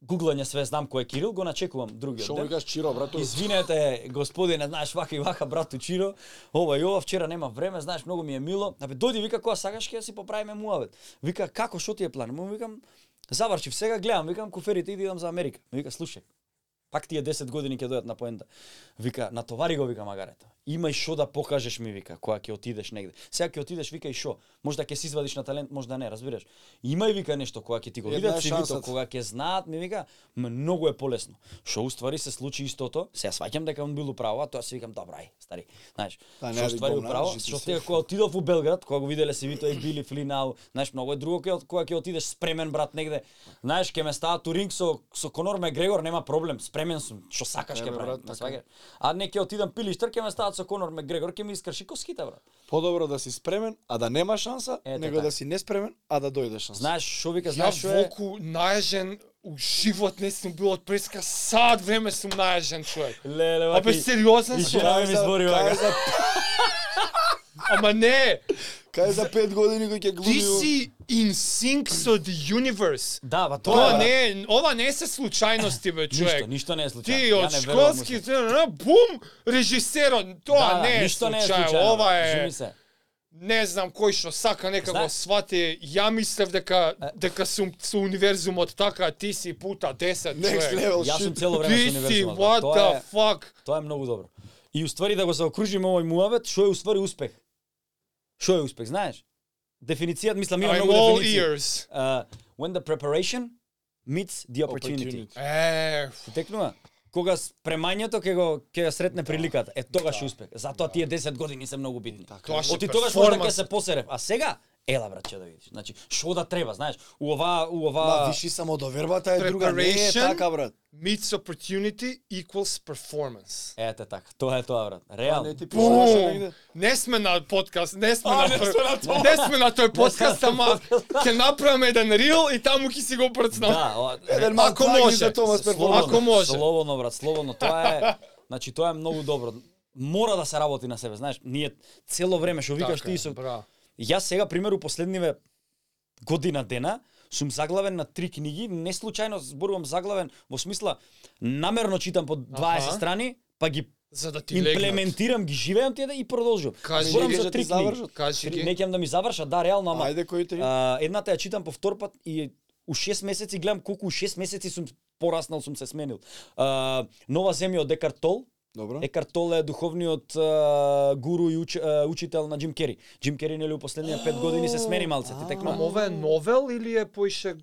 B: Гуглање све, знам кој е Кирил, го начекувам другиот
A: Што му
B: ден.
A: викаш Чиро, брато?
B: Извинете, господине, знаеш, вака и вака, брату Чиро, ова и ова, вчера нема време, знаеш, многу ми е мило. Абе, дојди, вика, кога сакаш, ќе си поправиме муавет. Вика, како, што ти е план? Му викам, заварчив сега, гледам, викам, куферите и идам за Америка. Ми вика, слушај, пак тие 10 години ќе дојат на поента. Вика, натовари го, вика, магарето. Имај шо да покажеш ми, вика, која ќе отидеш негде. Сега ќе отидеш, вика, и шо? Можда ќе се извадиш на талент, можда не, разбираш. Имај, вика, нешто која ќе ти го
A: Една е
B: видат, сивито,
A: шансата.
B: кога ќе знаат, ми вика, многу е полесно. Што уствари се случи истото, сега сваќам дека он бил управо, а тоа си викам, добра, ај, стари. Знаеш,
A: Да, не,
B: што
A: ајде,
B: уствари
A: добра,
B: управо,
A: жити
B: што
A: се.
B: ти кога отидов у Белград, кога го виделе се вито и били флинау, знаеш, многу е друго кога кога ќе отидеш спремен брат негде. Знаеш, ќе ме стават у ринг со со Конор Мегрегор, нема проблем, спремен сум, што сакаш
A: Е,
B: ќе
A: бе,
B: правам,
A: брат,
B: ме
A: така е.
B: сваѓаш. А не ќе отидам пилиштер, ќе ме стават со Конор Мегрегор, ќе ми искрши коските брат.
A: Подобро да си спремен, а да нема шанса,
B: Ето
A: него
B: така.
A: да си неспремен, а да дојде шанса.
B: Знаеш што вика,
C: Ја
B: знаеш што е?
C: волку најажен у живот не сум бил од преска сад време сум најажен човек.
B: Леле,
C: Абе сериозен
B: и
C: сум.
B: жена ми
A: Кај за-
B: збори
A: кај
B: вака.
A: за-
C: Ама не,
A: Кај за пет години кој ќе глуми.
C: ти
A: у-
C: си in sync со the universe.
B: Да, ба тоа
C: Тоа
B: е. брат.
C: не, е- ова не се случајности бе
B: Ништо,
C: човек.
B: ништо не е случајно.
C: Ти
B: Ја
C: од
B: не верувам во
C: школски
B: се.
C: на бум режисерот, тоа
B: Да,
C: не е
B: ништо не е
C: случај,
B: случајно,
C: ова
B: брат,
C: е
B: живи се.
C: не знам кој што сака нека го
B: Знаеш-
C: свати. Ја мислев дека дека сум со универзумот така, а ти си пута 10
A: Next
C: човек.
A: level
B: Јас сум
A: shit.
B: цело време
C: Ти
B: со
C: си
B: универзумот.
C: what
B: брат. Тоа
C: the
B: е
C: fuck.
B: Тоа е многу добро. И уствари да го заокружиме овој муавет, што е уствари успех? Што е успех, знаеш? Дефиницијата, мислам, има
C: I'm
B: многу
C: all
B: дефиниции.
C: ears.
B: Uh, when the preparation meets the opportunity.
C: Е,
B: Ти Текнува? Кога спремањето ќе го ќе ја сретне приликата, е тогаш успех. Затоа тие 10 години се многу битни.
C: тоа
B: Оти
C: ще
B: тогаш да можда
C: перформанс.
B: ќе се посерев. А сега Ела, брат, ќе да видиш. Значи, што да треба, знаеш, у ова, у
A: Ма,
B: ова...
A: виши само довербата е друга, не е
C: Preparation.
A: така, брат.
C: Meets opportunity equals performance.
B: Ете така, тоа е тоа, брат.
A: Па
B: Реално.
A: не ти пише да се
C: Бум!
A: негде.
C: Не сме на подкаст, не сме
B: А,
C: на
B: не сме на тоа.
C: Не сме на тој подкаст, ама ќе направиме еден рил и таму ќе си го брцнам.
B: Да, ова-
A: Еден мал
C: Ако
A: тлаги
C: може.
A: за Томас
B: Слободно,
A: Перформанс.
C: Ако може.
B: Слободно, брат, слободно. Тоа е, значи тоа е многу добро. Мора да се работи на себе, знаеш, ние цело време што викаш
C: Така е,
B: ти со
C: Бра.
B: Јас сега пример у последниве година дена сум заглавен на три книги, не случајно зборувам заглавен во смисла намерно читам по 20
C: Аха.
B: страни, па ги
C: За да ти легнат.
B: имплементирам, ги живеам тие да и продолжувам.
C: Кажи
B: Зборам
C: ги,
B: за
A: да
B: три
A: ти
B: книги.
A: завршат.
C: Кажи
B: Три-
C: ги.
B: Неќам да ми завршат, да, реално, ама
A: Ајде кои три?
B: а, едната ја читам повтор пат и у 6 месеци гледам колку у 6 месеци сум пораснал, сум се сменил. А, Нова земја од Екарт Тол.
A: Добро.
B: Екарт Тол е духовниот а, гуру и уч, а, учител на Джим Кери. Джим Кери нели у последниве 5 години се смени малце, ти
C: Ама
B: текна.
C: ова е новел или е поише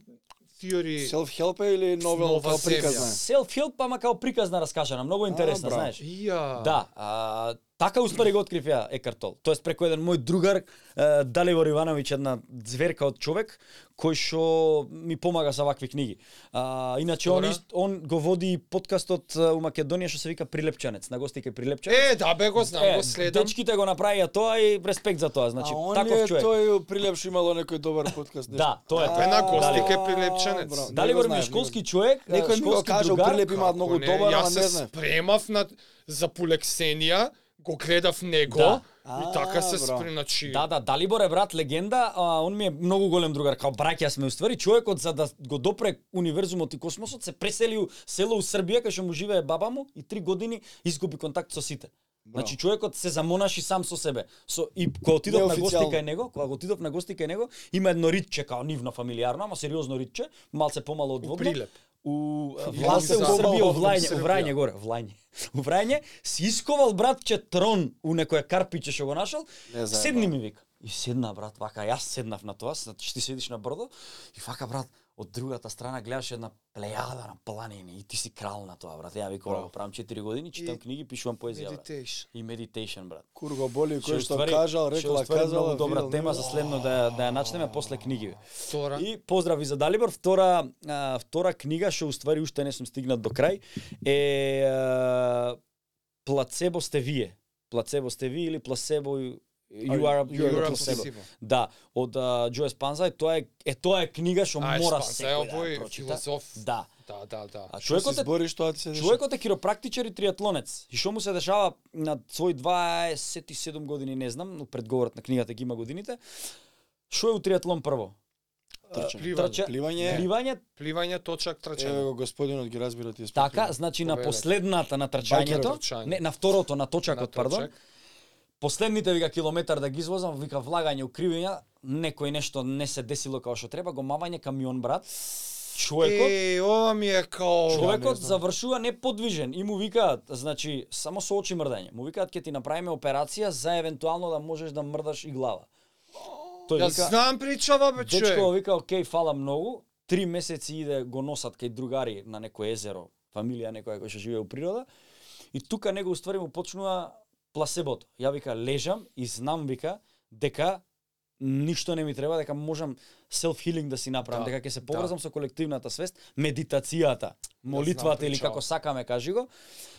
C: теори?
A: Self-help е или новел
C: Нова
A: као
C: земја.
A: приказна? е?
B: Self-help, ама као приказна раскажана, многу интересна,
A: А, браво.
B: знаеш.
C: Ја.
B: Да, а, така успари го открив ја Екарт Тол. Тоест преку еден мој другар е, Далибор Ивановиќ една зверка од човек кој што ми помага за вакви книги. А, иначе он,
C: Добра.
B: ист, он го води и подкастот е, у Македонија што се вика Прилепчанец, на гости кај Прилепчанец.
C: Е, да бе го знам, го следам.
B: дечките го направија тоа и респект за тоа, значи
A: а он ли
B: таков
A: е
B: човек.
A: тој прилепши имало некој добар подкаст? нешто?
B: Да, тоа е
A: А,
B: тој.
C: Бе на гости
A: Дали-
C: кај Прилепчанец.
A: Браво, не го
B: Далибор ми
A: знаев,
B: е школски човек, е,
A: Некој ми го
B: школски
A: кажал,
B: другар.
A: Прилеп има
C: Како
A: многу
C: не,
A: добар, ама
C: Јас
A: не
C: се
A: знам.
C: спремав на, за полексенија, го гледав него
B: Да.
C: и така се
A: А, браво.
C: спрем, значи...
B: Да, да, Далибор е брат легенда, а он ми е многу голем другар, као браќа сме уствари, човекот за да го допре универзумот и космосот се пресели у село у Србија кај што му живее баба му и три години изгуби контакт со сите. Значи човекот се замонаши сам со себе. Со и кога отидов на гости
A: Неофицијално.
B: кај него, кога го отидов на гости кај него, има едно ритче као нивно фамилиарно, ама сериозно ритче, малце помало од
C: У
B: водно
C: Прилеп.
B: у
C: Јас
B: власе у
C: за-
B: Србија, у
A: за-
B: Влајне, у
A: Србија.
B: Врајне горе, Влајне. У Врајне си исковал братче трон у некоја карпиче што го нашол.
A: Не знам, да.
B: Седни
A: брат.
B: ми вика. И седна брат, вака јас седнав на тоа, значи ти седиш на брдо и вака брат од другата страна гледаш една плејада на планини и ти си крал на тоа брат. Ја викам го правам 4 години, читам
C: И-
B: книги, пишувам поезија брат.
C: Медитейш.
B: И meditation брат.
A: Кур го боли
B: Ше
A: кој што
B: уствари-
A: кажал,
B: ше
A: рекла,
B: уствари
A: казала.
B: многу добра
A: видел,
B: тема
A: не
B: за
A: знам.
B: следно да ја- да ја начнеме после книги.
C: Тора.
B: И поздрави за Далибор, втора а, втора книга што уствари уште не сум стигнат до крај е а, Плацебо сте вие. Плацебо сте вие или плацебо you are, you are
C: Јура
B: a placebo. Да, од а, Джо Еспанза, тоа е е тоа е книга што
C: А,
B: мора
C: Еспанса е
B: секој да ја
C: овој
B: прочита.
C: филозоф.
B: Да.
C: Да, да, да.
B: А
A: Што
B: човекот
A: се
B: е
A: збориш тоа ти се дешава.
B: Човекот е киропрактичар и триатлонец. И што му се дешава на свои 27 години, не знам, но предговорот на книгата ги има годините. Што е у триатлон прво?
A: Трчање.
C: Пливање.
B: Трча-
A: Пливање.
B: Пливање,
C: Пливање, точак, трчање.
A: Еве го господинот ги разбира тие спортови.
B: така, значи на
C: Поведај.
B: последната на
C: Бајкерот
B: трчањето,
C: трчање.
B: не, на второто, на
C: На
B: точакот, пардон,
C: точак.
B: последните вика километар да ги извозам, вика влагање, укривање, некој нешто не се десило како што треба, го мавање камион брат. Човекот
C: Е, ова ми е као...
B: Човекот завршува неподвижен и му викаат, значи, само со очи мрдање. Му викаат ќе ти направиме операција за евентуално да можеш да мрдаш и глава. Тој
C: Ја
B: вика,
C: знам причава, бе,
B: дечко
C: човек.
B: вика, окей, фала многу. Три месеци иде го носат кај другари на некој езеро, фамилија некоја која што живее у природа. И тука него уствари му почнува пласебото. Ја вика лежам и знам вика дека ништо не ми треба, дека можам self healing да си направам,
C: Да,
B: дека ќе се поврзам со колективната свест, медитацијата, молитвата или
C: причава.
B: како сакаме кажи го,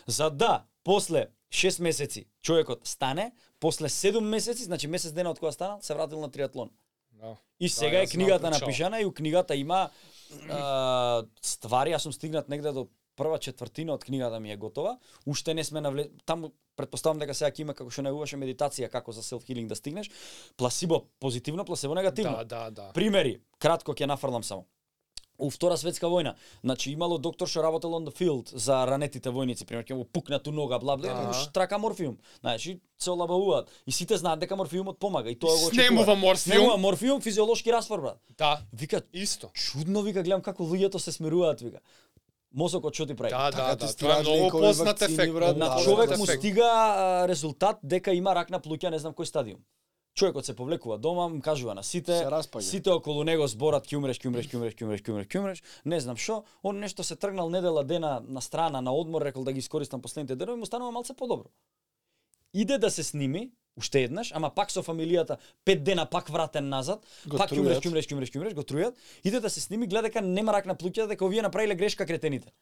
B: за да после 6 месеци човекот стане, после 7 месеци, значи месец дена од кога станал, се вратил на триатлон.
C: Да.
B: И сега
C: ја
B: е
C: знам
B: книгата
C: причала.
B: напишана и у книгата има а, ствари, јас сум стигнат негде до прва четвртина од книгата ми е готова. Уште не сме навле... Таму предпоставам дека сега ќе има како што најуваше медитација како за self healing да стигнеш. Пласибо позитивно, пласибо негативно.
C: Да, да, да.
B: Примери, кратко ќе нафрлам само. У Втора светска војна, значи имало доктор што работел on the field за ранетите војници, пример ќе му пукнат у нога, бла бла,
C: Аха.
B: му штрака морфиум. Значи се олабавуваат и сите знаат дека морфиумот помага и тоа го очекуваат.
C: Снемува морфиум.
B: Снемува морфиум, физиолошки раствор брат.
C: Да,
B: Вика
C: исто.
B: чудно вика гледам како луѓето се смируваат вика. Мозокот што ти прави?
C: Да,
A: Така
C: да,
A: ти
C: да. Тоа е
A: стражни
C: многу
A: кои
C: познат
A: вакцини,
C: ефект.
A: брат,
B: на
A: да,
B: човек
A: да,
B: му
A: да.
B: стига а, резултат дека има рак на плуќа, не знам кој стадиум. Човекот се повлекува дома, му кажува на сите,
A: Се распаѓа.
B: сите околу него зборат ќе умреш, ќе умреш, ќе умреш, ќе умреш, ќе умреш, ќе умреш, не знам што, он нешто се тргнал недела дена на страна, на одмор, рекол да ги искористам последните денови, му станува малце подобро. Иде да се сними, уште еднаш, ама пак со фамилијата пет дена пак вратен назад,
A: Го
B: пак
A: трујат.
B: кјумреш, кјумреш, кјумреш, кјумреш, го трујат, иде да се сними, гледа дека нема рак на плуќата, дека овие направиле грешка кретените.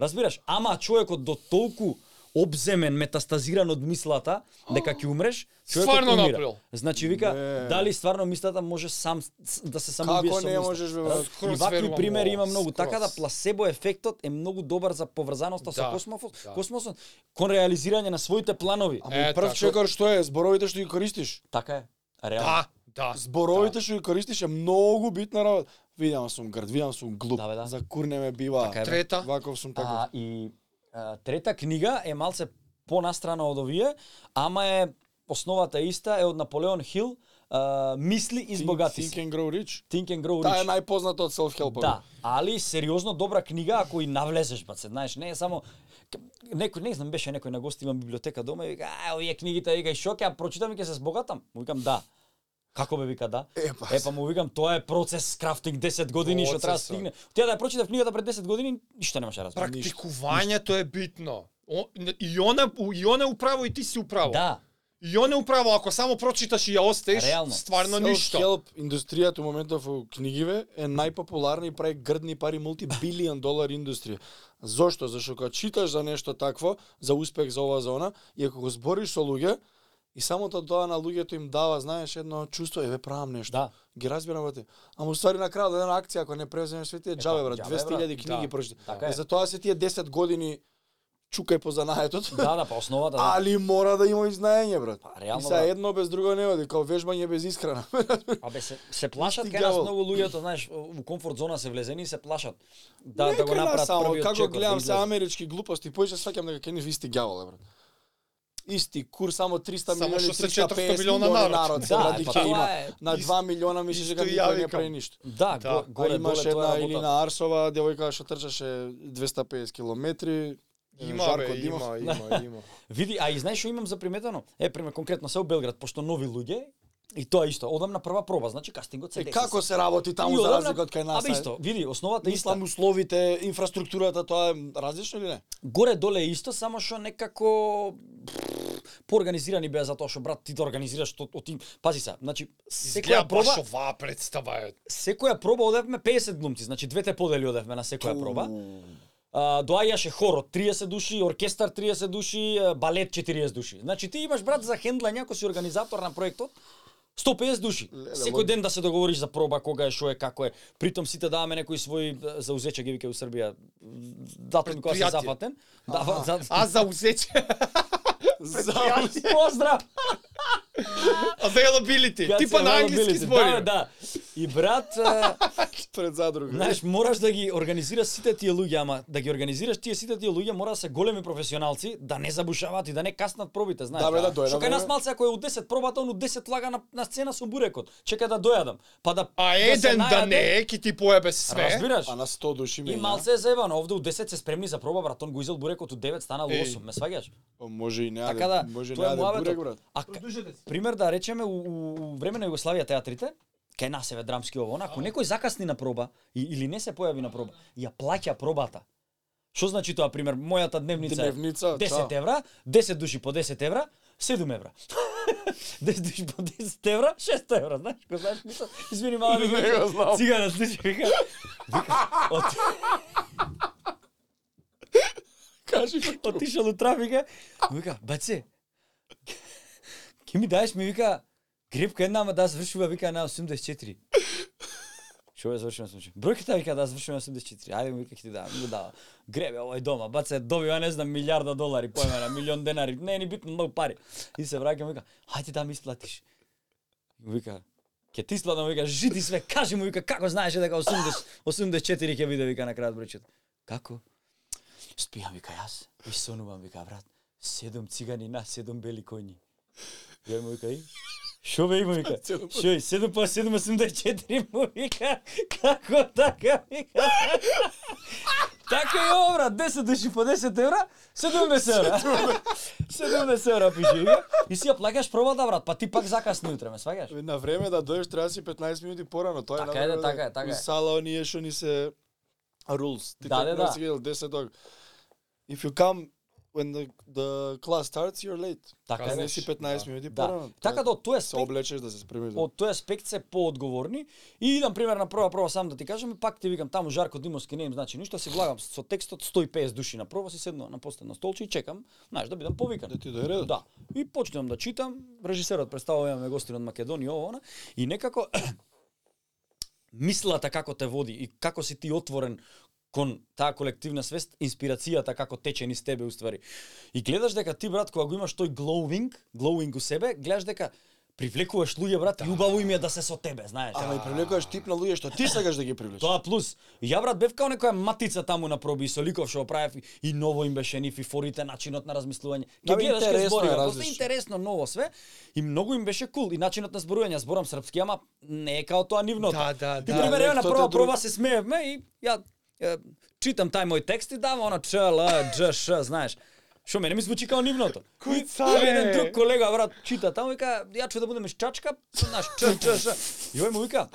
B: Разбираш, ама човекот до толку обземен, метастазиран од мислата, дека ќе умреш, човекот
C: Стварно
B: умира.
C: направил.
B: Значи вика,
A: Не.
B: дали стварно мислата може сам с- да се самоубие
A: Како
B: со
A: не
B: мислата?
A: можеш бе?
B: Раз-
A: брат?
C: Скроз
B: И вакви
C: верувам
B: примери
C: во
B: има
C: ова,
B: многу. Така да
C: скроз.
B: пласебо ефектот е многу добар за поврзаноста со
C: Да,
B: космосот,
C: да.
B: космосот кон реализирање на своите планови.
A: Ама
C: Е,
A: и прв
C: така.
A: чекор што е, зборовите што ги користиш.
B: Така е. Реално.
C: Да, да.
A: Зборовите што ги користиш е многу битна работа. Видам сум грд, видам сум глуп.
B: Да, бе, да.
A: За курне ме бива.
B: Така е, бе.
C: Трета.
A: Ваков сум
B: А,
A: така.
B: и а, трета книга е малце понастрана од овие, ама е основата е иста е од Наполеон Хил, а, мисли и богати
A: Think
B: се.
A: and grow rich.
B: Think and grow
A: Таа е
B: rich.
A: најпозната од self-help.
B: Да, али сериозно добра книга ако и навлезеш бат, се знаеш, не е само к- некој не знам беше некој на гости имам библиотека дома и вика ај овие книгите вика и шо ќе ја прочитам и ќе се збогатам. Му викам да. Како бе вика да?
A: Епа.
B: Епа му викам тоа е процес крафтинг 10 години што треба да
C: Процесот.
B: стигне. Ти да ја прочитав книгата пред 10 години, ништо немаше да разбереш.
C: Практикувањето е битно. О, не- и она и она управо и ти си управо.
B: Да,
C: И она управо ако само прочиташ и ја остеш,
B: Реално.
C: стварно ништо.
A: Self-help индустријата во моментов во книгиве е најпопуларна и прави грдни пари мултибилион долар индустрија. Зошто? Зашто кога читаш за нешто такво, за успех, за ова, за она, и ако го збориш со луѓе, и самото тоа на луѓето им дава, знаеш, едно чувство, еве правам нешто.
B: да.
A: Ги разбирам вате. Ама уствари на крајот една акција ако не преземеш сите тие
B: па,
A: џабе брат,
B: џабе,
A: 200.000 книги
C: Да.
A: прочиташ.
B: Така е.
A: За тоа се тие 10 години чукај по занаетот.
B: Да, да, па основата. Да.
A: Али мора да има и знаење, брат.
B: Па,
A: и
B: реално,
A: сега
B: брат.
A: едно без друго не оди, као вежбање без исхрана.
B: Абе се се плашат
A: Исти
B: кај нас
A: ѓавол.
B: многу луѓето, знаеш, во комфорт зона се влезени и се плашат. Да,
A: Не
B: да го
A: кај нас
B: направат
A: само,
B: првиот
A: како
B: чекор, да
A: гледам се
B: излезат.
A: амерички глупости, поише сваќам дека кај нив исти ѓавол е, брат. Исти кур само 300
C: Само
A: милиони,
C: што се
A: 350
C: 400 милиона
A: милиона
C: народ.
A: народ се
B: Да,
A: брат,
B: е,
A: и
B: па
A: ќе
B: тоа
A: има
B: е.
A: на 2 милиона мислиш дека
C: исто и
A: никој
C: ја
A: не
C: викам.
A: прави ништо.
B: Да,
C: Да.
B: го-
A: Горе,
B: горе
A: Така, имаш
B: доле
A: една
B: тоа
A: или
B: работа.
A: на Арсова девојка што трчаше 250 километри.
C: Има,
A: Жарко
C: бе,
A: Димов.
C: има, има, има.
B: Види, а и знаеш што имам заприметено? Е, пример конкретно се у Белград, пошто нови луѓе и тоа исто. Одам на прва проба, значи кастингот се
A: Е,
B: деси.
A: како се работи
B: И
A: таму за
B: одам на-
A: разлика од кај нас? е?
B: Абе исто, види, основата е иста.
A: Мислам Да условите, инфраструктурата, тоа е различно или не?
B: Горе доле е исто, само што некако поорганизирани беа за тоа што брат ти да организираш што оти пази се значи секоја
C: Изгледа
B: проба
C: баш оваа представа е.
B: секоја проба одевме 50 глумци значи двете подели одевме на секоја проба А, доаѓаше хор од 30 души, оркестар 30 души, а, балет 40 души. Значи ти имаш брат за хендлање ако си организатор на проектот 150 души.
A: Леле,
B: Секој
A: логи.
B: ден да се договориш за проба, кога е, што е, како е. Притом сите даваме некои свои е, заузече ги вика у Србија. Датум кога се
C: Предпријатие.
B: зафатен. Да, за...
C: А за узече,
B: Поздрав!
C: availability, типа на англиски збори.
B: Да, да. И брат, е,
A: Пред задруга.
B: Знаеш, мораш да ги организираш сите тие луѓе, ама да ги организираш тие сите тие луѓе мора да се големи професионалци, да не забушаваат и да не каснат пробите, знаеш.
A: Да, бе, да дојдам,
B: Што
A: бе.
B: кај нас малце ако е у 10 пробата, он у 10 лага на, на сцена со бурекот. Чека да дојадам. Па да
C: А
B: се
C: еден да
B: најаде,
C: не е, ки ти поебе све.
B: Разбираш?
A: А Па, на 100 души ми.
B: И малце е заебано, овде у 10 се спремни за проба, брат, он го изел бурекот у 9, станал у
C: Еј.
B: 8, ме сваѓаш?
A: Па Може и не.
B: Така да,
A: може и не.
B: тоа е
A: аде бурек,
B: муабетот.
A: брат.
B: А к-
D: Продужете се.
B: пример да речеме у, у, у време на Југославија театрите, кај нас еве драмски ово, онако некој закасни на проба и, или не се појави на проба, ја плаќа пробата. Што значи тоа пример? Мојата дневница е
A: Дневница,
B: 10
A: да.
B: евра, 10 души по 10 евра, 7 евра. 10 души по 10 евра, 6 евра, знаеш, го знаеш мисла. Извини мала ми
A: Не го знам.
B: Цигара слушай, вика. Вика, от-
A: Кажи.
B: отишел у трафика, му вика, баце, ке ми даеш ми вика, грепка една, ама да завршува, вика, на 84. Што е завршено случај? Бројката вика да завршува на 84. Ајде му вика ќе ти дам, му дава. Гребе овој дома, баце добива не знам милиарда долари, појма на милион денари, не е ни битно многу пари. И се враќа му вика, ајде да ми исплатиш. Му вика, ќе ти исплатам, му вика, жити све, кажи му вика како знаеше дека 80 84 ќе биде вика на крајот бројчето. Како? Спијам, вика, јас. И сонувам, вика, брат. Седом цигани на седом бели коњи. Ја му вика, и? Шо бе има, вика? Шо е, седом па седом, осумдесет четири, му вика. Како така, вика? Така е ово, брат. 10 души по 10 евра, 70 евра. 70 евра пише, вика. И си ја плаќаш пробата, брат, па ти пак закасни утре, ме сваѓаш?
A: На време да дојдеш треба си 15 минути порано, тоа е
B: Така
A: на
B: е,
A: време
B: да, така е, така
A: у
B: е.
A: Сала оние што ни се rules. Ти
B: Да,
A: да,
B: да,
A: да,
B: да.
A: си видел 10 дог. If you come when the, the class starts, you're late.
B: Така
C: Така
B: е.
A: Кај
C: Казваш,
A: не си 15
C: да.
A: минути
B: Да.
A: порано.
B: Така да од тој
A: се
B: аспект,
A: облечеш да се спремиш. Да.
B: од тој аспект се поодговорни. И идам пример на прва прва сам да ти кажам, и пак ти викам таму Жарко Димовски не им значи ништо, си влагам со текстот 150 души на прва, си седнувам на последно столче и чекам, знаеш, да бидам повикан.
A: Да ти дојде редот.
B: Да. И почнувам да читам, режисерот представува имаме гости од Македонија, ово, она, и некако мислата како те води и како си ти отворен кон таа колективна свест, инспирацијата како тече низ тебе уствари. И гледаш дека ти брат кога го имаш тој glowing, glowing у себе, гледаш дека привлекуваш луѓе брат, и убаво им е да се со тебе, знаеш.
A: Ама и привлекуваш тип на луѓе што ти сакаш да ги привлечеш.
B: Тоа плюс. Ја брат бев као некоја матица таму на проби и со ликов што го правев и- и ново им беше ниф и форите начинот на размислување. Ќе
A: Абе,
B: гледаш ке
A: интересно е,
B: зборувам, просто
A: различно.
B: интересно ново све и многу им беше кул и начинот на зборување, Јас зборам српски, ама не е као тоа нивното.
C: Да, да,
B: Ти
C: да.
B: пример ево, на
A: Тоа е
B: прва
A: друг.
B: проба се смеевме и ја е, читам тај мој текст и дава она ч л дж ш, знаеш. Што мене ми звучи као нивното.
C: Кој
B: И
C: цар е?
B: Еден друг колега брат чита таму и вика ја чу да будем чачка, знаеш ч ч ш. И овој му вика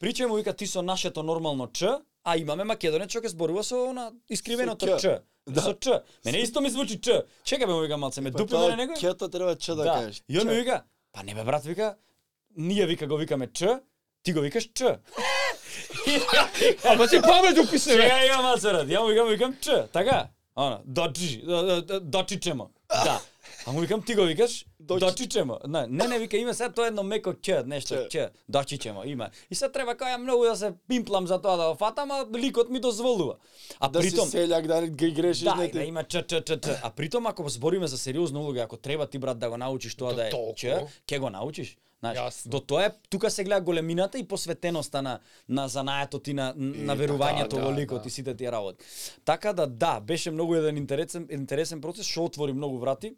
B: Причај му вика ти со нашето нормално ч, а имаме македонец што ќе зборува со она искривеното
A: Со Ќ.
B: ч. Да. Со ч. Мене исто ми звучи ч. Чека бе му вика малце ме дупи мене него.
A: Па Кето треба че да,
B: Да.
A: кажеш.
B: И он ми
A: Че.
B: вика, па не бе брат вика, ние вика го викаме ч, ти го викаш ч.
C: Ама ти памет уписе, бе.
B: Чега ја малце брат, ја му викам викам ч, така? Она, дочи, дочичемо. Да. А му викам ти го викаш
A: Дочи-
B: дочичемо. Не, не, не вика има сега тоа едно меко ќе, нешто ќе, дочичемо има. И се треба кај ја многу да се пимплам за тоа да го фатам, а ликот ми дозволува. А
A: Да си
B: притом
A: селјак, да не ги грешиш.
B: Да,
A: не
B: и да
A: ти-
B: има ч ч ч ч. А притом ако збориме за сериозна улога, ако треба ти брат да го научиш тоа
C: Да,
B: да, е
C: толку.
B: ч, ќе го научиш. Знаеш,
C: Јасно.
B: до тоа е тука се гледа големината и посветеноста на на занаетот и на на верувањето
C: да,
B: во
C: да,
B: ликот
C: да.
B: и сите тие работи. Така да да, беше многу еден интересен интересен процес што отвори многу врати.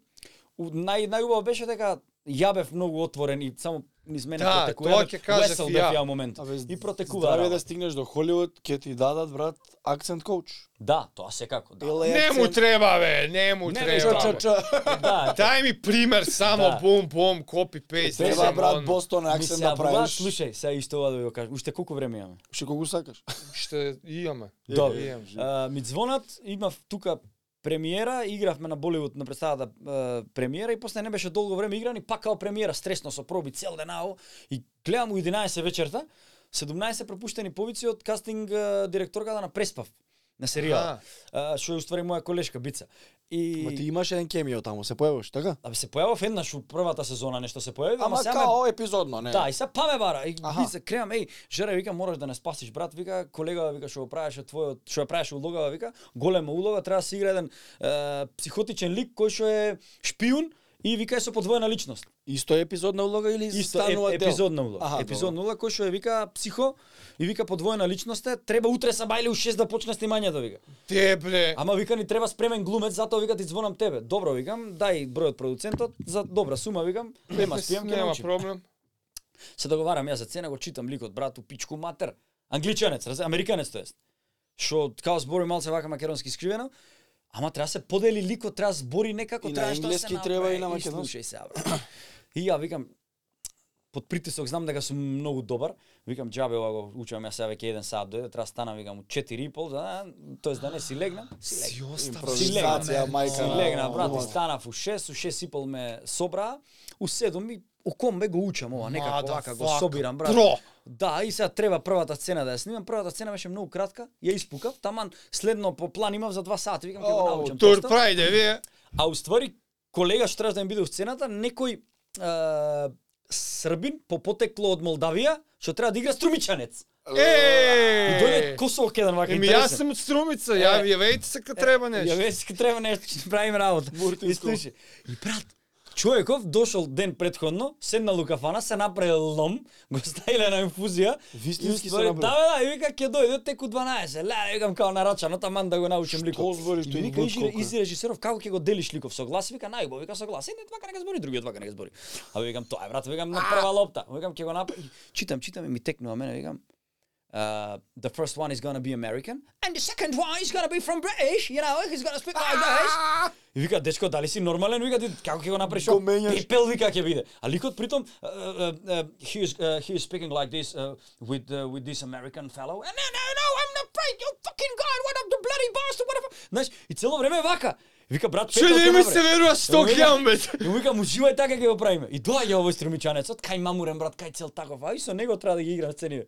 B: У, нај најубаво беше дека ја бев многу отворен и само низ мене
C: Да,
B: протекува.
C: тоа
B: еден
C: ќе кажав
B: весел
C: и
B: бев
C: ја.
B: ја момент.
A: Абе,
B: и протекува.
A: Здраве да
B: работа.
A: стигнеш до Холивуд, ќе ти дадат брат акцент коуч.
B: Да, тоа секако. Да.
A: Или
C: Не му
A: акцент-
C: треба, бе, не му
B: Не,
A: Ча,
C: треба.
A: ча,
C: бе.
A: ча.
B: да,
C: Дај ми пример
B: Да.
C: само, бум, бум, копи, пейст.
A: Треба брат Бостон
B: Ми
A: акцент
B: се
A: да
B: абува,
A: правиш.
B: слушај, сега исто ова да ви го кажам. Уште колку време имаме?
A: Ше кого сакаш?
C: Ще имаме.
B: Добро.
A: Е, е, е,
B: А, ми звонат, имав тука премиера, игравме на Боливуд на представата а, премиера и после не беше долго време игран и пак као премиера, стресно со проби цел ден ао и гледам у 11 вечерта, 17 пропуштени повици од кастинг а, директорката на Преспав на серијал.
C: Аха.
B: А, Што е уствари моја колешка Бица.
A: Ма ти
B: И
A: имаш еден кемио таму, се појавуваш, така?
B: Абе се појавав еднаш у првата сезона, нешто се појави, ама,
A: Ама
B: сега ме
A: као епизодно, не?
B: Да, и се паме бара. И
A: Аха.
B: ви се кремам, еј, Жере вика мораш да не спасиш брат, вика колега вика што го правеше твојот, што ја правеше улога вика, голема улога, треба да се игра еден е, психотичен лик кој што е шпијун и вика е со подвоена личност.
A: Исто е епизодна улога или
B: Исто е,
A: станува дел?
B: епизодна улога.
A: Аха,
B: епизодна улога кој што е вика психо и вика подвоена личност е, треба утре са бајле у 6 да почне снимањето вика.
C: Дебле.
B: Ама вика ни треба спремен глумец, затоа вика ти звонам тебе. Добро викам, дај бројот продуцентот за добра сума викам, нема спијам ќе
C: Нема
B: научим.
C: проблем.
B: Се договарам ја за цена, го читам ликот, брат, у пичку матер. Англичанец, раз, американец тоест. Што као збори малце вака македонски скривено, ама треба се подели ликот, треба да збори некако,
A: И на
B: треба што да се
A: англиски треба и на
B: направи.
A: македонски.
B: слушај се, брат. И ја викам, под притисок знам дека сум многу добар. Викам џабе ова го учам ја сега веќе еден саат дојде, треба станам викам у 4 и пол, да, тоест да не си легнам. Си легнам.
C: Си остава.
A: Импровизација, мајка.
B: Си
A: на
B: легна, брат, и
A: улога.
B: станав у 6, у 6 и пол ме собра, у 7 ми у ком бе го учам ова, некако вака го
C: Motherfucker.
B: собирам, брат.
C: Про.
B: Да, и сега треба првата сцена да ја снимам. Првата сцена беше многу кратка, ја испукав, таман следно по план имав за два сати, викам ќе го
A: Оу,
B: научам
C: Тур
B: текстот.
C: прајде, вие.
B: А уствари колега што требаше да ми биде у сцената, некој е, србин по потекло од Молдавија, што треба да игра струмичанец. И дојде
C: Е.
B: косолк еден вака
C: Еми јас
B: интересен.
C: сум од Струмица, ја
B: Е.
C: јавејте се кога треба
B: Ја
C: нешто.
B: веќе треба нешто, ќе правим работа. И
A: Муртинско.
B: слушай, и брат, човеков дошол ден предходно, седнал у кафана, се направил лом, го ставиле на инфузија.
A: Вистински се
B: и ствари,
A: направил.
B: Да, бе, да, и вика ќе дојде теку 12. Ле, викам како нарачано, таман да го научим ликот.
A: збориш,
B: И
A: тој
B: ми вика
A: луд
B: изи,
A: колку е.
B: изи режисеров како ќе го делиш ликов со глас, вика најубаво, вика со глас. Едниот вака нека збори, другиот вака нека збори. А викам тоа е брат, викам на прва лопта. Викам ќе го направи. Читам, читам и ми текнува мене, викам uh, the first one is gonna be American, and the second one is gonna be from British, you know, he's gonna speak like this. И вика, дечко, дали си нормален? Вика, ти како ќе го направиш?
A: Го
B: ова?
A: менјаш.
B: Пепел вика ќе биде. А ликот притом, uh, uh, uh, he, is, uh, he is speaking like this uh, with, uh, with this American fellow. And no, no, no, I'm not afraid, you fucking God, what up the bloody bastard, whatever. Знаеш, и цело време е вака. Вика, брат,
C: Ше не ми
B: направи.
C: се верува што
B: Ема,
C: ги имам бе.
B: И му викам, уживај така ќе го правиме. И доаѓа овој струмичанецот, кај мамурен брат, кај цел таков, ај со него треба да ги играм сцени. бе.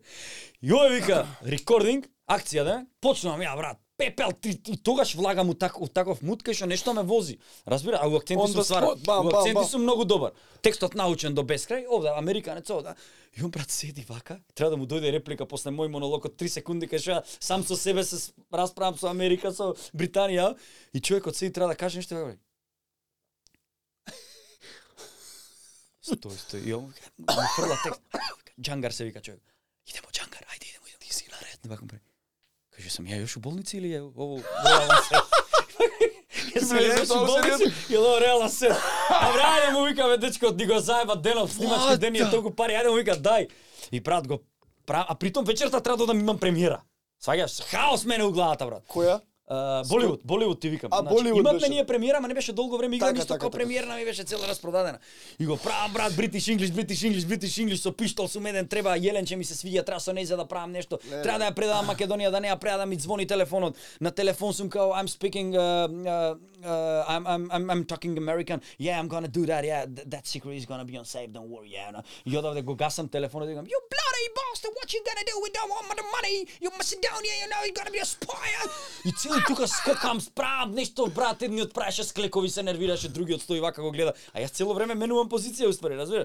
B: И овој вика, рекординг, акција да, почнувам ја брат, пепел, ти, и тогаш влагам у, так, у таков мут кај што нешто ме вози. Разбира, а у
A: On
B: акценти
A: the
B: сум свара.
A: spot, да бам,
B: у
A: бам,
B: акценти
A: бам.
B: сум многу добар. Текстот научен до бескрај, овда американец овда. И он брат седи вака, треба да му дојде реплика после мој монолог од 3 секунди кај што ја сам со себе се с- расправам со Америка, со Британија и човекот седи треба да каже нешто и вака, Стој, стој. И он му ка- му фрла текст. Джангар се вика човек. Идемо Джангар, ајде идемо, идемо. Ти си на ред, вакам пре. Каже сам ја јаш у болници или е ово реален се? Јас
A: Бе,
B: јаш у
A: тоа
B: болници или ово реален се? А бре, ајде му вика, бе, дечко, ни го заеба денот, снимачки
C: What
B: ден и е
C: the-
B: толку пари, ајде му вика, дај. И брат го пра... а притом вечерта треба да имам премиера. Сваѓаш, хаос мене у главата, брат.
A: Која?
B: А, Боливуд, Боливуд ти викам.
A: А,
B: значи,
A: Боливуд
B: имавме
A: беше.
B: ние премиера, ама не беше долго време игра,
A: Така,
B: ништо
A: така,
B: како
A: така.
B: премиерна ми беше цела распродадена. И го правам брат Бритиш Инглиш, Бритиш Инглиш, Бритиш Инглиш со пиштол сум еден, треба Јеленче ми се свиѓа, треба со нејзе да правам нешто.
A: Леле.
B: Треба да ја предадам Македонија, да не ја предадам, ми звони телефонот. На телефон сум као I'm speaking uh, uh, uh, I'm, I'm I'm I'm talking American. Yeah, I'm gonna do that. Yeah, th- that secret is gonna be on safe. Don't worry. Yeah. no. И одавде го гасам телефонот и викам You bloody bastard, what you gonna do? We don't want the money. You Macedonia, you know, you gonna be a spy. И цели тука скокам, справам нешто, брат, едниот правеше склекови се нервираше, другиот стои вака го гледа. А јас цело време менувам позиција успари, разбираш?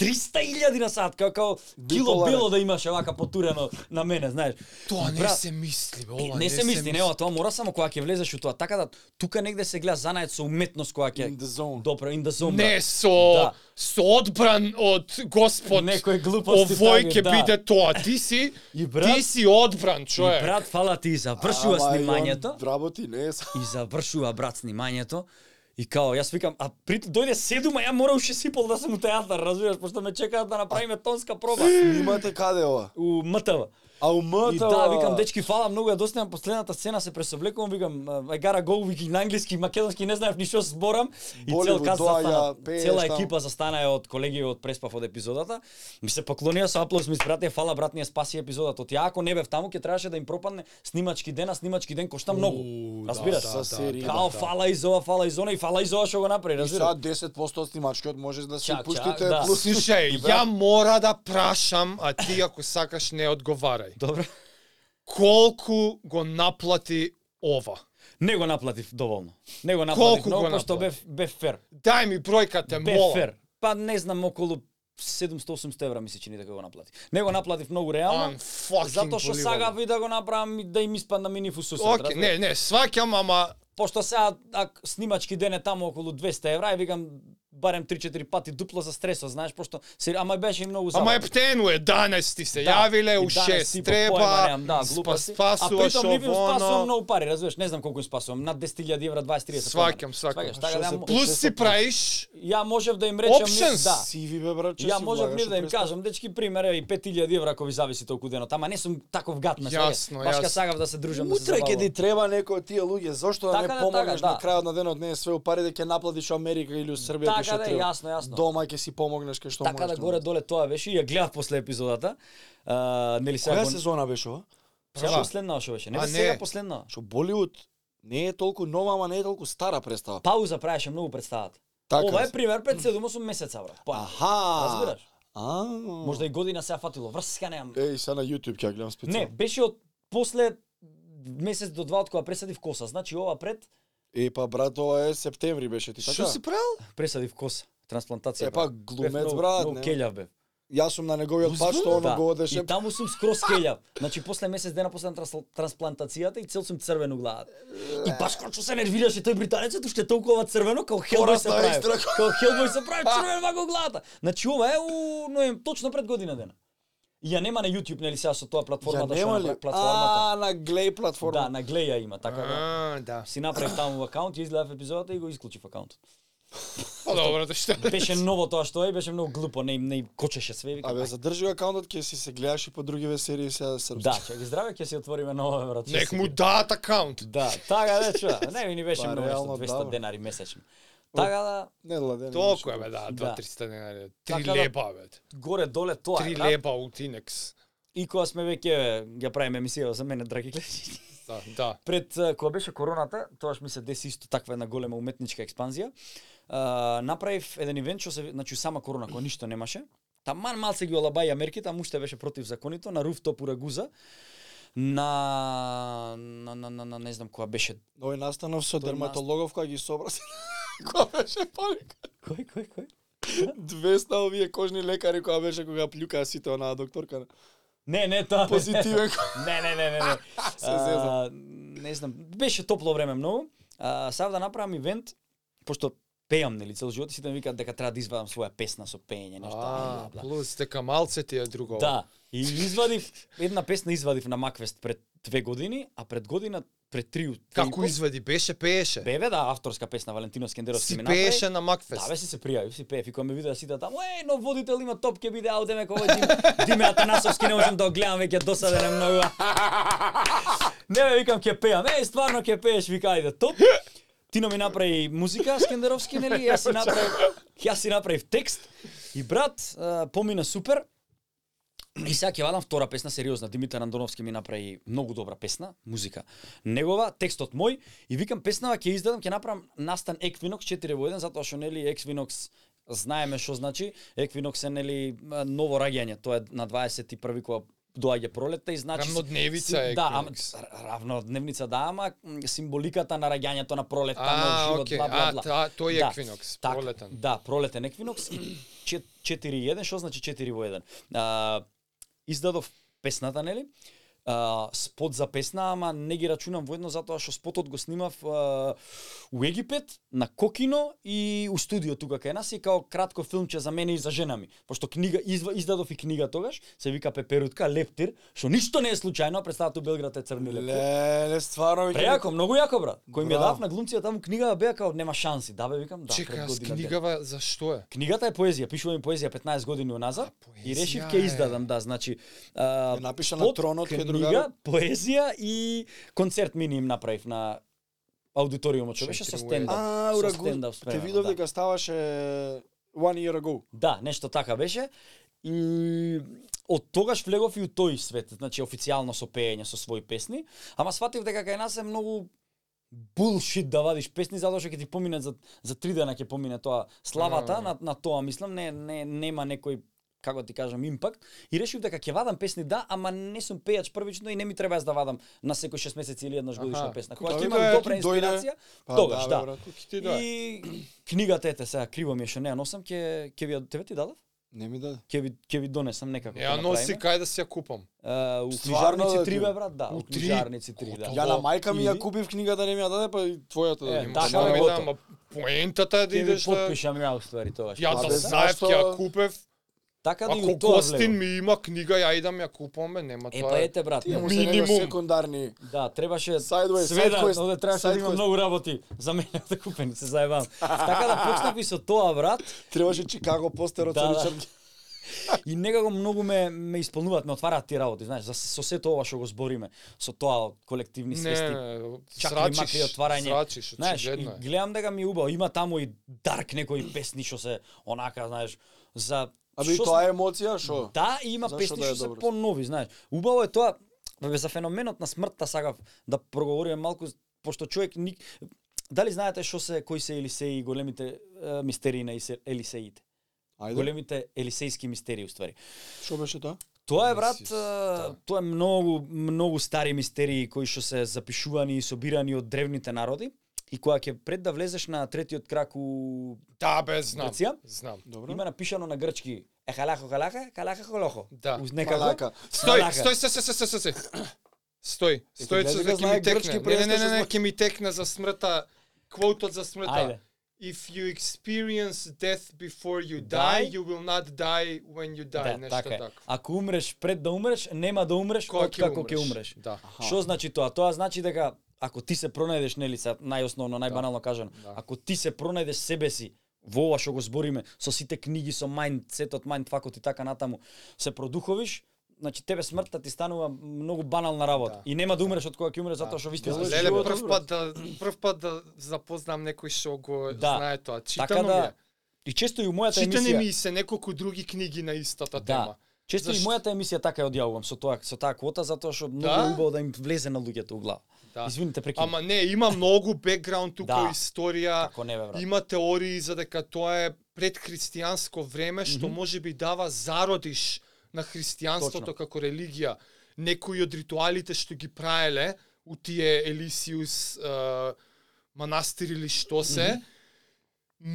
B: 300.000 на сат, као, као кило
A: Биполарен.
B: бело да имаше вака потурено на мене, знаеш.
C: Тоа не
B: Брат,
C: се мисли, бе,
B: Ова,
C: ова
B: не, се мисли, не, ова, тоа мора само кога ќе влезеш у тоа. Така да тука негде се гледа занаед со уметност која ќе
A: In the zone.
B: добро in the zone.
C: Не
B: брат.
C: со
B: Да.
C: со одбран од Господ.
B: Некој глупости
C: Овој
B: таму,
C: ќе
B: да.
C: биде тоа. Ти си
B: И
C: ти
B: брат,
C: си одбран,
B: и
C: човек.
B: брат, фала ти, завршува
A: Ама,
B: снимањето.
A: Јон, Работи, не е.
B: и завршува брат снимањето и као јас викам а при дојде седум а ја мора уште сипол да сум у театар разбираш пошто ме чекаат да направиме тонска проба
A: Снимате каде ова?
B: у МТВ.
A: А у
B: И
A: МТВ?
B: да, викам дечки фала многу ја доснемам последната сцена се пресовлекувам викам I gotta go вики на англиски, македонски не знаев ни што зборам и
A: Боливуд
B: цел каз
A: доаѓа,
B: застана.
A: пееш
B: Цела
A: таму.
B: екипа застана е од колеги од преспав од епизодата. Ми се поклонија со аплоз ми спрате фала брат ни ја спаси епизодата. Од ја ако не бев таму ќе требаше да им пропадне снимачки ден, а снимачки ден кошта многу.
C: У, да,
B: Разбираш?
A: Со серија.
B: Као фала и за ова, фала и за она и фала и за ова што го направи,
A: И
B: разбираш?
A: сега 10% од снимачкиот може да се
B: Чак, чак,
A: пуштите.
B: да.
A: плюс-
C: Слушај, ја мора да прашам, а ти ако сакаш не одговарај.
B: Добро.
C: Колку го наплати ова?
B: Не го наплатив доволно. Не го
C: Колку
B: наплатив
C: го
B: многу, пошто
C: наплати?
B: бев бев фер.
C: Дај ми бројка те
B: Бев
C: мола.
B: фер. Па не знам околу 700-800 евра ми се чини дека го наплати. Не го наплатив многу реално.
C: Unfucking
B: Затоа што
C: believable.
B: сагав и да го направам и да им испадна минив у сусед.
C: Океј,
B: разбираш?
C: не, не, сваќам, ама
B: Пошто сега ак, снимачки ден е таму околу 200 евра, и викам барем 3-4 пати дупло за стресот, знаеш, пошто се ама беше и многу забавно.
C: Ама е птену е, 11 ти се
B: Да,
C: јавиле, у
B: и данес
C: 6
B: типа,
C: треба,
B: појма немам, да,
C: спа-
B: глупости. а
C: спасуваш
B: притом не бим спасувам
C: овоно.
B: многу пари, разбираш, не знам колку им спасувам, над 10.000 евра, 20-30.
C: Сваќам, сваќам.
B: Сваќаш,
A: Што
B: така да
A: се
B: му-
C: Плюс си праиш,
B: ја можев да им речам, не,
C: Options.
B: да.
A: Сиви бе брат, че
B: Ја
A: си
B: можев
A: влагаш
B: не
A: у
B: да им
A: преста.
B: кажам, дечки пример е и 5000 евра ако ви зависи толку денот, ама не сум таков гад на
C: Јасно,
B: Баш
C: јасно.
B: ка сагав да се дружам, да се
A: Утре ќе
B: забавам.
A: ти треба некој од тие луѓе, зошто да не
B: Така да,
A: помогнеш
B: така,
A: на
B: да.
A: крајот на денот, не е све у пари да ќе наплатиш у Америка или у Србија кај
B: Така
A: што
B: да,
A: треба.
B: јасно, јасно.
A: Дома ќе си помогнеш кај што можеш.
B: Така да
A: да
B: горе доле тоа беше и ја гледав после епизодата. А, нели
A: направиш.
B: сега
A: Која
B: го-
A: сезона беше ова?
B: Сега
C: Да.
B: последна што беше. Не
C: А,
B: бе
C: не.
B: сега последна.
A: Што Боливуд не е толку нова, ама не е толку стара представа.
B: Пауза правеше многу представата.
A: Така.
B: Ова е
A: да.
B: пример пред 7-8 месеца, брат. Па,
A: Аха.
B: разбираш? да-
A: А.
B: Можда и година се ја фатило, врска немам.
A: Еј, сега на YouTube ќе ја гледам
B: Не,
A: специјално.
B: беше од после месец до два од кога пресадив коса. Значи ова пред
A: Е па брат, ова е септември беше ти така.
C: што си правил?
B: пресадив коса, трансплантација.
A: Е па
B: брат. Бев
A: глумец
B: многу-
A: брат,
B: многу
A: не.
B: келјав бев.
A: Јас сум на неговиот пат што оно го одеше.
B: да. И таму сум скроз келјав. Значи после месец дена после транс- трансплантацијата и цел сум црвен у главата. И баш кога што се нервираше тој британецот уште толкова црвено како Хелбој се
A: Порасна
B: прави.
A: екстра.
B: Како Хелбој се прави црвен вака у главата. Значи ова е у ноем точно пред година дена. И ја нема на YouTube нели сега со тоа
A: Ја
B: платформата
A: нема
B: што
A: ли?
B: направи платформата.
A: А, на глеј
B: Да,
A: платформа.
B: на Глеја има, така да.
C: А, да.
B: Си направив таму акаунт, ја изгледав епизодата и го исклучив акаунтот.
C: Па добро, да што.
B: Беше ново тоа што е, беше многу глупо, не им не им кочеше све, викам.
A: Абе,
B: ај,
A: задржи го акаунтот, ќе си се гледаш и по други весери сега српски.
B: Да, чеки здраве, ќе си отвориме нова брат. ќе
C: Нек
B: си
C: му
B: ги-
C: даат акаунт.
B: Да, така да чува. Не ми ни беше
A: Па,
B: многу нешто
A: реално,
B: 200
A: да, бе.
B: денари месечно. Така да
A: Не ладен.
C: Толку е бе, да,
B: Да.
C: 2-300 денари. Три
B: Така да-
C: леба бе.
B: горе доле тоа е.
C: Три
B: брат.
C: леба у Тинекс.
B: И кога сме веќе ја правиме емисија за мене Драги Клечич.
C: Да, да.
B: пред а, кога беше короната, тогаш ми се деси исто таква една голема уметничка експанзија. А, направив еден ивент што се значи сама корона кога ништо немаше. Таман малце ги олабаја мерките, а муште беше против законито на руфтоп Урагуза на на на, на, на не знам која беше.
A: Овој настанов со
B: Тој
A: дерматологов кој ги собра се. Која беше паника?
B: Кој кој кој?
A: 200 овие кожни лекари која беше кога плюка сите онаа докторка.
B: Не, не, тоа.
A: Позитивен
B: Не, не, не, не, не.
A: Се зезам.
B: А, не знам, беше топло време многу. А, сав да направам ивент, пошто пеам, нели, цел живот, и сите ми викаат дека треба да извадам своја песна со пеење, нешто. бла,
C: А,
B: бла.
C: плюс дека малце ти е друго.
B: Да, и извадив, една песна извадив на Маквест пред две години, а пред година, пред три, три и
C: Како
B: пол,
C: извади, беше, пееше.
B: Беве, да, авторска песна, Валентино Скендеровски
C: Си
B: да ми направи.
C: пееше на
B: Да,
C: Макфест.
B: бе, си се пријавив, си пеев и кога ме видеа сите таму, еј, но водител има топ, ќе биде, ао, деме, кога Дим, Диме Атанасовски, не можам да го гледам, веќе досаден е многу. Не, бе, викам, ќе пеам, еј, стварно ќе пееш, вика, ајде, топ. Тино ми направи музика, Скендеровски, нели, јас си направив, јас си направив текст, и брат, а, помина супер, И сега ќе вадам втора песна сериозна. Димитар Андоновски ми направи многу добра песна, музика. Негова, текстот мој и викам песнава ќе издадам, ќе направам настан Еквинокс 4 во 1 затоа што нели Еквинокс знаеме што значи. Еквинокс е нели а, ново раѓање, тоа е на 21 кога доаѓа пролетта и значи
C: Рамнодневица е
B: да, ама
C: Еквинокс.
B: р- равнодневница да, ама м, символиката на раѓањето на пролетта, така на
C: А,
B: живот,
C: окей,
B: бла бла
C: а,
B: бла.
C: та- тој
B: Да,
C: е Еквинокс,
B: Так,
C: пролетен.
B: Да, пролетен еквинокс. 4-1, што значи 4 во 1? А, издадов песната, нели? А, спот за песна, ама не ги рачунам воедно затоа што спотот го снимав а, у Египет, на Кокино и у студио тука кај нас и као кратко филмче за мене и за жена ми. Пошто книга изва, издадов и книга тогаш, се вика Пеперутка, Лептир, што ништо не е случајно, а представата у Белград е црни лептир.
A: Леле, стварно ми ќе
B: Прејако, многу јако брат. Кој ми ја
A: Браво.
B: дав на глумција таму книга беа као нема шанси. Да бе викам, да. пред
C: Чека, с
B: година ден.
C: книгава, за што е?
B: Книгата е поезија, пишувам и поезија 15 години уназад
C: А,
B: и решив
C: поезија
B: ќе
C: е.
B: издадам, да, значи. А,
A: Ја напиша на
B: под
A: тронот кај другарот.
B: книга, Да, поезија и концерт мини им направив на аудиториумот, што беше со
C: Шејкер
B: стендап.
A: А,
B: со
A: урагу.
B: стендап
A: Те
B: спремано,
A: видов
B: да.
A: дека ставаше one year ago.
B: Да, нешто така беше. И од тогаш влегов и у тој свет, значи официјално со пеење со своји песни, ама сфатив дека кај нас е многу булшит да вадиш песни затоа што ќе ти помине за за три дена ќе помине тоа славата
C: Да.
B: на на тоа мислам не не нема некој како ти кажам импакт и решив дека ќе вадам песни да ама не сум пејач првично и не ми треба јас да вадам на секој 6 месеци или еднаш годишна
C: Аха.
B: песна
A: Кога
B: кога ќе
A: ти
B: имам
A: дојде,
B: добра
A: ти дојде.
B: инспирација
A: Па,
B: тогаш
A: бе,
B: да,
A: брат.
C: Ти да.
B: И книгата ете сега криво ми е што не ја носам, ќе ќе ви ја- тебе ти дадов?
A: Не ми даде.
B: Ќе ви ќе ви донесам некако. ќе
C: Ја носи
B: направиме.
C: кај да си ја купам.
B: А, у
A: Стварно,
B: книжарници
A: да,
B: три
A: ти?
B: бе брат, да,
C: У
B: у
C: три?
B: книжарници три да.
A: Ја на мајка ми ја
B: Или-
A: купив книга да не ми ја даде, па и твојата да
B: Е,
A: не ми
B: да,
A: даде.
B: така
C: Само
B: е
C: ми
B: готово.
C: знам, а поентата е да
B: Ќе ви
C: идеш да...
B: потпишам ја уствари тогаш.
C: Ја
A: Па,
C: да
A: бе,
C: знаев,
A: зашто-
C: ќе ја купев.
B: Така да и
C: Ако
B: у тоа
C: Костин
B: влегов.
C: ми има книга, ја идам ја купам, бе, нема
B: Е
C: тоа.
B: па
C: е.
B: ете брат,
A: Тие му
B: не,
A: се него
C: Минимум.
A: секундарни.
B: да, требаше
A: Sideways,
B: све да,
A: sidequest,
B: овде требаше да
A: sidequest.
B: имам многу работи за мене да купен, се заебавам. Така да почнав и со тоа брат,
A: Требаше Чикаго постер од
B: Да, да.
A: Ричард.
B: И некако многу ме ме исполнуваат, ме отвараат тие работи, знаеш, за со сето ова што го збориме, со тоа колективни
C: Не,
B: свести. чак и
C: срачиш,
B: макри отварање.
C: срачиш,
B: Знаеш, и
C: очигледно е.
B: гледам дека ми е убаво, има таму и дарк некои песни што се онака, знаеш, за
A: Абе и
B: што
A: тоа е емоција, шо?
B: Да, и има
A: Зашо
B: песни
A: да е
B: што се
A: добро?
B: понови, знаеш. Убаво е тоа, бе, за феноменот на смртта сакав да проговориме малку, пошто човек ник... Дали знаете што се кои се Елисеи и големите е, мистерии на Исе- Елисеите?
A: Ајде,
B: Големите елисејски мистерии уствари.
A: што беше тоа?
B: Тоа е брат,
C: Мисис,
B: а, тоа е многу многу стари мистерии кои што се запишувани и собирани од древните народи и кога ќе пред да влезеш на третиот крак у
C: Да, бе, знам.
B: Грција,
C: Знам.
A: Добро.
B: има напишано на грчки Ехалахо халаха, калаха холохо.
C: Да.
B: Уз некако.
A: Малака.
C: Стој,
B: Малака.
C: стој, стој, стој, стој, стој, стој. Стој,
A: Е,
C: стој,
A: гледай
C: што
B: да
A: дека
C: ќе
A: знае
C: ми
A: грчки,
C: текне. Не, не, не,
A: престаш
C: не, не,
A: да-
C: ќе ми текне за смртта. Квотот за смртта.
B: Ајде.
C: If you experience death before you die,
B: Die?
C: you will not die when you die.
B: Да,
C: Нешто
B: така е.
C: такво.
B: Ако умреш пред да умреш, нема да умреш
C: Кога
B: од како ќе умреш.
C: Да.
A: Аха.
B: Што значи тоа? Тоа значи дека ако ти се пронајдеш нели са најосновно, најбанално кажано,
C: Да.
B: ако ти се пронајдеш себе си во ова што го збориме, со сите книги, со мајндсетот, мајндфакот и така натаму, се продуховиш, значи тебе смртта ти станува многу банална работа.
C: Да.
B: И нема да умреш од кога ќе умреш затоа што вистински
A: Леле,
C: Леле,
B: живот-
C: прв пат да прв пат да запознам некој што го
B: Да.
C: знае тоа.
B: така
C: Читано ми е.
B: да и често и у мојата
C: Читани
B: емисија
C: ми и се неколку други книги на истата
B: Да.
C: тема.
B: Често и
C: Зашто?
B: мојата емисија така ја одјавувам со тоа со таа квота затоа што многу
C: Да?
B: е убаво да им влезе на луѓето у глава.
C: Да.
B: Извините прекинав.
C: Ама не, има многу бекграунд тука,
B: Да.
C: историја,
B: Како не бе, брат.
C: Има теории за дека тоа е предхристијанско време што mm -hmm. може би дава зародиш на христијанството
B: Точно.
C: како религија. Некои од ритуалите што ги праеле у тие Елисиус е, манастири или што се, mm -hmm.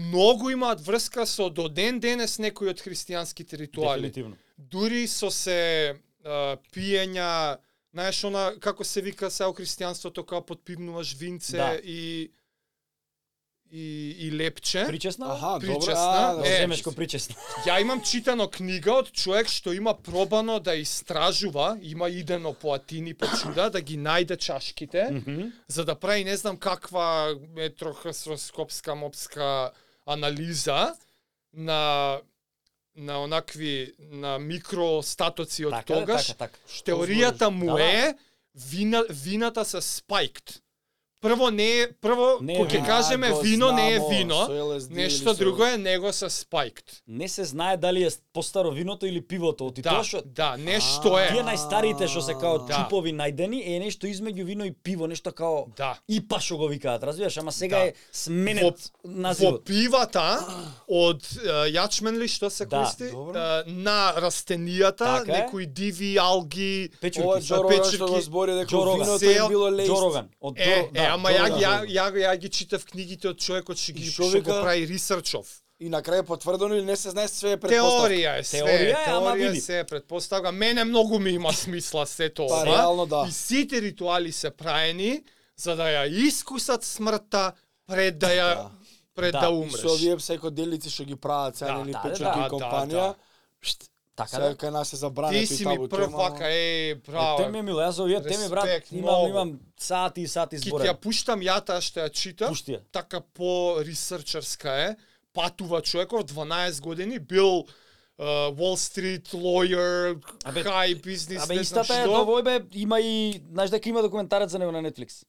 C: многу имаат врска со до ден денес некои од христијанските ритуали
B: Дефинитивно.
C: дури со се а, пиења, знаеш она како се вика сега у христијанството кога подпивнуваш винце
B: Да.
C: и и и лепче.
B: Причесна?
A: Аха, добро.
C: причесна,
A: а,
C: е.
A: добро.
B: Земеш ко причесна.
C: Ја имам читано книга од човек што има пробано да истражува, има идено по Атини по чуда да ги најде чашките
B: Мгм.
C: за да прави не знам каква метрохроскопска мопска анализа на на онакви на микростатоци од
B: Така, е,
C: тогаш.
B: така, така.
C: Теоријата му
B: Да, да.
C: е вина, вината се спайкт. Прво не е, прво
B: Не е
C: кога ќе
B: вино.
C: кажеме
A: го
C: вино не е
A: знамо, со
C: вино,
A: LSD или
C: нешто
A: со-
C: друго е него се спайкт.
B: Не се знае дали е постаро виното или пивото, оти
C: Да,
B: тоа што
C: да, нешто
B: Тие
C: е.
B: најстарите што се као
C: Да.
B: чупови најдени е нешто измеѓу вино и пиво, нешто као
C: Да.
B: ипа што го викаат, разбираш, ама сега
C: Да.
B: е сменет
C: Во
B: називот.
C: пивата од е, јачмен ли што се
B: Да,
C: користи
A: добро.
C: Е, на растенијата,
B: Така е.
C: некои диви алги.
A: Ова е
B: Печурки.
A: Джо Роган
C: печки.
A: што го збори дека
B: Джо Роган.
A: виното е
C: Сел-
A: било лест.
B: Джо Роган. Од
C: Е,
B: Джо-
C: е,
B: да,
C: ама
B: Джо
C: ја,
B: Роган.
C: ја, ја, ја ги читав книгите од човекот што ги
A: И шо
C: што го
A: вика?
C: прави рисерчов.
A: И на крај е потврдено или не се знае све е предпоставка.
C: Теорија е све,
B: Теорија е, ама
C: теорија
B: види.
C: се е предпоставка. Мене многу ми има смисла се
A: Па
C: тоа.
A: реално да.
C: И сите ритуали се праени за да ја искусат смртта пред да ја
A: Да.
C: пред
B: Да,
C: да,
A: И со
C: умреш.
A: овие псекоделици што ги прават сега
C: Да,
A: нели
B: да,
A: печурки
C: да,
A: и
C: да,
A: компанија.
C: да.
A: шт,
B: Така
A: Сега
B: да.
A: кај нас се забрани
C: Ти си ми прв вака, е,
B: Е, Тој ми
C: браво.
B: е мило, јас за овие теми брат
C: Респект,
B: имам
C: многу.
B: имам сати и сати
C: Ки ти ја
B: зборен.
C: пуштам ја таа што ја читав,
B: Пушти ја.
C: така по рисерчерска е. Патува човеков 12 години бил Uh, Wall Street lawyer,
B: Абе,
C: high business,
B: Абе
C: не знам
B: истата е
C: што.
B: тоа бе има и знаеш дека има документарец за него на Netflix.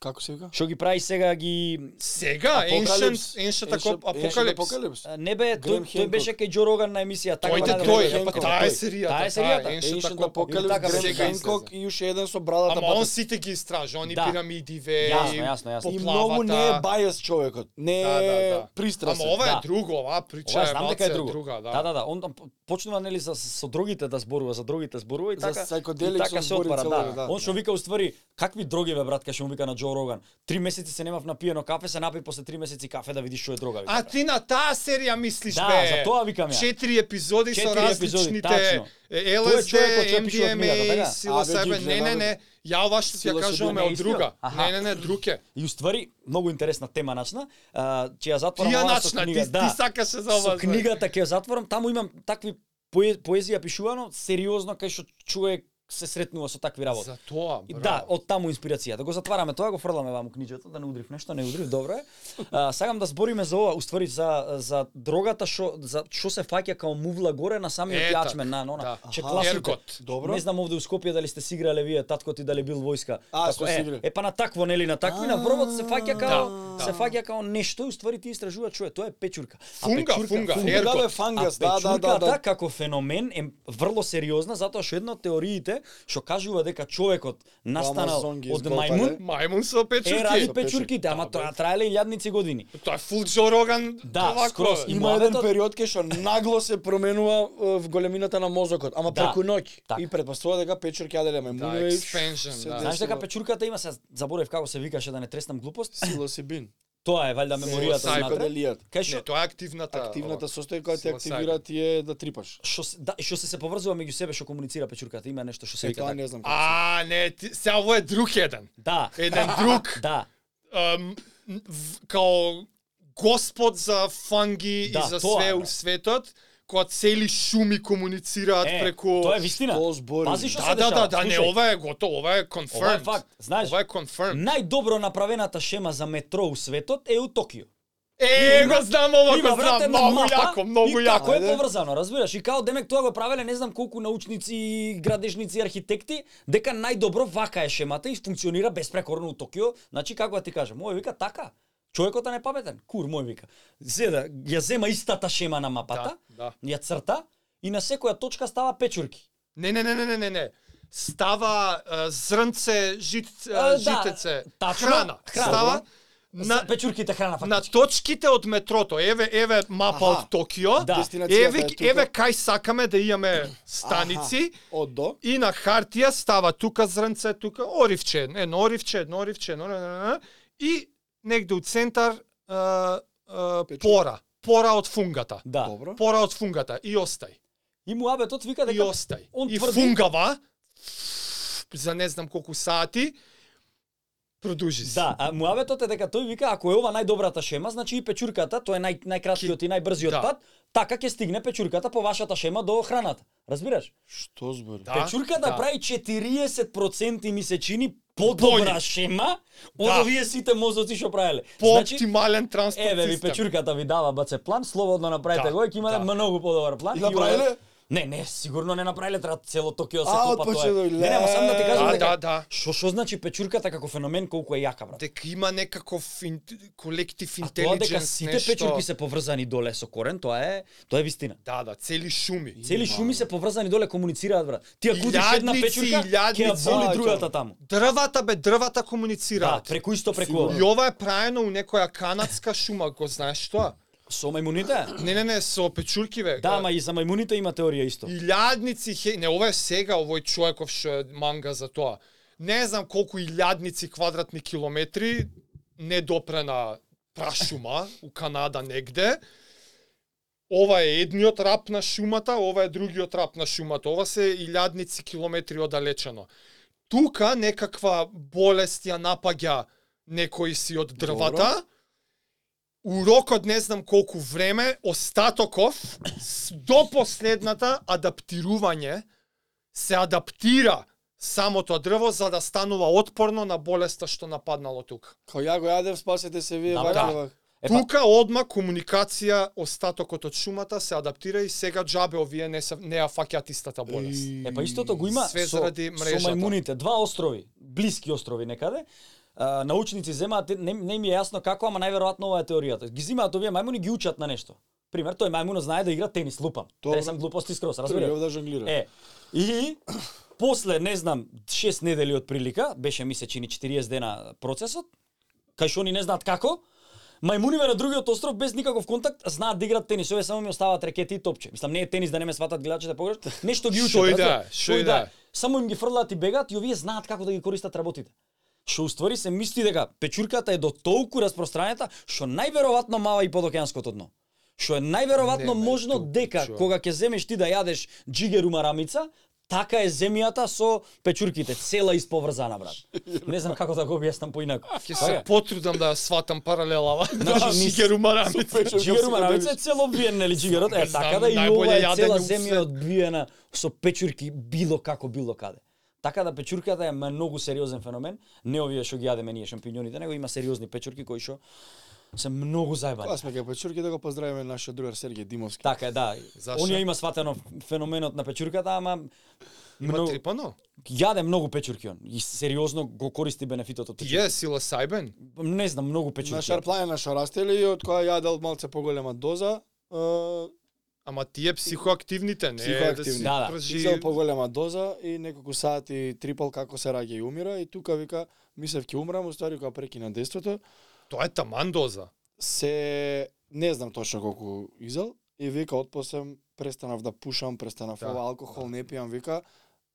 A: Како се вика?
B: Што ги прави сега ги
C: Сега,
A: Апокалипс.
C: Ancient, Ancient Aco- Апокалипс.
A: Апокалипс.
B: а, не бе
A: Грем
B: тој, тој
A: Хенкок.
B: беше кај Џо Роган на емисија така
C: Тој
A: Ама
C: те
A: на
B: направи.
C: тој,
A: Грем
C: е, па
A: Хенкок,
C: таа е
A: тој.
C: серијата.
B: Таа е серијата.
A: Ancient
C: Ancient
A: Апокалипс,
B: така
A: Грем
B: сега
A: Хенкок и уште еден со брадата.
C: Ама он
A: Патер.
C: сите ги истража, они
B: Да.
C: пирамидиве,
B: Јасно, јасно, јасно.
A: И
C: поплавата.
A: многу не е бајас човекот. Не
C: Да, да,
A: е
C: да.
A: пристрасен.
C: Ама ова
B: Да.
C: е друго, оваа прича
B: Ова
C: е
B: знам дека е
C: малце
B: друго.
C: друга,
B: Да,
C: да.
B: да, да. Он п- почнува нели со, со другите да зборува, за другите зборува и
A: За
B: така.
A: психоделик
B: и така
A: со
B: се
A: збори
B: отпара,
A: цело,
B: да.
A: да.
B: Он што вика уствари, какви droги бе брат, кај му вика на Џо Роган. Три месеци се немав напиено кафе, се напи после три месеци кафе да видиш што е дрога вика.
C: А
B: брат.
C: ти на таа серија мислиш
B: Да,
C: бе.
B: за тоа викам ја.
C: Четири епизоди со
B: Четири епизоди,
C: различните
B: тачно.
C: е,
B: Тој е
C: LSD,
B: човекот што ја пишува книгата,
C: MDMA,
B: така?
C: сила
A: А, бе,
C: себе.
A: Джук,
C: Не, не,
A: знам,
C: не. Ја ова што ти
A: Сила
C: ја
A: се
C: кажуваме
B: бил
C: од друга.
B: неистина? Аха.
C: Не, не, не, друг е.
B: И уствари многу интересна тема начна, а, ќе ја
C: Ти
B: затворам
C: ја
B: ова со
C: начна,
B: книга. да.
C: ти ти сакаше за ова.
B: со книгата ќе ја затворам, таму имам такви пое, поезија пишувано, сериозно кај што човек се сретнува со такви работи.
C: За тоа,
B: И
C: браво.
B: Да, од таму инспирација. Да го затвараме тоа, го фрламе ваму книжето, да не удрив нешто, не удрив, добро е. А, сакам да збориме за ова, уствари за за дрогата што за што се фаќа као мувла горе на самиот
C: Е, так.
B: јачмен на на она.
C: Да.
B: Че
A: Аха.
B: класите.
C: Еркот.
A: Добро.
B: Не знам овде у Скопје дали сте си играле вие таткот и дали бил војска.
A: А,
B: Како,
A: сме си
B: е,
A: играли.
B: е па на такво нели на такви на
A: А,
B: врвот се фаќа као
C: да,
B: се
C: да.
B: фаќа као нешто и уствари ти истражува човек, тоа е печурка. А
C: Фунга,
B: печурка-
C: фунга,
A: Фунга,
C: Еркот.
A: бе,
B: А
A: фангас, да, да,
B: печурката
A: да, да.
B: како феномен е врло сериозна затоа што една од теориите што кажува дека човекот настанал
A: Амазон ги Да,
B: од
A: изгопале.
B: мајмун
C: Мајмун со
B: е
C: печурки.
B: ради
A: Со
B: печурките, ама тоа траеле илјадници години.
C: Тоа е фул Джо Роган.
B: Да,
C: овако,
B: скрос.
C: бе.
A: Има
B: Младото-
A: еден период кај што нагло се променува
C: e,
A: е, в големината на мозокот, ама
B: Да.
A: преку ноќ.
B: Така.
A: И предпоставува дека печурки аделе
C: Да,
A: мемуни
C: expansion, да.
B: Знаеш дека
A: Сила.
B: печурката има се заборев како се викаше да не треснам глупост.
A: псилосибин.
B: Тоа е валјда меморијата
C: Псилоцибин.
B: знатре.
A: Психоделијата.
B: Кај
C: Не,
B: што
C: тоа е активната.
A: Активната состоја која те
C: Псилосибин.
A: активира ти е да трипаш.
B: што се- да, и што се се поврзува меѓу себе што комуницира печурката, има нешто што се
A: Е,
C: E,
B: вика
A: тоа
B: така.
A: не знам како.
C: А, не, ти, сега ово е друг еден.
B: Да,
C: Еден друг,
B: да,
C: ам, в- као господ за фанги
B: Да,
C: и за
B: тоа е,
C: све у
B: брат.
C: светот, која цели шуми комуницираат
B: е,
C: преку...
B: тоа е вистина.
A: Тоа збори.
B: Пази што
C: Да,
B: се
C: да,
B: дешава,
C: да, да, не,
B: слушај.
C: ова е готово, ова
B: Ова
C: е
B: е
C: confirmed.
B: факт, знаеш,
C: Ова е confirmed.
B: најдобро направената шема за метро у светот е у Токио.
C: Е,
B: Има-
C: го знам, ова
B: Има
C: го
B: врат
C: знам,
B: една
C: многу
B: мапа
C: јако, многу
B: и како
C: јако.
B: е
A: Ајде.
B: поврзано, разбираш? И као демек тоа го правеле не знам колку научници, градежници, архитекти, дека најдобро вака е шемата и функционира безпрекорно у Токио. Значи како да ти кажам, мој вика така. Човекот е непаметен. Кур мој вика. Зеда, ја зема истата шема на мапата,
C: Да, да.
B: ја црта и на секоја точка става печурки.
C: Не, не, не, не, не, не, не. Става а, зрнце, жит, а,
B: А, да,
C: житеце,
B: тачно,
C: храна.
B: храна.
C: Става
B: На...
C: на,
B: Печурките храна
C: на
B: фактички.
C: точките од метрото. Еве, еве мапа
A: Аха.
C: од Токио.
B: Да.
A: Дестинацијата
C: Еве,
A: е тука.
C: еве кај сакаме да имаме станици.
A: Од до.
C: И на хартија става тука зрнце, тука оривче, едно оривче, едно оривче, едно, едно, едно, едно. и негде у центар а, а,
A: Печу.
C: пора, пора од фунгата.
B: Да.
A: Добро.
C: Пора од фунгата и остај.
B: И муабетот вика
C: И
B: дека
C: остај.
B: он
C: И
B: тврди-
C: фунгава за не знам колку сати продужи се.
B: Да, а муабетот е дека тој вика ако е ова најдобрата шема, значи и печурката, тоа е нај најкраткиот и најбрзиот
C: Да.
B: пат, така ќе стигне печурката по вашата шема до храната. Разбираш?
A: Што збор?
C: Да,
B: печурката
C: да.
B: прави 40% ми се чини подобра
C: Боље.
B: шема од
C: Да.
B: овие сите мозоци што правеле. Значи,
C: По оптимален транспорт
B: Еве ви
C: систем.
B: печурката ви дава баце план, слободно направете
C: Да,
B: го, ќе имате
C: да.
B: многу подобар план.
A: И
B: ова-
A: направиле?
B: Не, не, сигурно не направиле треба цело Токио да се
A: А,
B: копа тоа. е.
A: отпочело,
B: Не, не, ама сам да ти кажам
C: Да,
B: дека
C: да, да.
B: Што што значи печурката како феномен колку е јака брат?
C: Дека има некаков ин... колектив
B: А тоа дека
C: интелигенс,
B: сите печурки се поврзани доле со корен, тоа е тоа е вистина.
C: Да, да, цели шуми.
B: Цели шуми се поврзани доле комуницираат брат. Ти ако кудиш една
C: Илјадници,
B: печурка, ќе ја
C: илјадници.
B: боли
A: Да,
B: другата
A: ќе-
B: таму.
C: Дрвата бе
B: Да,
C: дрвата комуницираат.
B: преку исто преку
C: И
B: ова.
C: ова е правено у некоја канадска шума, го знаеш тоа?
B: Со мајмуните?
C: Не, не, не, со печурки бе.
B: Да, ма и за мајмуните има теорија исто.
C: Илјадници, хе... не, ова е сега овој човеков што е манга за тоа. Не знам колку илјадници квадратни километри недопрена прашума у Канада негде. Ова е едниот рап на шумата, ова е другиот рап на шумата. Ова се илјадници километри оддалечено. Тука некаква болест ја напаѓа некој си од дрвата. У рокот не знам колку време, остатоков с- до последната адаптирање се адаптира самото дрво за да станува отпорно на болеста што нападнало тука.
A: Као ја го јадев, спасете се вие,
B: Да,
A: вака,
C: да.
A: вака.
B: Е, па-
C: Тука одма комуникација остатокот од шумата се адаптира и сега џабе овие не се не ја фаќаат истата болест.
B: Е па истото го има
C: Све
B: со,
C: заради
B: со
C: мрежата.
B: мајмуните, два острови, блиски острови некаде. А, научници земаат, не, не ми е јасно како, ама најверојатно ова е теоријата. Ги земаат овие мајмуни ги учат на нешто. Пример, тој мајмуно знае да игра тенис, лупам.
A: Добро.
B: Тоа сам глупости скрос, разбираш?
A: Треба да жонглира.
B: Е, и после, не знам, 6 недели од прилика, беше ми се чини 40 дена процесот, кај што они не знаат како, Мајмуниве на другиот остров без никаков контакт знаат да играат тенис, овие само ми оставаат ракети и топче. Мислам не е тенис да не ме сватат гледачите погрешно. Нешто ги учат.
C: Шо и да,
B: разбираш?
C: шо и да.
B: Само им ги фрлаат и бегаат и овие знаат како да ги користат работите. Што уствари се мисли дека печурката е до толку распространета што најверојатно мава и подокеанското дно. Што е најверојатно
C: Не, бе,
B: можно
C: тук,
B: дека
C: човек.
B: кога ќе земеш ти да јадеш джигеру марамица, така е земјата со печурките, цела исповрзана брат. Не знам како да го објаснам поинако. Па,
C: Ќе се потрудам да ја сватам паралелава.
B: Значи, ни-
C: Шигеру Марами. да
B: Джигеру марамица е цело биен, нели джигерот? Е,
C: Знам,
B: така да и ова
C: најболе
B: е цела
C: јадење у свет.
B: земја одбиена со печурки било како било каде. Така да печурката е многу сериозен феномен, не овие што ги јадеме ние шампиньоните, него има сериозни печурки кои што се многу заебани.
C: Па,
A: Аз сме кај Печурки да го поздравиме нашиот другар Сергеј Димовски.
B: Така е, да.
C: Зашо?
B: Он ја има сватено феноменот на печурката, ама
C: Има
B: многу,
C: трипано?
B: јаде многу печурки он. И сериозно го користи бенефитот од
C: Ти
B: печурки.
C: е сила сајбен?
B: Не знам, многу
A: На
B: печурки.
A: шарпланина што растеле и од која јадел малце поголема доза, е,
C: Ама тие психоактивните, не е да си
A: Психоактивни.
B: Да, да.
C: пржи...
A: Взел поголема доза и неколку сати трипал како се раѓа и умира и тука вика мислев ќе умрам, уствари кога прекина действото,
C: Тоа е таман доза.
A: се не знам точно колку изел и вика отпосем престанав да пушам, престанав
C: Да.
A: да. ова алкохол не пијам, вика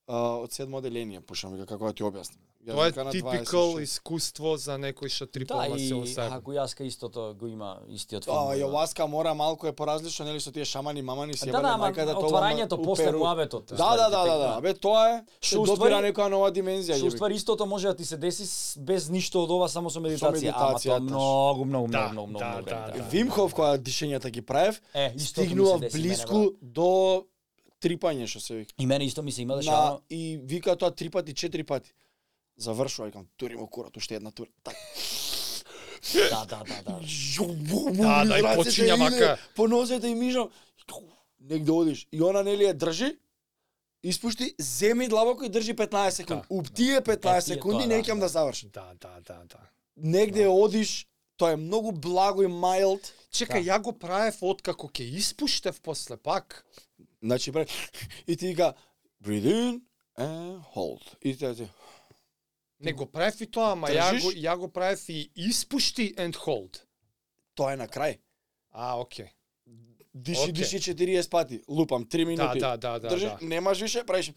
A: а, од седмо оделение пушам, вика како да ти објаснам. Јас,
C: Тоа е
A: вика,
B: така
A: на
C: типикал
A: 26.
C: искуство за некој што
B: Да,
C: трипал на
B: и
C: сила сајбен.
B: ако јаска истото го има истиот филм.
A: Тоа
B: да.
A: јаваска мора малку е поразлично, нели со тие шамани, мамани си
B: Да, да, ама отварањето после муабетот.
A: Да, да, да, да, да. Бе, тоа е, се
B: Што уствари-
A: допира некоја нова димензија.
B: Што
A: јеби.
B: уствари истото може да ти се деси с- без ништо од ова, само со медитација. Ама
A: медитацијата,
B: тоа многу, многу,
C: Да,
B: многу, многу,
C: да,
B: многу.
C: да,
B: време
C: да.
B: треба.
A: Вимхов која дишењата ги правев,
B: Е, истото ми се
A: стигнува
B: деси мене,
A: блиску
B: брат.
A: до трипање што се вика.
B: И мене исто ми се има
A: На,
B: дешавано.
A: и вика тоа три пати, четири пати. Завршува, викам, тури му курат, уште една тура. Так.
B: Да, да, да, да.
A: Да,
C: да, и почиња вака.
A: По нозете и мижам. Негде одиш. И она нели ја држи, испушти, земи длабоко и држи 15 секунди.
C: Да,
A: У тие 15
B: Е, тие
A: секунди
B: тоа, да,
A: неќам
B: да.
A: да заврши.
C: Да, да, да, да.
A: Негде одиш, тоа е многу благо и mild.
C: Чека, ја го правев откако ќе испуштев после пак.
A: Значи, прави... И ти вика, breathe in and hold. И ти ти...
C: Не го правев и тоа, ама ја
A: Држиш?
C: го, ја го правев и испушти and hold.
A: Тоа е на крај.
C: А, окей.
A: Диши,
C: Окей.
A: диши 40 пати. Лупам 3
C: Да,
A: минути.
C: да, да, да,
A: Држиш,
C: да.
A: немаш више, правиш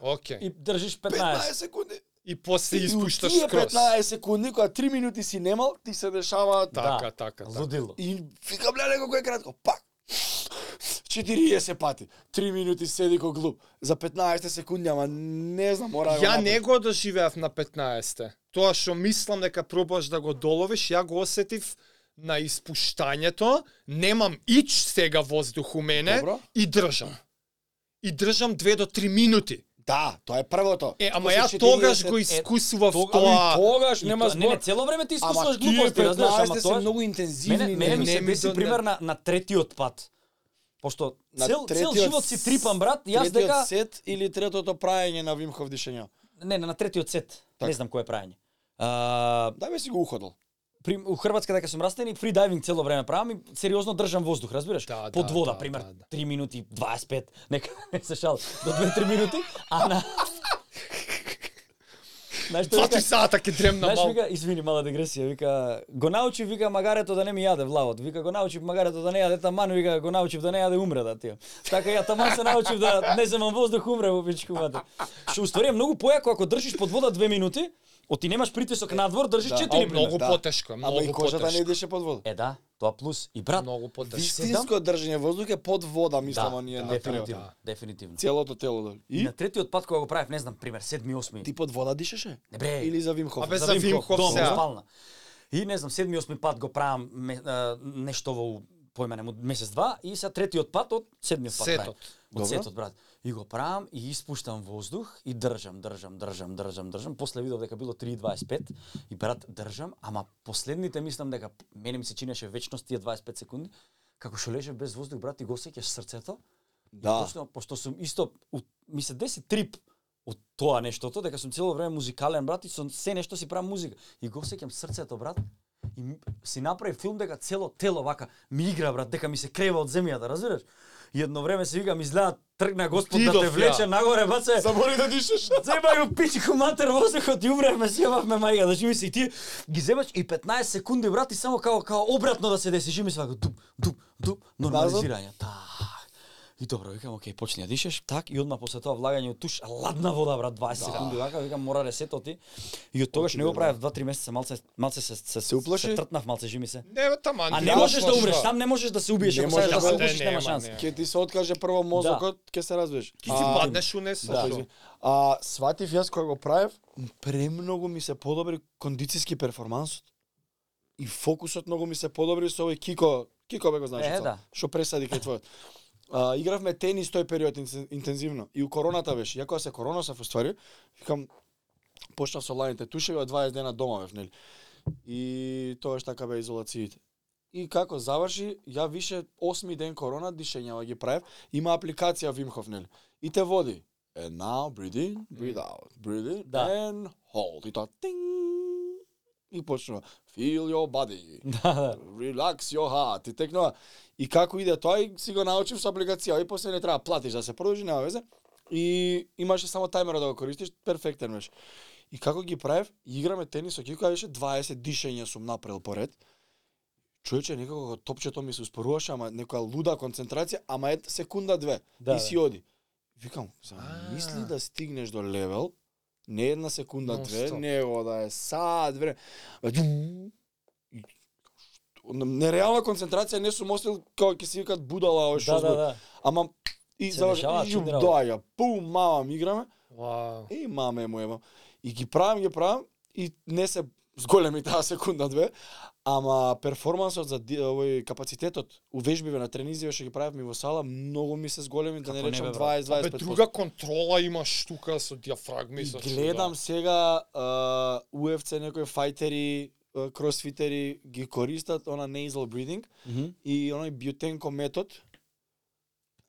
C: Окей.
B: И
A: 15
B: држиш 15.
A: секунди.
C: И после
A: И у
C: испушташ
A: тие
C: скрос.
A: 15 секунди, кога 3 минути си немал, ти се дешава
C: Така,
B: Да.
C: така, така.
B: Лудило.
A: И вика, бля, неколко е кратко. Пак. 40 пати. 3 минути седи ко глуп. За 15 секунди, ама не знам, мора да го
C: Ја
A: направам.
C: не го доживеав на 15-те. Тоа што мислам дека пробаш да го доловиш, ја го осетив на испуштањето, немам ич сега воздух у мене
A: Добро.
C: и држам. И држам 2 до 3 минути.
A: Да, тоа е првото.
C: Е, ама
A: После
C: ја
A: 40
C: тогаш го искусував
B: тога-
C: тоа.
D: Тогаш
B: И
D: нема
B: тоа- Не,
D: збор.
B: не, цело време ти
A: Ама
B: искусуваш
A: тие
B: глупости, разбираш, ама
A: 15 се
B: тоа...
A: многу
B: Мене,
A: интензивни.
B: мене ми
C: Не
B: се
C: ми
B: беси
C: до-
B: пример на, на третиот пат. Пошто
A: На
B: цел, цел
A: третиот
B: живот си трипам, брат, јас
A: Третиот
B: дека...
A: сет или третото праење на Вимхов дишења.
B: Не, не, на третиот сет.
A: Така.
B: Не знам кое е праење. А,
A: Да бе си го уходил.
B: при, у Хрватска дека сум растен и фридайвинг цело време правам и сериозно држам воздух, разбираш?
C: Да,
B: Под
C: да,
B: вода,
C: да,
B: пример,
C: да, да.
B: 3 минути, 25, нека не се шал, до 2-3 минути, а на... Знаеш што
C: Фати
B: вика?
C: сата ќе дремна
B: Знаеш,
C: малку.
B: вика, извини, мала дегресија, вика, го научив, вика, магарето да не ми јаде влавот, вика, го научив магарето да не јаде таман, вика, го научив да не јаде умре да тио. Така ја таман се научив да не земам воздух, умре во пичку мате. Што уствари е многу појако ако држиш под вода 2 минути, оти немаш притисок надвор, држиш
A: Да.
B: 4
C: О,
B: пример.
C: многу
A: да.
C: потешко, е,
A: Ама и
C: многу
A: кожата не
C: потешко.
A: идеше под вода.
B: Е да, тоа плюс. И брат,
C: Многу потешко.
A: Вистинско држење воздух е под вода,
B: Значи, да,
A: мислам, оние на да. трио.
B: дефинитивно, дефинитивно.
A: Целото тело. да.
B: И
A: И
B: на третиот пат кога го правев, не знам, пример, 7 8
A: ти под вода дишеше?
B: Не бре.
A: Или за Вимхов?
C: Абе, за Вим Хоф
B: дом,
C: сега.
B: во спална. И не знам, седми, осми пат го правам ме, а, нешто во појма нему месец два и се третиот пат од седмиот пат.
C: Сетот.
B: правам. Од
A: Добро.
B: сетот, брат. И го правам и испуштам воздух и држам, држам, држам, држам, држам. После видов дека било 3.25 и брат држам, ама последните мислам дека мене ми се чинеше вечност тие 25 секунди. Како што лежев без воздух, брат, и го осеќаш срцето.
A: Да.
B: Точно, пошто сум исто, у- ми се деси трип од тоа нештото, дека сум цело време музикален, брат, и сум се нешто си правам музика. И го сеќам срцето, брат, и м- си направи филм дека цело тело вака ми игра, брат, дека ми се крева од земјата, разбираш? И едно време се викам, изгледа тргна Господ да
C: Отидов
B: те
C: ја.
B: влече нагоре, баце.
A: Забори да дишеш.
B: Зема го пичи коматер воздухот и умревме си јававме мајга да живи си и ти ги земаш и 15 секунди брат и само као као обратно да се деси живи си вака дуп дуп дуп нормализирање так И добро, викам, окей, почни да дишеш, так, и одма после тоа влагање од туш, ладна вода, брат, 20 секунди, вака, викам, мора ресето ти. И од тогаш не го правев 2-3 месеца, малце, малце се, се,
A: Се уплаши?
B: се тртнав, малце жими се.
C: Не, бе, таман.
B: А не
C: нема
B: можеш да
C: што.
B: умреш, сам не можеш да се убиеш,
A: Не
B: ако сега
A: можеш
B: да се
A: да-
B: убиеш,
C: не,
B: нема
C: нема,
B: шанс.
C: нема.
A: Ке ти се откаже прво мозокот,
B: Да.
A: ке се разбиеш.
C: Ти си
A: А,
C: паднеш у несо.
A: Да,
C: што?
A: извини. а, сватив јас кога го правев, премногу ми се подобри кондициски перформансот. И фокусот многу ми се подобри со овој Кико, Кико бе го знаеш,
B: Е,
A: отца,
B: да.
A: што пресади кај твојот. А, игравме тенис тој период интен- интензивно. И у короната беше. Ја кога се корона се уствари, викам, почнав со ланите тушеви, од 20 дена дома бев, нели? И тоа што така бе изолациите. И како заврши, ја више осми ден корона дишењава ги правев, има апликација Вимхов, нели? И те води. And now breathe in, breathe out, breathe in
B: Да.
A: and hold. И тоа тинг. И почнува. Feel your body.
B: Да, да.
A: Relax your heart. И текнува. И како иде тоа, и си го научив со апликација. И после не треба платиш да се продолжи, нема везе. И имаше само тајмера да го користиш, перфектен беше. И како ги правев, играме тенис со Кико, а беше 20 дишења сум направил поред. Човече, некако топчето ми се успоруваше, ама некоја луда концентрација, ама е секунда две.
B: Да,
A: и си
B: да.
A: оди. Викам, замисли да стигнеш до левел, не една секунда, две,
C: Non-stop.
A: него да е сад време. Бе, дум, и- Нереална концентрација, не сум осил како ќе си викат будала овој што
B: Да, да,
A: збор.
B: да.
A: Ама и
B: Се
A: за
B: дешава чудни работи.
A: доаѓа, пум, мама ми играме,
C: Вау.
A: Е, маме му ема. И ги правам, ги правам и не се зголеми таа секунда две, ама перформансот за ди- овој капацитетот у вежбиве на тренизиве што ги правевме во сала, многу ми се зголеми, да не
B: Како не,
A: речам
B: бе, брат?
A: 20
C: Абе,
A: 25
C: друга контрола имаш тука со диафрагми
A: И
C: со чуда.
A: гледам сега а, UFC некои фајтери, а, кросфитери ги користат она nasal breathing
B: Мгм.
A: и оној бютенко метод.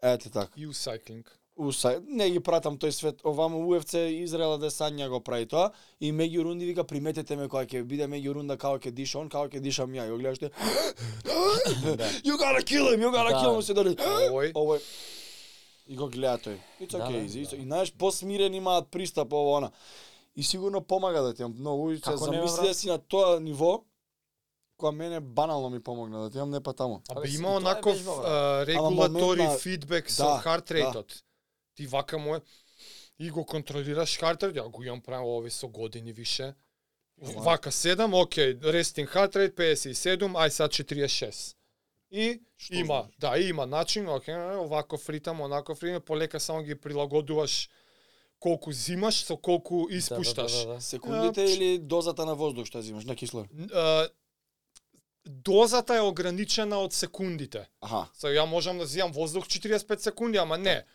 A: Ете така.
C: и у сайклинг.
A: Уса, не ги пратам тој свет, овамо UFC Израела Десања го прави тоа и меѓу рунди вика приметете ме кога ќе биде меѓу рунда како ќе диша он, како ќе дишам ја. И го гледаш ти. You gotta kill him, you gotta
B: Да.
A: kill him, се дали.
C: Овој.
A: Овој И го гледа тој. It's
B: Да,
A: okay,
B: да,
A: easy. it's- И знаеш, посмирен имаат пристап ово она. И сигурно помага да ти имам многу. И се
B: Како не, бе,
A: замисли
B: брат?
A: да си на тоа ниво, која мене банално ми помогна да ти имам не па тамо.
C: Абе
B: Абе,
C: има
B: и тоа е
C: онаков
B: вежба, бе.
C: а, регулатори
A: моментна-
C: фидбек со
A: Да,
C: харт рейтот. Ти вака му е и го контролираш харт рейт, ја го имам право ове со години више.
A: Ова.
C: Вака 7, окей, рестинг харт рейт 57, ај сад 46. И
A: Што значи?
C: има,
A: знаеш?
C: да, има начин, окей, оваков ритам, онаков ритам, полека само ги прилагодуваш колку зимаш со колку испушташ.
B: Да, да, да, да.
A: Секундите
C: Ја,
A: или дозата на воздух што земаш на кислор?
C: Н- а, дозата е ограничена од секундите.
A: Аха.
C: Сега ја можам да зијам воздух 45 секунди, ама
B: Да.
C: не.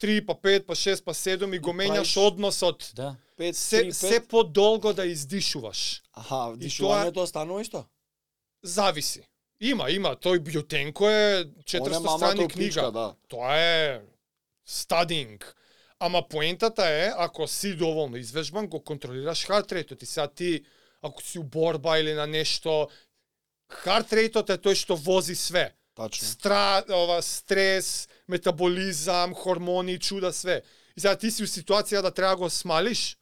C: 3 па 5 па 6 па 7 и го
A: И
C: менјаш
A: правиш-
C: односот.
B: да.
A: Пет,
C: Се,
A: се,
C: се подолго да издишуваш.
A: Аха, дишувањето останува исто.
C: Зависи. Има, има. Тој Бјутенко е 400
A: мамата
C: страни
A: у пичка,
C: книга.
A: да.
C: Тоа е стадинг. Ама поентата е, ако си доволно извежбан, го контролираш хартрейтот. И сега ти, ако си у борба или на нешто, хартрейтот е тој што вози све.
A: Тачно.
C: стра, ова, стрес, метаболизам, хормони, чуда, све. И сега ти си у ситуација да треба да го смалиш,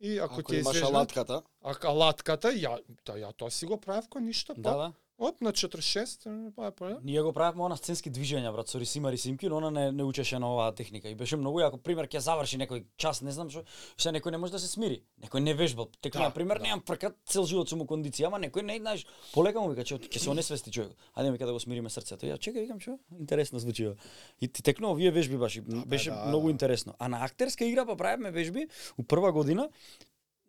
C: и ако,
A: Ако,
C: ти е
A: имаш
C: извежда,
A: алатката,
C: ако алатката, ја, да, ја тоа си го правев кој ништо,
B: Да,
C: па,
B: да.
C: оп, на 46, па, па, па.
B: Ние го правевме она сценски движења, брат, со Рисима Рисимки, но она не, не учеше на оваа техника. И беше многу јако, пример, ќе заврши некој час, не знам што, се некој не може да се смири. Некој не вежбал. Текли,
C: Да,
B: на пример,
C: да.
B: немам пркат, цел живот сум у кондиција, ама некој не, знаеш, полека му вика, че ќе се онесвести човек. Ајде ми да го смириме срцето. И Ја чека, викам, што? Интересно звучи. ова. И ти текно овие вежби баш, и беше
C: да,
B: многу
C: да.
B: интересно. А на актерска игра па правевме вежби у прва година,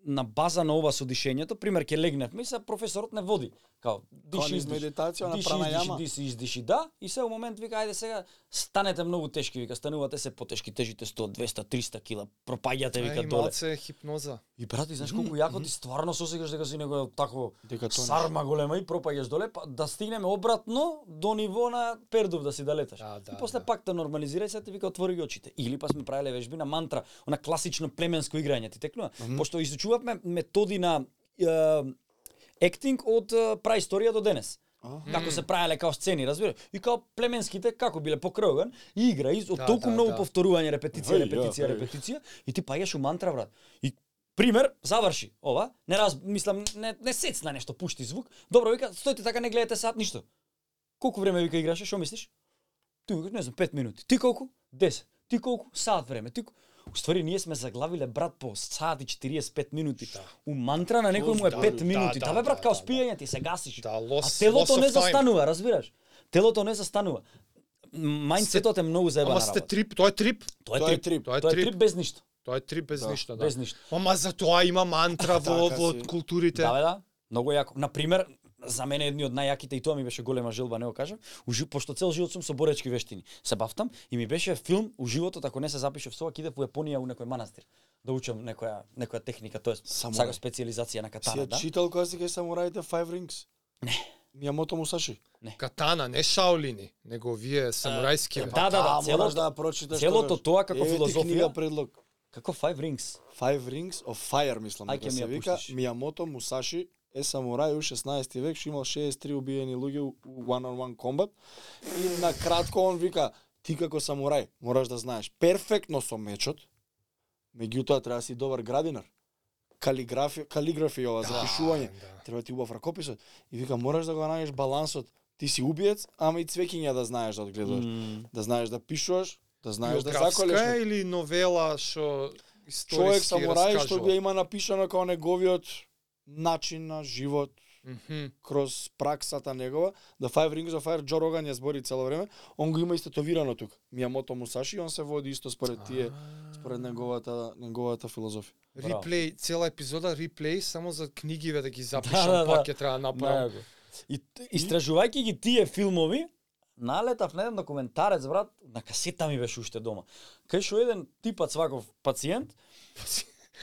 B: на база на ова со дишењето, пример ќе легневме и се професорот не води. Као,
A: тоа
B: диши,
A: низ
B: издиши.
A: медитација на
B: Диши,
A: прана
B: издиши,
A: јама.
B: диши, издиши, да. И се у момент вика, ајде сега, станете многу тешки, вика, станувате се потешки, тежите 100, 200, 300 кила, пропаѓате,
C: Е,
B: вика,
C: и
B: доле.
C: малце е хипноза.
B: И брат, и знаеш колку јако ти стварно се осеќаш дека си него тако
A: Дека тоа
B: сарма голема и пропаѓаш доле, па да стигнеме обратно до ниво на Пердув да си да леташ.
C: Да, да,
B: и после
C: да.
B: пак те нормализира и се ти вика отвори ги очите. Или па сме правеле вежби на мантра, она класично племенско играње, ти текнува. Пошто изучувавме методи на ектинг од е, праисторија до денес.
A: Аха.
B: Како се правеле како сцени, разбира. И како племенските како биле покровен и игра и од
C: Да,
B: толку
C: да,
B: многу
C: да.
B: повторување, репетиција,
A: Ај, ја,
B: репетиција,
A: ај.
B: репетиција и ти паѓаш у мантра брат. И пример, заврши ова, не раз, мислам, не, не сецна нешто, пушти звук. Добро, вика, стојте така, не гледате сат, ништо. Колку време вика играше, што мислиш? Ти викаш, не знам, 5 минути. Ти колку? 10. Ти колку? Сат време. Ти У ствари ние сме заглавиле брат по сат и 45 минути. Да. У мантра на некој му е
C: Да,
B: 5
C: да,
B: минути.
C: да,
B: Да, бе брат,
C: да,
B: као
C: да, да.
B: спиење ти се гасиш.
C: Да, лос,
B: А телото
C: loss of
B: не
C: time.
B: застанува, разбираш? Телото не застанува. Мајндсетот е многу заебана
C: Ама сте
B: работа.
C: трип, тоа е трип,
A: Тоа е трип.
C: тоа е
B: Тоа е трип
C: трип,
B: без ништо.
C: тоа е трип без
A: Да,
C: ништо, да.
B: Без ништо.
C: Ама за тоа има мантра во,
A: Така
C: во
A: си.
C: културите.
B: Да, бе, да. Многу јако. На пример, за мене едни од најјаките и тоа ми беше голема желба, не го кажам. Ужи, пошто цел живот сум со боречки вештини. Се бафтам и ми беше филм у животот ако не се запишев со ова, ќе идев во Јапонија у некој манастир да учам некоја некоја техника, тоа е
A: Самурај.
B: сега специализација на
A: Си
B: катана,
A: ја
B: да.
A: читал кога си кај самураите Five Rings? Не. Мијамото Мусаши.
C: Катана, не шаолини, него вие самурајски. бе.
A: Таа
B: да, да, да,
A: мораш
B: целото-
A: да ја прочиташ.
B: целото
A: тогаш.
B: тоа како
A: Еве ти
B: филозофија.
A: книга предлог.
B: Како Five Rings.
A: Five Rings of Fire, мислам,
B: Ај,
A: дека
B: ќе ми
A: се
B: ја
A: вика.
B: пуштиш.
A: Мијамото Мусаши е самурај у 16 век, што имал 63 убиени луѓе у у one-on-one комбат. И на кратко он вика, ти како самурај мораш да знаеш перфектно со мечот, меѓутоа треба да си добар градинар. Калиграфија, калиграфија ова, запишување.
C: да.
A: Треба ти убав ракописот. И вика, мораш да го најдеш балансот. Ти си убиец, ама и цвекиња да знаеш да одгледаш. Да знаеш да пишуваш, да знаеш да заколеш.
C: Биографска е или новела што
A: човек
C: историски
A: самурај што
C: раскажува?
A: го има напишано како неговиот начин на живот
C: Мгм.
A: кроз праксата негова, The Five Rings of Fire, Джо Роган ја збори цело време, он го има истетовирано тук, Мијамото Мусаши, и он се води исто според тие, според неговата, неговата филозофија.
B: Браво.
C: Реплей, цела епизода реплей само за книгиве да ги запишам,
B: Да, да, да.
C: пак ќе треба да направам.
B: Најако. И т- истражувајќи ги тие филмови, налетав на еден документарец, брат, на касета ми беше уште дома. Кај што еден типац ваков пациент,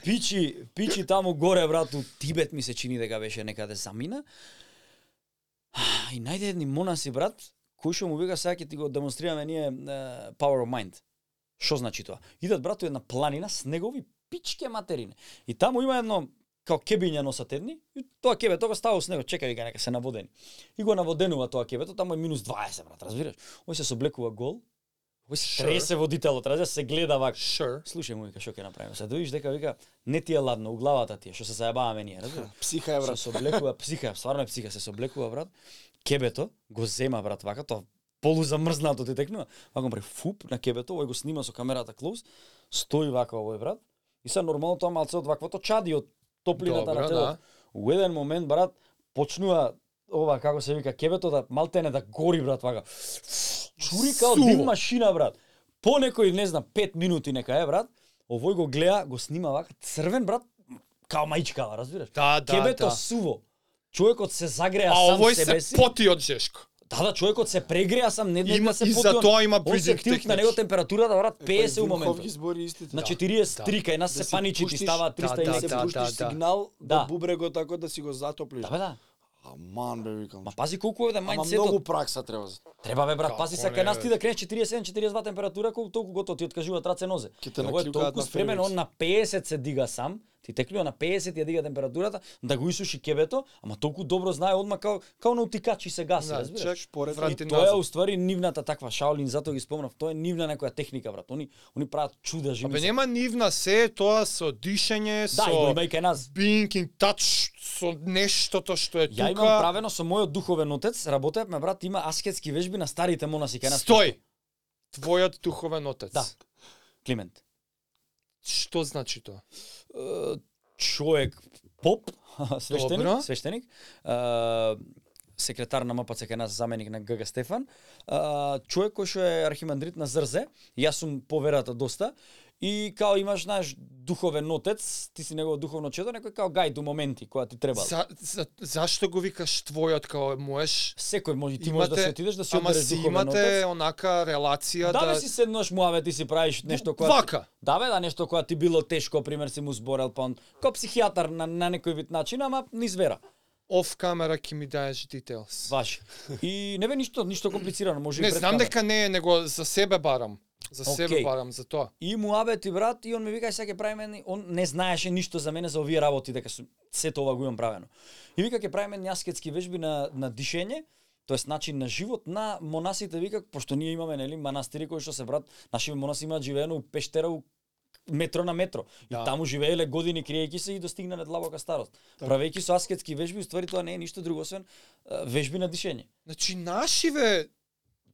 B: пичи, пичи таму горе, брат, у Тибет ми се чини дека беше некаде замина. А, И најде едни монаси, брат, кои што му вика сега ќе ти го демонстрираме ние е, Power of Mind. Што значи тоа? Идат брат у една планина с негови пичке материне. И таму има едно као кебиња носат едни, и тоа кебе тоа го става с него, чека вика нека се наводени. И го наводенува тоа кебето, таму е минус 20 брат, разбираш? Ој се соблekува гол, Овој се
C: Sure.
B: тресе водителот, разе се гледа вак.
C: Sure.
B: Слушај му вика што ќе направиме. Се доиш дека вика не ти е ладно, у главата ти е, што се заебаваме ние, разбираш?
A: Психа е, брат.
B: Се соблекува психа, стварно е психа, се соблекува брат. Кебето го зема брат вака, тоа полузамрзнато ти текнува. Вака му прави фуп на кебето, овој го снима со камерата клоуз, стои вака овој брат. И се нормално тоа малце од ваквото чади од топлината
C: Добра,
B: на телото.
C: да.
B: У еден момент брат почнува ова како се вика кебето да малте не да гори брат вака. Чури као
C: Суво.
B: дим машина брат. По некој не знам 5 минути нека е брат. Овој го гледа, го снима вака црвен брат, као маичкава, разбираш?
C: Да, да,
B: Кебето
C: да.
B: суво. Човекот се загреа
C: А
B: сам
C: овој
B: себе
C: се
B: си.
C: поти од жешко.
B: Да, да, човекот се прегреа сам, не не
C: Има-
B: да се
C: и
B: поти
C: за
B: он-
C: тоа има
B: Он се
C: breathing
B: тилт на
C: techniques.
B: него температурата, брат,
A: Па
B: 50
A: и
B: у
A: Вим Хоф
B: моментот. Значи,
A: ги збори истите.
B: На
A: Да.
B: 43 кај нас
A: Да
B: се
A: си
B: паничи, ти
A: пуштиш-
B: става
A: да,
B: 300
A: Да
C: да,
B: или
A: се
C: да,
A: пушти
C: да.
A: сигнал
B: Да.
A: до бубрего така да си го затоплиш.
B: Да, бе, да.
A: Аман бе викам.
B: Ма пази колку е да
A: Ама
B: мајндсетот.
A: многу пракса треба. за-
B: Треба бе брат,
C: Како
B: пази се
C: не,
B: кај нас
C: бе?
B: ти да кренеш 47-42 температура, колку толку готово ти откажуваат раце нозе.
A: Ќе те
B: Овој е
A: наклjuкаат
B: толку
A: на
B: спремен,
A: Феликс.
B: он на 50 се дига сам, ти текнува на 50 ја дига температурата, да го исуши кебето, ама толку добро знае одма као као на утикачи се гаси,
C: Да,
B: разбираш?
A: Чек, поред
C: Врати
A: Врати.
B: Тоа е
C: назад.
B: уствари нивната таква Шаолин, затоа ги спомнав, тоа е нивна некоја техника брат. Они они прават чуда
C: Абе
B: жими.
C: нема нивна се е тоа со дишење,
B: Да, и го
C: со
B: има и кај нас.
C: being in touch, со нештото што е
B: Ја
C: тука.
B: имам правено со мојот духовен отец, работевме брат, има аскетски вежби на старите монаси кај нас.
C: Стој. Твојот духовен отец.
B: Да. Климент.
C: Што значи тоа?
B: е, човек поп, свештеник,
C: Добро.
B: свештеник е, секретар на МПЦ кај нас заменик на ГГ Стефан, е, човек кој што е архимандрит на Зрзе, јас сум поверата доста, и као имаш, знаеш, духовен отец, ти си негово духовно чедо, некој као гајд у моменти која ти треба.
C: За, за, зашто го викаш твојот као моеш?
B: Секој може, ти можеш да се отидеш да си
C: ама
B: одбереш
C: си
B: духовен
C: имате
B: отец.
C: онака релација
B: Да,
C: да...
B: да, си седнуваш муаве, ти си правиш нешто кое...
C: Вака.
B: Да бе, да нешто кога ти било тешко, пример си му зборел, па он, ко психијатар на, на некој вид начин, ама низ вера.
C: Оф камера ќе ми даеш details.
B: Ваш. И не бе ништо, ништо комплицирано, може и
C: Не,
B: пред
C: знам
B: камера.
C: дека не е, него за себе барам. За себе
B: Океј.
C: барам, за тоа.
B: И му абет и брат, и он ми вика, сега ќе правиме, едни-" он не знаеше ништо за мене за овие работи, дека сум, се тоа го имам правено. И вика, ќе правиме едни аскетски вежби на, на дишење, тоест начин на живот на монасите, вика, пошто ние имаме, нели, манастири кои што се, брат, нашите монаси имаат живеено у пештера, у метро на метро. Да.
C: Да.
B: И таму живееле години криејќи се и достигнале длабока старост. Правејќи со аскетски вежби, уствари тоа не е ништо друго освен е, вежби на дишење.
C: Значи нашиве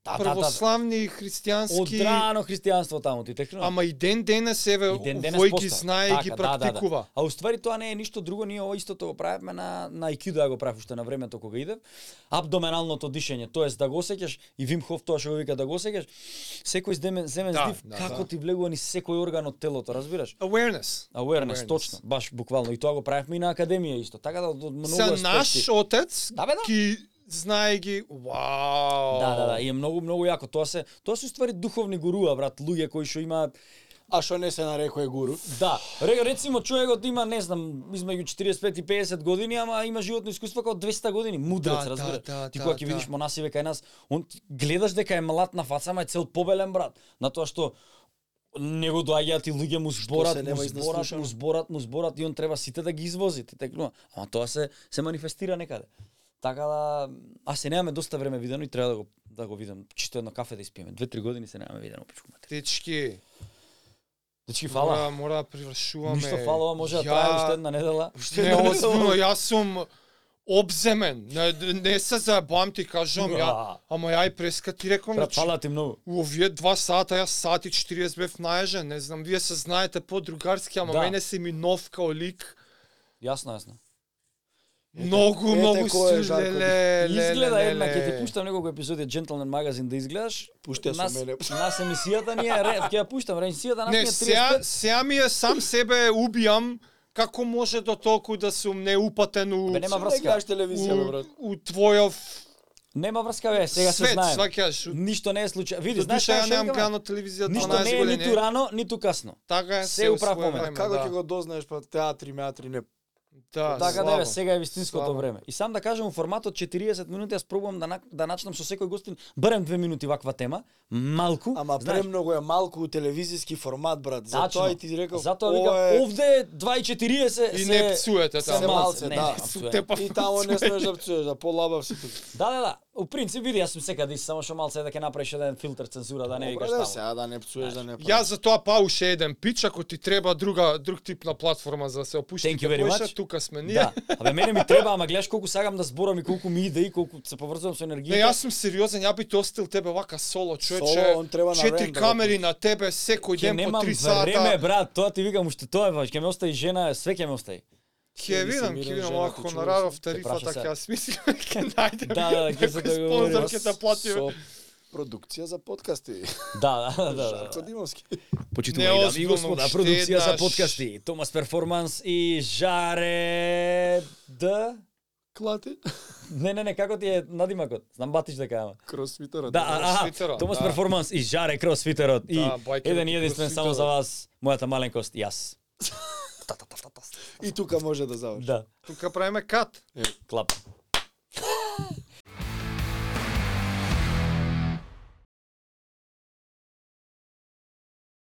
B: Да, да, да, да.
C: православни христијански
B: Одрано христијанство таму ти текнува.
C: Ама и ден денес еве
B: И ден денес
C: овој ги
B: постои.
C: знае и
B: Така,
C: ги
B: да, да, да.
C: практикува.
B: А уствари тоа не е ништо друго, ние ова истото го правевме на на Aikido ја го правев уште на времето кога идев. Абдоменалното дишење, тоест да го осеќаш и Вим Хоф тоа што го вика да го осеќаш, секој земен земен
C: Да,
B: здив
C: да,
B: како
C: да.
B: ти влегува ни секој орган од телото, разбираш? Awareness,
C: Awareness. Awareness.
B: точно, баш буквално и тоа го правевме и на академија исто. Така да од од многу
C: Са наш отец
B: Да, бе, да.
C: ги знае ги. Вау.
B: Да, да, да, и е многу многу јако. Тоа се тоа се уствари духовни гуруа, брат, луѓе кои што имаат
A: А што не се нарекува гуру?
B: Да, ре- рецимо човекот има, не знам, измеѓу 45 и 50 години, ама има животно искуство како 200 години, мудрец,
C: Да,
B: разбира.
C: да, да,
B: ти
C: да,
B: кога ќе
C: да.
B: видиш монасиве кај нас, он ти- гледаш дека е млад на фаца, ама е цел побелен брат, на тоа што него доаѓаат и луѓе му зборат,
A: се
B: му
A: нема
B: зборат, му
A: изнаслушано.
B: зборат, му зборат и он треба сите да ги извози, ти текнува. Ама тоа се се манифестира некаде. Така да, а се немаме доста време видено и треба да го да го видам. Чисто едно кафе да испиеме. Две-три години се немаме видено, пичку матер.
C: Дечки,
B: Дечки,
C: Мора,
B: фала.
C: мора да привршуваме.
B: Ништо фала, ова може да
C: Ја-
B: трае уште една недела.
C: Не, озбилно, јас сум обземен. Не, не се заебам ти кажам, ја,
B: Да.
C: ама ја и преска ти реком,
B: Брат,
C: значи,
B: фала ти многу.
C: у овие два сата, јас сати 40 бев наежен, не знам, вие се знаете по-другарски, ама
B: Да.
C: мене си ми нов као лик.
B: Јасно, јасно.
C: Многу,
A: ете
C: многу
A: кој е
C: стриж,
A: Жарко.
C: леле, леле,
B: Изгледа
C: леле.
B: една, ќе ти пуштам неколку епизоди од Gentleman Magazine да изгледаш.
A: Пуштија со
B: Нас-
A: мене.
B: Нас емисијата ни е, ре- ќе ја пуштам, емисијата нас ни е
C: Не, сега,
B: 35.
C: сега ми е сам себе убијам како може до толку да сум неупатен у,
B: Бе, нема
A: Нема врска.
B: врска.
A: Гледаш телевизија, бе,
C: у,
A: брат.
C: у твојов
B: Нема врска, бе, сега се
C: свет,
B: знае.
C: сваќаш.
B: Ништо не е случај. Види,
C: До
B: знаеш
C: душа
B: што
C: ја
B: ќе
C: немам
B: викаме?
C: гледано телевизија
B: Ништо не
C: 12
B: е ниту
C: години.
B: рано, ниту касно.
C: Така е,
B: се
C: се у
B: управ
C: своје
B: момент.
C: време.
A: Како ќе
C: да.
A: го дознаеш па театри, меатри, не.
C: Да,
B: Така да
C: слабо.
B: бе, сега е вистинското
C: Слабо.
B: време. И сам да кажам, у форматот 40 минути, јас пробувам да, на- да начнам со секој гостин, барем две минути ваква тема, малку.
A: Ама
B: знаеш,
A: премногу е малку у телевизиски формат, брат.
B: Значи,
A: Затоа и ти реков.
B: Затоа
A: ова
B: викам,
A: е-
B: овде е 2.40
C: И
B: се...
C: не псуете
B: се
A: таму.
B: малце,
A: Се
B: не,
A: малце,
B: не,
A: да.
B: псуе.
C: Те па
A: И тамо не смеш да пцуеш, да полабав си тука.
B: Да, да, да. у принцип, види, јас сум секаде, ист, само што малце да ќе направиш еден филтер цензура да не
A: Добре,
B: викаш
A: да,
B: таму.
A: сега да не псуеш, да не правиш.
C: Ја за тоа пауше еден пич, ако ти треба друга друг тип на платформа за да се опушти,
B: Thank you very much.
C: тука сме ние.
B: Да, абе мене ми треба, ама гледаш колку сакам да зборам и колку ми иде и колку се поврзувам со енергија.
C: Не, јас сум сериозен, ја би те остил тебе вака
A: Соло,
C: соло, човече.
A: он треба на
C: Четири
A: рен да
C: камери на тебе секој
B: ќе
C: ден по
B: немам
C: 3
B: време,
C: сата.
B: брат, тоа ти викам, уште тоа е важно. Ќе ме остави жена, све ќе ме остави.
C: Ќе
B: Ќе ми се
C: видам, ќе
B: мирам
C: видам
B: жена,
C: ова
B: ќе чувам
C: хонораров
B: да се, ќе праша
C: тарифата
B: сега.
C: ќе ја смислим, ќе најдем.
B: Да, да, да, ќе се
C: некој
B: договориме.
C: спонзор ќе те плати.
A: Со продукција за подкасти.
B: Да, да, да. да.
A: Жарко Димовски.
B: Почитуваме дами и
C: Неозбилно,
B: господа,
C: уште
B: продукција за
C: еднаш.
B: подкасти. Томас Перформанс и Жаре... Д...
A: Клати.
B: Не, не, не, како ти е надимакот? Знам батиш дека ама.
A: Крос Твитера.
B: Да, а, а,
C: Кросфитерот,
B: Томас
C: да.
B: Перформанс и Жаре Крос Твитерот. И
C: Да, бојке
B: еден и
C: да ти
B: единствен
C: крос
B: само за
C: Твитерот.
B: вас, мојата маленкост, јас. Та, та, та, та, та.
A: И тука може да заврши.
B: Да,
C: Тука правиме кат.
B: клап.